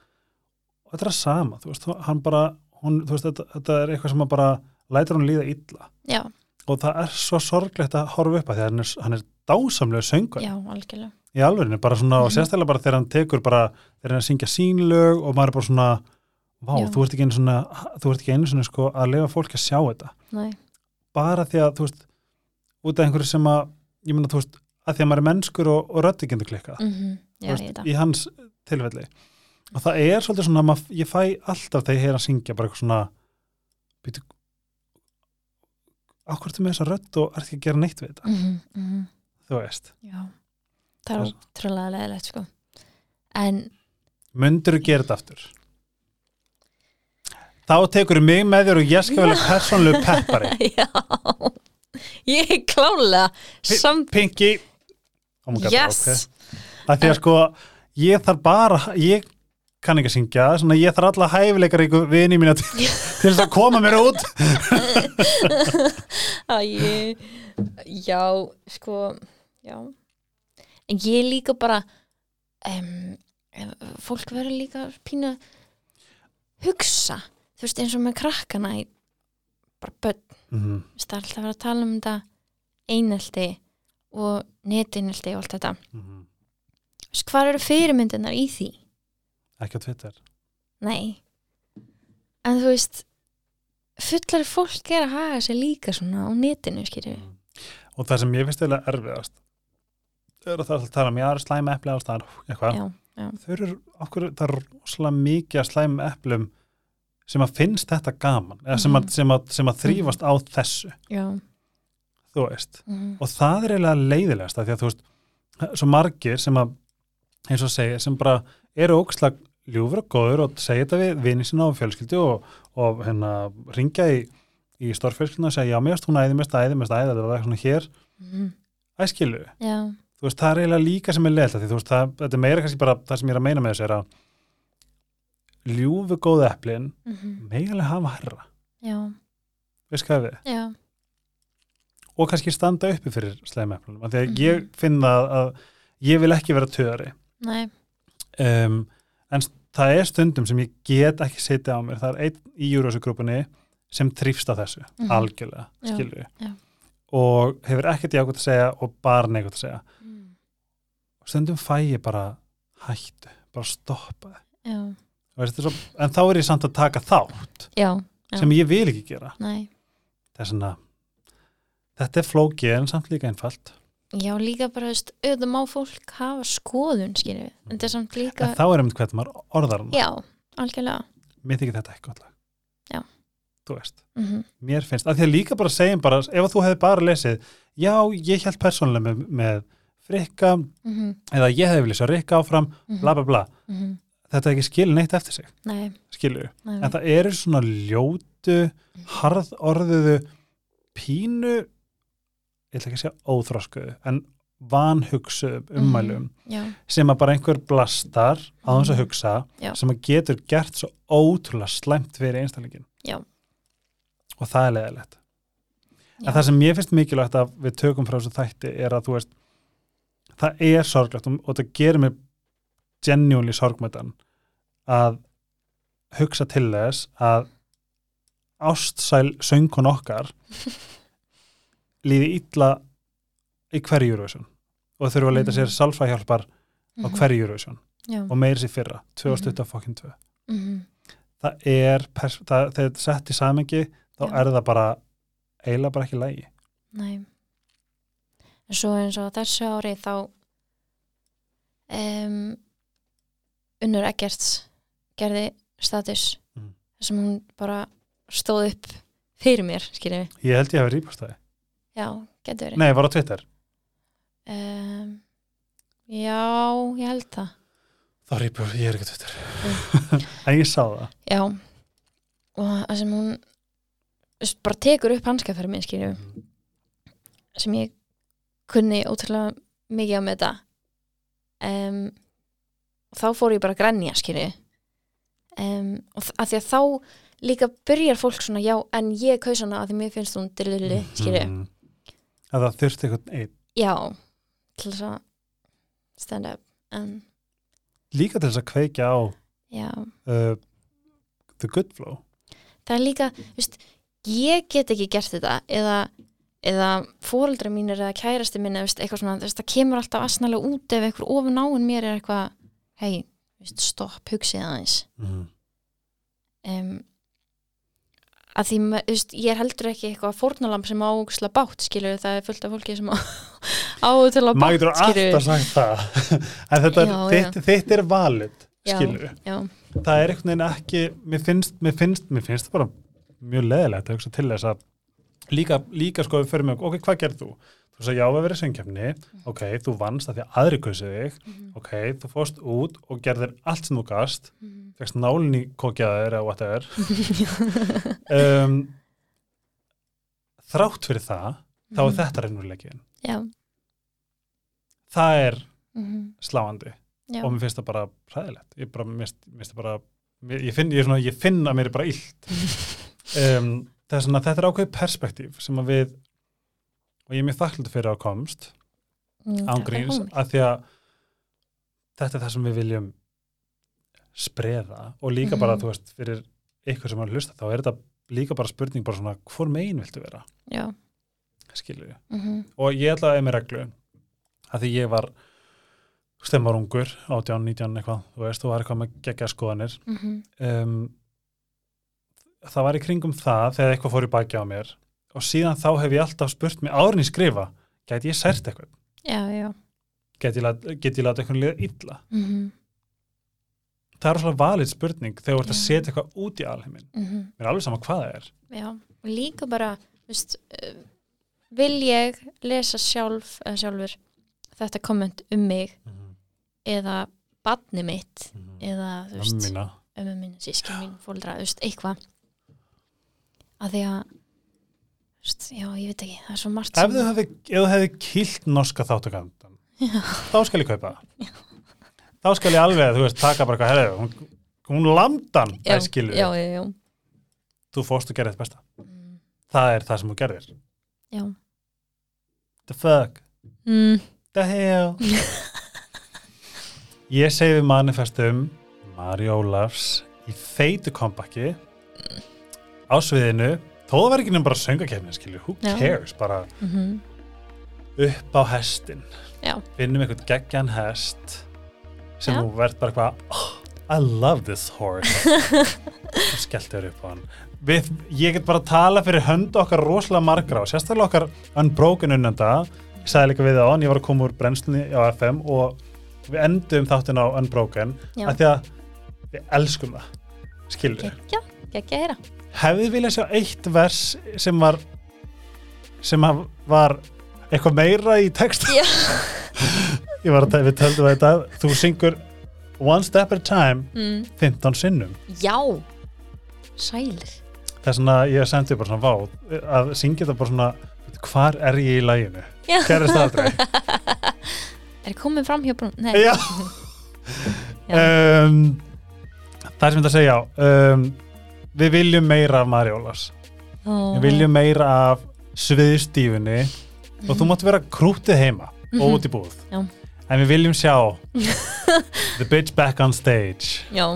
Speaker 1: og þetta er að sama, þú veist, hann bara hún, þú veist, þetta, þetta er eitthvað sem að bara lætur hún líða illa
Speaker 2: já,
Speaker 1: og það er svo sorglegt að horfa upp að því að hann er, hann er dásamlega söngur
Speaker 2: já, algjörlega
Speaker 1: í alveginu, bara svona og
Speaker 2: Mhm.
Speaker 1: sérstaklega bara þegar hann tekur bara, þegar hann er að syngja sínlög og maður er bara svona, vá,
Speaker 2: Já.
Speaker 1: þú ert ekki einu svona, þú ert ekki einu svona sko að lifa fólki að sjá þetta
Speaker 2: Nei,
Speaker 1: bara því að, þú veist, út af einhverju sem að, ég meina, þú veist, að því að maður er mennskur og, og röddi gendur klikkað
Speaker 2: mm
Speaker 1: Þú
Speaker 2: já, ég
Speaker 1: veist,
Speaker 2: þetta
Speaker 1: í hans tilfelli og það er svolítið svona mað, ég fæ alltaf þegar ég heyra að syngja bara eitthvað svona býtu, akkur ertu með þessa rödd og ert ekki að gera neitt við þetta
Speaker 2: mm -hmm.
Speaker 1: þú veist,
Speaker 2: já það er
Speaker 1: Það-
Speaker 2: ótrúlega leðilegt sko en [laughs]
Speaker 1: myndur þú gera þetta aftur þá tekur mig með þér og ég skal velja persónlegu peppari
Speaker 2: já ég er klálega
Speaker 1: Pi-
Speaker 2: samt
Speaker 1: Pinky oh my God,
Speaker 2: yes
Speaker 1: ok. að því að sko ég þarf bara, ég kann ekki að syngja svona ég þarf alla hæfileikar ykkur vini mína til, til þess að koma mér út
Speaker 2: [laughs] Æ, já, sko, já. En ég er líka bara, um, fólk verður líka pínu að hugsa, þú veist, eins og með krakkana í, bara börn,
Speaker 1: Mhm.
Speaker 2: þú veist, það er alltaf að vera að tala um þetta einelti og netinelti og allt þetta.
Speaker 1: Mhm.
Speaker 2: Þú veist, Hvar eru fyrirmyndinar í því?
Speaker 1: ekki á Twitter
Speaker 2: Nei. En þú veist, fullari fólk er að haga sér líka svona á netinu, skýrðu.
Speaker 1: Mm. og það sem ég finnst eða erfiðast er að það er alltaf að tala um ég er slæma epli alls þar eitthvað,
Speaker 2: Já, já.
Speaker 1: þau eru okkur, það er rosalega mikið að slæma eplum sem að finnst þetta gaman eða sem að,
Speaker 2: Mhm.
Speaker 1: sem að, sem að þrýfast á þessu
Speaker 2: Já.
Speaker 1: þú veist,
Speaker 2: Mm.
Speaker 1: og það er eiginlega leiðilegast af því að þú veist, svo margir sem að, eins og segja, sem bara eru ógslag ljúfur og góður og segja þetta við vini sinna og fjölskyldu og, og hérna, ringja í, í stórfjölskylduna og segja, já, mér erst hún æði, mér erst æði, mér erst æði, það var svona hér
Speaker 2: Mm.
Speaker 1: æskilu,
Speaker 2: Já,
Speaker 1: þú veist, það er eiginlega líka sem er leiðilegt af því þú veist, það, þetta er meira kannski bara það sem ég er að meina með þessu er að ljúfu góð eplin
Speaker 2: mhm,
Speaker 1: megalega hafa herra,
Speaker 2: já,
Speaker 1: veist hvað við
Speaker 2: já,
Speaker 1: og kannski standa uppi fyrir slæma eplunum, af því að
Speaker 2: Mhm.
Speaker 1: ég finn það að ég vil ekki vera töðari
Speaker 2: nei,
Speaker 1: um, en s- það er stundum sem ég get ekki setja á mér, það er einn í júrósugrúpunni sem þrýfst á þessu
Speaker 2: Mhm.
Speaker 1: algjörlega,
Speaker 2: Já,
Speaker 1: skilur við
Speaker 2: já.
Speaker 1: og hefur ekkert jákvæmt að segja og bara neikvæmt að segja
Speaker 2: mm,
Speaker 1: og stundum fæ ég bara hættu, bara stoppa
Speaker 2: já,
Speaker 1: Þú veist, þetta er svo, en þá er ég samt að taka þátt
Speaker 2: já, Já.
Speaker 1: sem ég vil ekki gera
Speaker 2: nei,
Speaker 1: það er svona þetta er flókið en samt líka einfalt
Speaker 2: já, líka bara, þú veist, auðvitað má fólk hafa skoðun, skilju, en þetta er samt líka,
Speaker 1: en þá er einmitt hvernig maður orðar hann
Speaker 2: já, algjörlega,
Speaker 1: mér þykir þetta ekki gott lag
Speaker 2: Já.
Speaker 1: þú veist,
Speaker 2: mhm,
Speaker 1: mér finnst að því að líka bara segjum bara, ef að þú hefði bara lesið já, ég held persónulega með, með frikka,
Speaker 2: mhm,
Speaker 1: eða ég hefði viljað sjá rikka áfram, bla
Speaker 2: mhm,
Speaker 1: bla bla
Speaker 2: mhm,
Speaker 1: þetta er ekki skil neitt eftir sig,
Speaker 2: nei,
Speaker 1: skilur
Speaker 2: nei,
Speaker 1: en það eru svona ljótu harðorðuðu pínu ég ætla ekki að segja óþroskuðu en vanhugsuðu ummælum
Speaker 2: já,
Speaker 1: sem að bara einhver blastar á þess að
Speaker 2: Mhm.
Speaker 1: hugsa
Speaker 2: Já.
Speaker 1: sem að getur gert svo ótrúlega slæmt fyrir einstælingin
Speaker 2: Já.
Speaker 1: og það er leðilegt
Speaker 2: Já.
Speaker 1: en það sem ég finnst mikilvægt að við tökum frá þessu þætti er að þú veist það er sorglegt og, og það gerir mig genuinely sorgmættan að hugsa til þess að ástsæl söngun
Speaker 2: [laughs]
Speaker 1: okkar líði illa í hverju Eurovision og þurfa að leita sér
Speaker 2: Mhm.
Speaker 1: sálfræðhjálpar á
Speaker 2: mhm,
Speaker 1: hverju Eurovision
Speaker 2: já,
Speaker 1: og meira sér fyrra 2022
Speaker 2: mhm,
Speaker 1: það er, pers- það, þegar þetta er sett í samengi þá
Speaker 2: Já.
Speaker 1: er það bara eiginlega bara ekki lægi
Speaker 2: nei, en svo eins og á þessu ári þá, um, Unnur Eggerts gerði status,
Speaker 1: Mhm.
Speaker 2: þar sem hún bara stóð upp fyrir mér, skilju,
Speaker 1: ég held ég hefði rýpast það
Speaker 2: Já, getur verið.
Speaker 1: nei, var á Twitter,
Speaker 2: Um, já, ég held það.
Speaker 1: þá rýpast ég er ekki á Twitter [laughs] en ég sá það
Speaker 2: Já. Og það sem hún s- bara tekur upp hanskafermið, skilju, sem ég kunni ótrúlega mikið á með þetta. Um, og þá fór ég bara að grænja, skilju. Um, og þ- að því að þá líka byrjar fólk svona, já, en ég kaus hana að því mér finnst hún dillili, skilju.
Speaker 1: Mhm. að það þurfti eitthvað einn
Speaker 2: Já, til þess að stand up. En,
Speaker 1: líka til þess að kveikja á
Speaker 2: já.
Speaker 1: uh, The Good Flow
Speaker 2: það er líka,
Speaker 1: Mhm.
Speaker 2: þú veist, ég get ekki gert þetta eða, eða fóreldra mínir eða kærasti minni, þú veist, eitthvað svona, þú veist, það kemur alltaf asnalega út ef eitthvað ofin áin mér er eitthvað, hei, veist, stopp, hugsið aðeins
Speaker 1: mm.
Speaker 2: um, að því, ma- þú veist, ég er heldur ekki eitthvað fórnalamb sem á ógustlega bátt, skilur það er fullt af fólki sem á [laughs] ógustlega
Speaker 1: maður getur
Speaker 2: bátt, skilur
Speaker 1: alltaf sagt það [laughs] en þetta, já,
Speaker 2: Já,
Speaker 1: þitt, þitt er valid
Speaker 2: Já.
Speaker 1: skilur
Speaker 2: já,
Speaker 1: það er einhvern veginn ekki mér finnst, mér finnst, mér finnst bara mjög leðilegt að hugsa til þess að líka, líka sko við fyrir mig, ok, hvað gerð þú? Þú sagði, já, við verið söngkefni, ok, þú vannst að því að aðri kausið þig, ok, þú fórst út og gerðir allt sem þú gast, fegst nálinni kokjaðir eða whatever. um, þrátt fyrir það, þá
Speaker 2: Mhm.
Speaker 1: er þetta reynurleikin.
Speaker 2: já,
Speaker 1: Það er
Speaker 2: mhm,
Speaker 1: sláandi
Speaker 2: já,
Speaker 1: og mér finnst það bara præðilegt. Ég bara, mér finnst- mér finnst það bara, mér, ég, finn, ég, er svona, ég finn að mér er bara
Speaker 2: [laughs]
Speaker 1: illt. um, það er svona, þetta er ákveðið perspektíf sem að við, og ég er mér þakklúti fyrir að komst,
Speaker 2: Mm, takk fyrir
Speaker 1: ángríns
Speaker 2: komuna.
Speaker 1: að því að þetta er það sem við viljum spreða og líka bara,
Speaker 2: Mhm.
Speaker 1: þú veist, fyrir ykkur sem er að hlusta, þá er þetta líka bara spurning bara svona, hvor megin viltu vera,
Speaker 2: já,
Speaker 1: skilur við
Speaker 2: mhm,
Speaker 1: og ég ætlaði að eiga mér reglu að því ég var stemmar ungur, 18, 19 eitthvað þú veist, þú var eitthvað með geggja skoðanir
Speaker 2: mhm,
Speaker 1: um, það var í kringum það þegar eitthvað fór í baki á mér og síðan þá hef ég alltaf spurt mig árin í skrifa, gæti ég sært eitthvað
Speaker 2: já, já,
Speaker 1: get ég, lat, get ég lata eitthvað liða illa
Speaker 2: mhm,
Speaker 1: það er svona valið spurning þegar þú ert að
Speaker 2: Já.
Speaker 1: setja eitthvað út í alheimin
Speaker 2: mhm,
Speaker 1: mér er alveg sama hvað það er
Speaker 2: já. Og líka bara, þú veist, eh, vil ég lesa sjálf, eða sjálfur, þetta komment um mig eða badni mitt eða, þú
Speaker 1: ömmu
Speaker 2: veist,
Speaker 1: mína
Speaker 2: ömmu mín, sískin mín, fóldra, þú veist, eitthvað að því að þú veist, já, ég veit ekki, það er svo margt
Speaker 1: ef þú hefði, ef þú hefði kilt norska þáttakandan þá skal ég kaupa það. þá skal ég alveg, þú veist, taka bara eitthvað herðu, hún, hún lamdan
Speaker 2: já,
Speaker 1: það skilur,
Speaker 2: já, já, já,
Speaker 1: þú fórst og gerði þetta besta
Speaker 2: Mm,
Speaker 1: það er það sem þú gerðir
Speaker 2: já.
Speaker 1: the fuck,
Speaker 2: Mm,
Speaker 1: the
Speaker 2: [laughs]
Speaker 1: hell ég segi við manifestum Mari Ólafs í feitu kompakki á sviðinu þó það var ekki nefnum bara söngakefni skilur, who
Speaker 2: Já.
Speaker 1: cares, bara
Speaker 2: mhm,
Speaker 1: upp á hestin
Speaker 2: Já.
Speaker 1: finnum einhvern geggjan hest sem
Speaker 2: Já.
Speaker 1: þú verð bara eitthvað oh, I love this
Speaker 2: [laughs]
Speaker 1: horse og skellt þér upp á hann Við, ég get bara að tala fyrir hönd okkar rosalega margra og sérstaklega okkar unbroken unnenda, ég sagði líka við það áðan, ég var að koma úr brennslunni á FM og við endum þáttin á unbroken
Speaker 2: Já.
Speaker 1: af því að við elskum það skilur
Speaker 2: geggja, geggja heyra
Speaker 1: hefði viljað sjá eitt vers sem var sem haf- var eitthvað meira í text
Speaker 2: Já.
Speaker 1: ég var að tæ- við töldum þetta þú syngur One Step at a Time
Speaker 2: mm.
Speaker 1: 15 sinnum
Speaker 2: Já, sælir
Speaker 1: það er svona, ég sendi bara svona vá að syngja þetta bara svona hvar er ég í læginu,
Speaker 2: Já.
Speaker 1: gerist það aldrei
Speaker 2: [laughs] Er komið fram hjá brún? Nei,
Speaker 1: já um, það er sem ég ætla að segja já, um, við viljum meira af Mari Ólafs
Speaker 2: Ó.
Speaker 1: við
Speaker 2: Mhm.
Speaker 1: viljum meira af sviðstífunni og þú mátt vera krútið heima og út í búð
Speaker 2: Mhm. Já.
Speaker 1: en við viljum
Speaker 2: [laughs]
Speaker 1: sjá the bitch back on stage
Speaker 2: Já,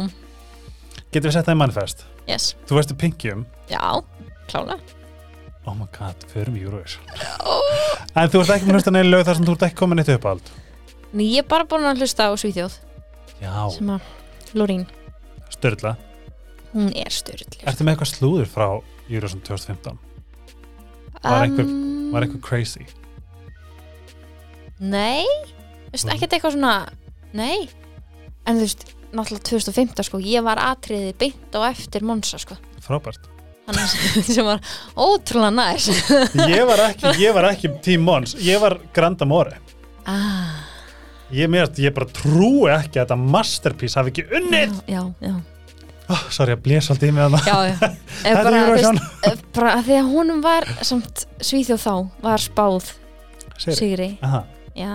Speaker 1: getum við sett það í manifest
Speaker 2: yes,
Speaker 1: þú veist að pingjum
Speaker 2: já, klála
Speaker 1: oh my god, förum í Eurovision
Speaker 2: Ó.
Speaker 1: en þú ert ekki með hlusta neina lög þar sem þú ert ekki komin eitt uppáhald
Speaker 2: Nei, ég er bara búin að hlusta á Svíþjóð
Speaker 1: já,
Speaker 2: sem að Lorín,
Speaker 1: störla
Speaker 2: hún er styrli
Speaker 1: ertu með eitthvað slúður frá Eurovision 2015 var einhver-
Speaker 2: Um,
Speaker 1: var eitthvað crazy
Speaker 2: Nei, þú veist,
Speaker 1: Mhm.
Speaker 2: ekkert eitthvað svona Nei, en þú veist náttúrulega 2015 sko, ég var atriðið beint á eftir Monsa sko
Speaker 1: frábært
Speaker 2: hann [laughs] sem var ótrúlega næs
Speaker 1: ég var ekki, ég var ekki Team Mons ég var Grand Amore
Speaker 2: ah,
Speaker 1: ég, mér, ég bara trúi ekki að þetta masterpiece hafi ekki unnið
Speaker 2: Já, já,
Speaker 1: oh, sorry, ég blés alltaf í mig að það
Speaker 2: já,
Speaker 1: [laughs]
Speaker 2: já. Eh,
Speaker 1: Þetta er
Speaker 2: bara, þú veist,
Speaker 1: Eurovision
Speaker 2: eh, bara að því að honum var samt Svíþjóð þá, var spáð
Speaker 1: Sigri.
Speaker 2: Sigri,
Speaker 1: Aha,
Speaker 2: já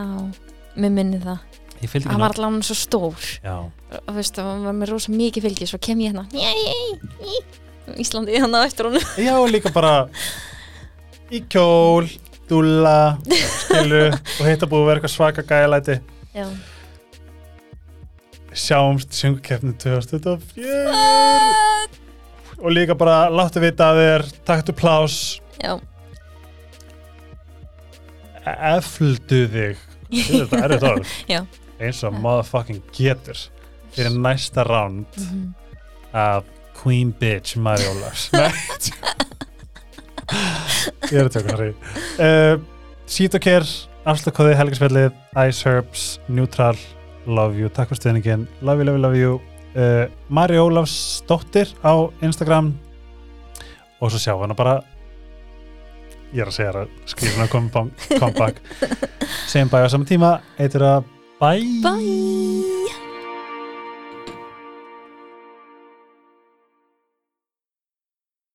Speaker 2: mér minni það,
Speaker 1: ég fylgdi
Speaker 2: hann var allan svo stór
Speaker 1: Já,
Speaker 2: og veist, hann var með rosa mikið fylgi svo kem ég hérna Jæ, jæ, jæ. Íslandi hann á eftir honum
Speaker 1: já og líka bara í kjól, dúlla, skilu og heita búið að vera eitthvað svaka gælæti.
Speaker 2: já,
Speaker 1: Sjáumst í sjöngukefni 2024 og líka bara láttu vita að þér, taktu plás,
Speaker 2: já,
Speaker 1: efldu þig. Þetta er þetta erfitt orð.
Speaker 2: Já.
Speaker 1: Eins og motherfucking getur fyrir næsta round
Speaker 2: Mhm.
Speaker 1: af Queen Bitch Mari Ólafs [laughs] Nei, ég er að tjóka sorry uh, Sítokir afslutakoði helgisfellið Ice Herbs, Neutral Love you, takk fyrir stuðningin Love you, love you, love you uh, Mari Ólafs dóttir á Instagram og svo sjá hana bara ég er að segja þér að skrifuna kom, kom, kom back segjum bæ á sama tíma, eitir að bæ
Speaker 2: Bye!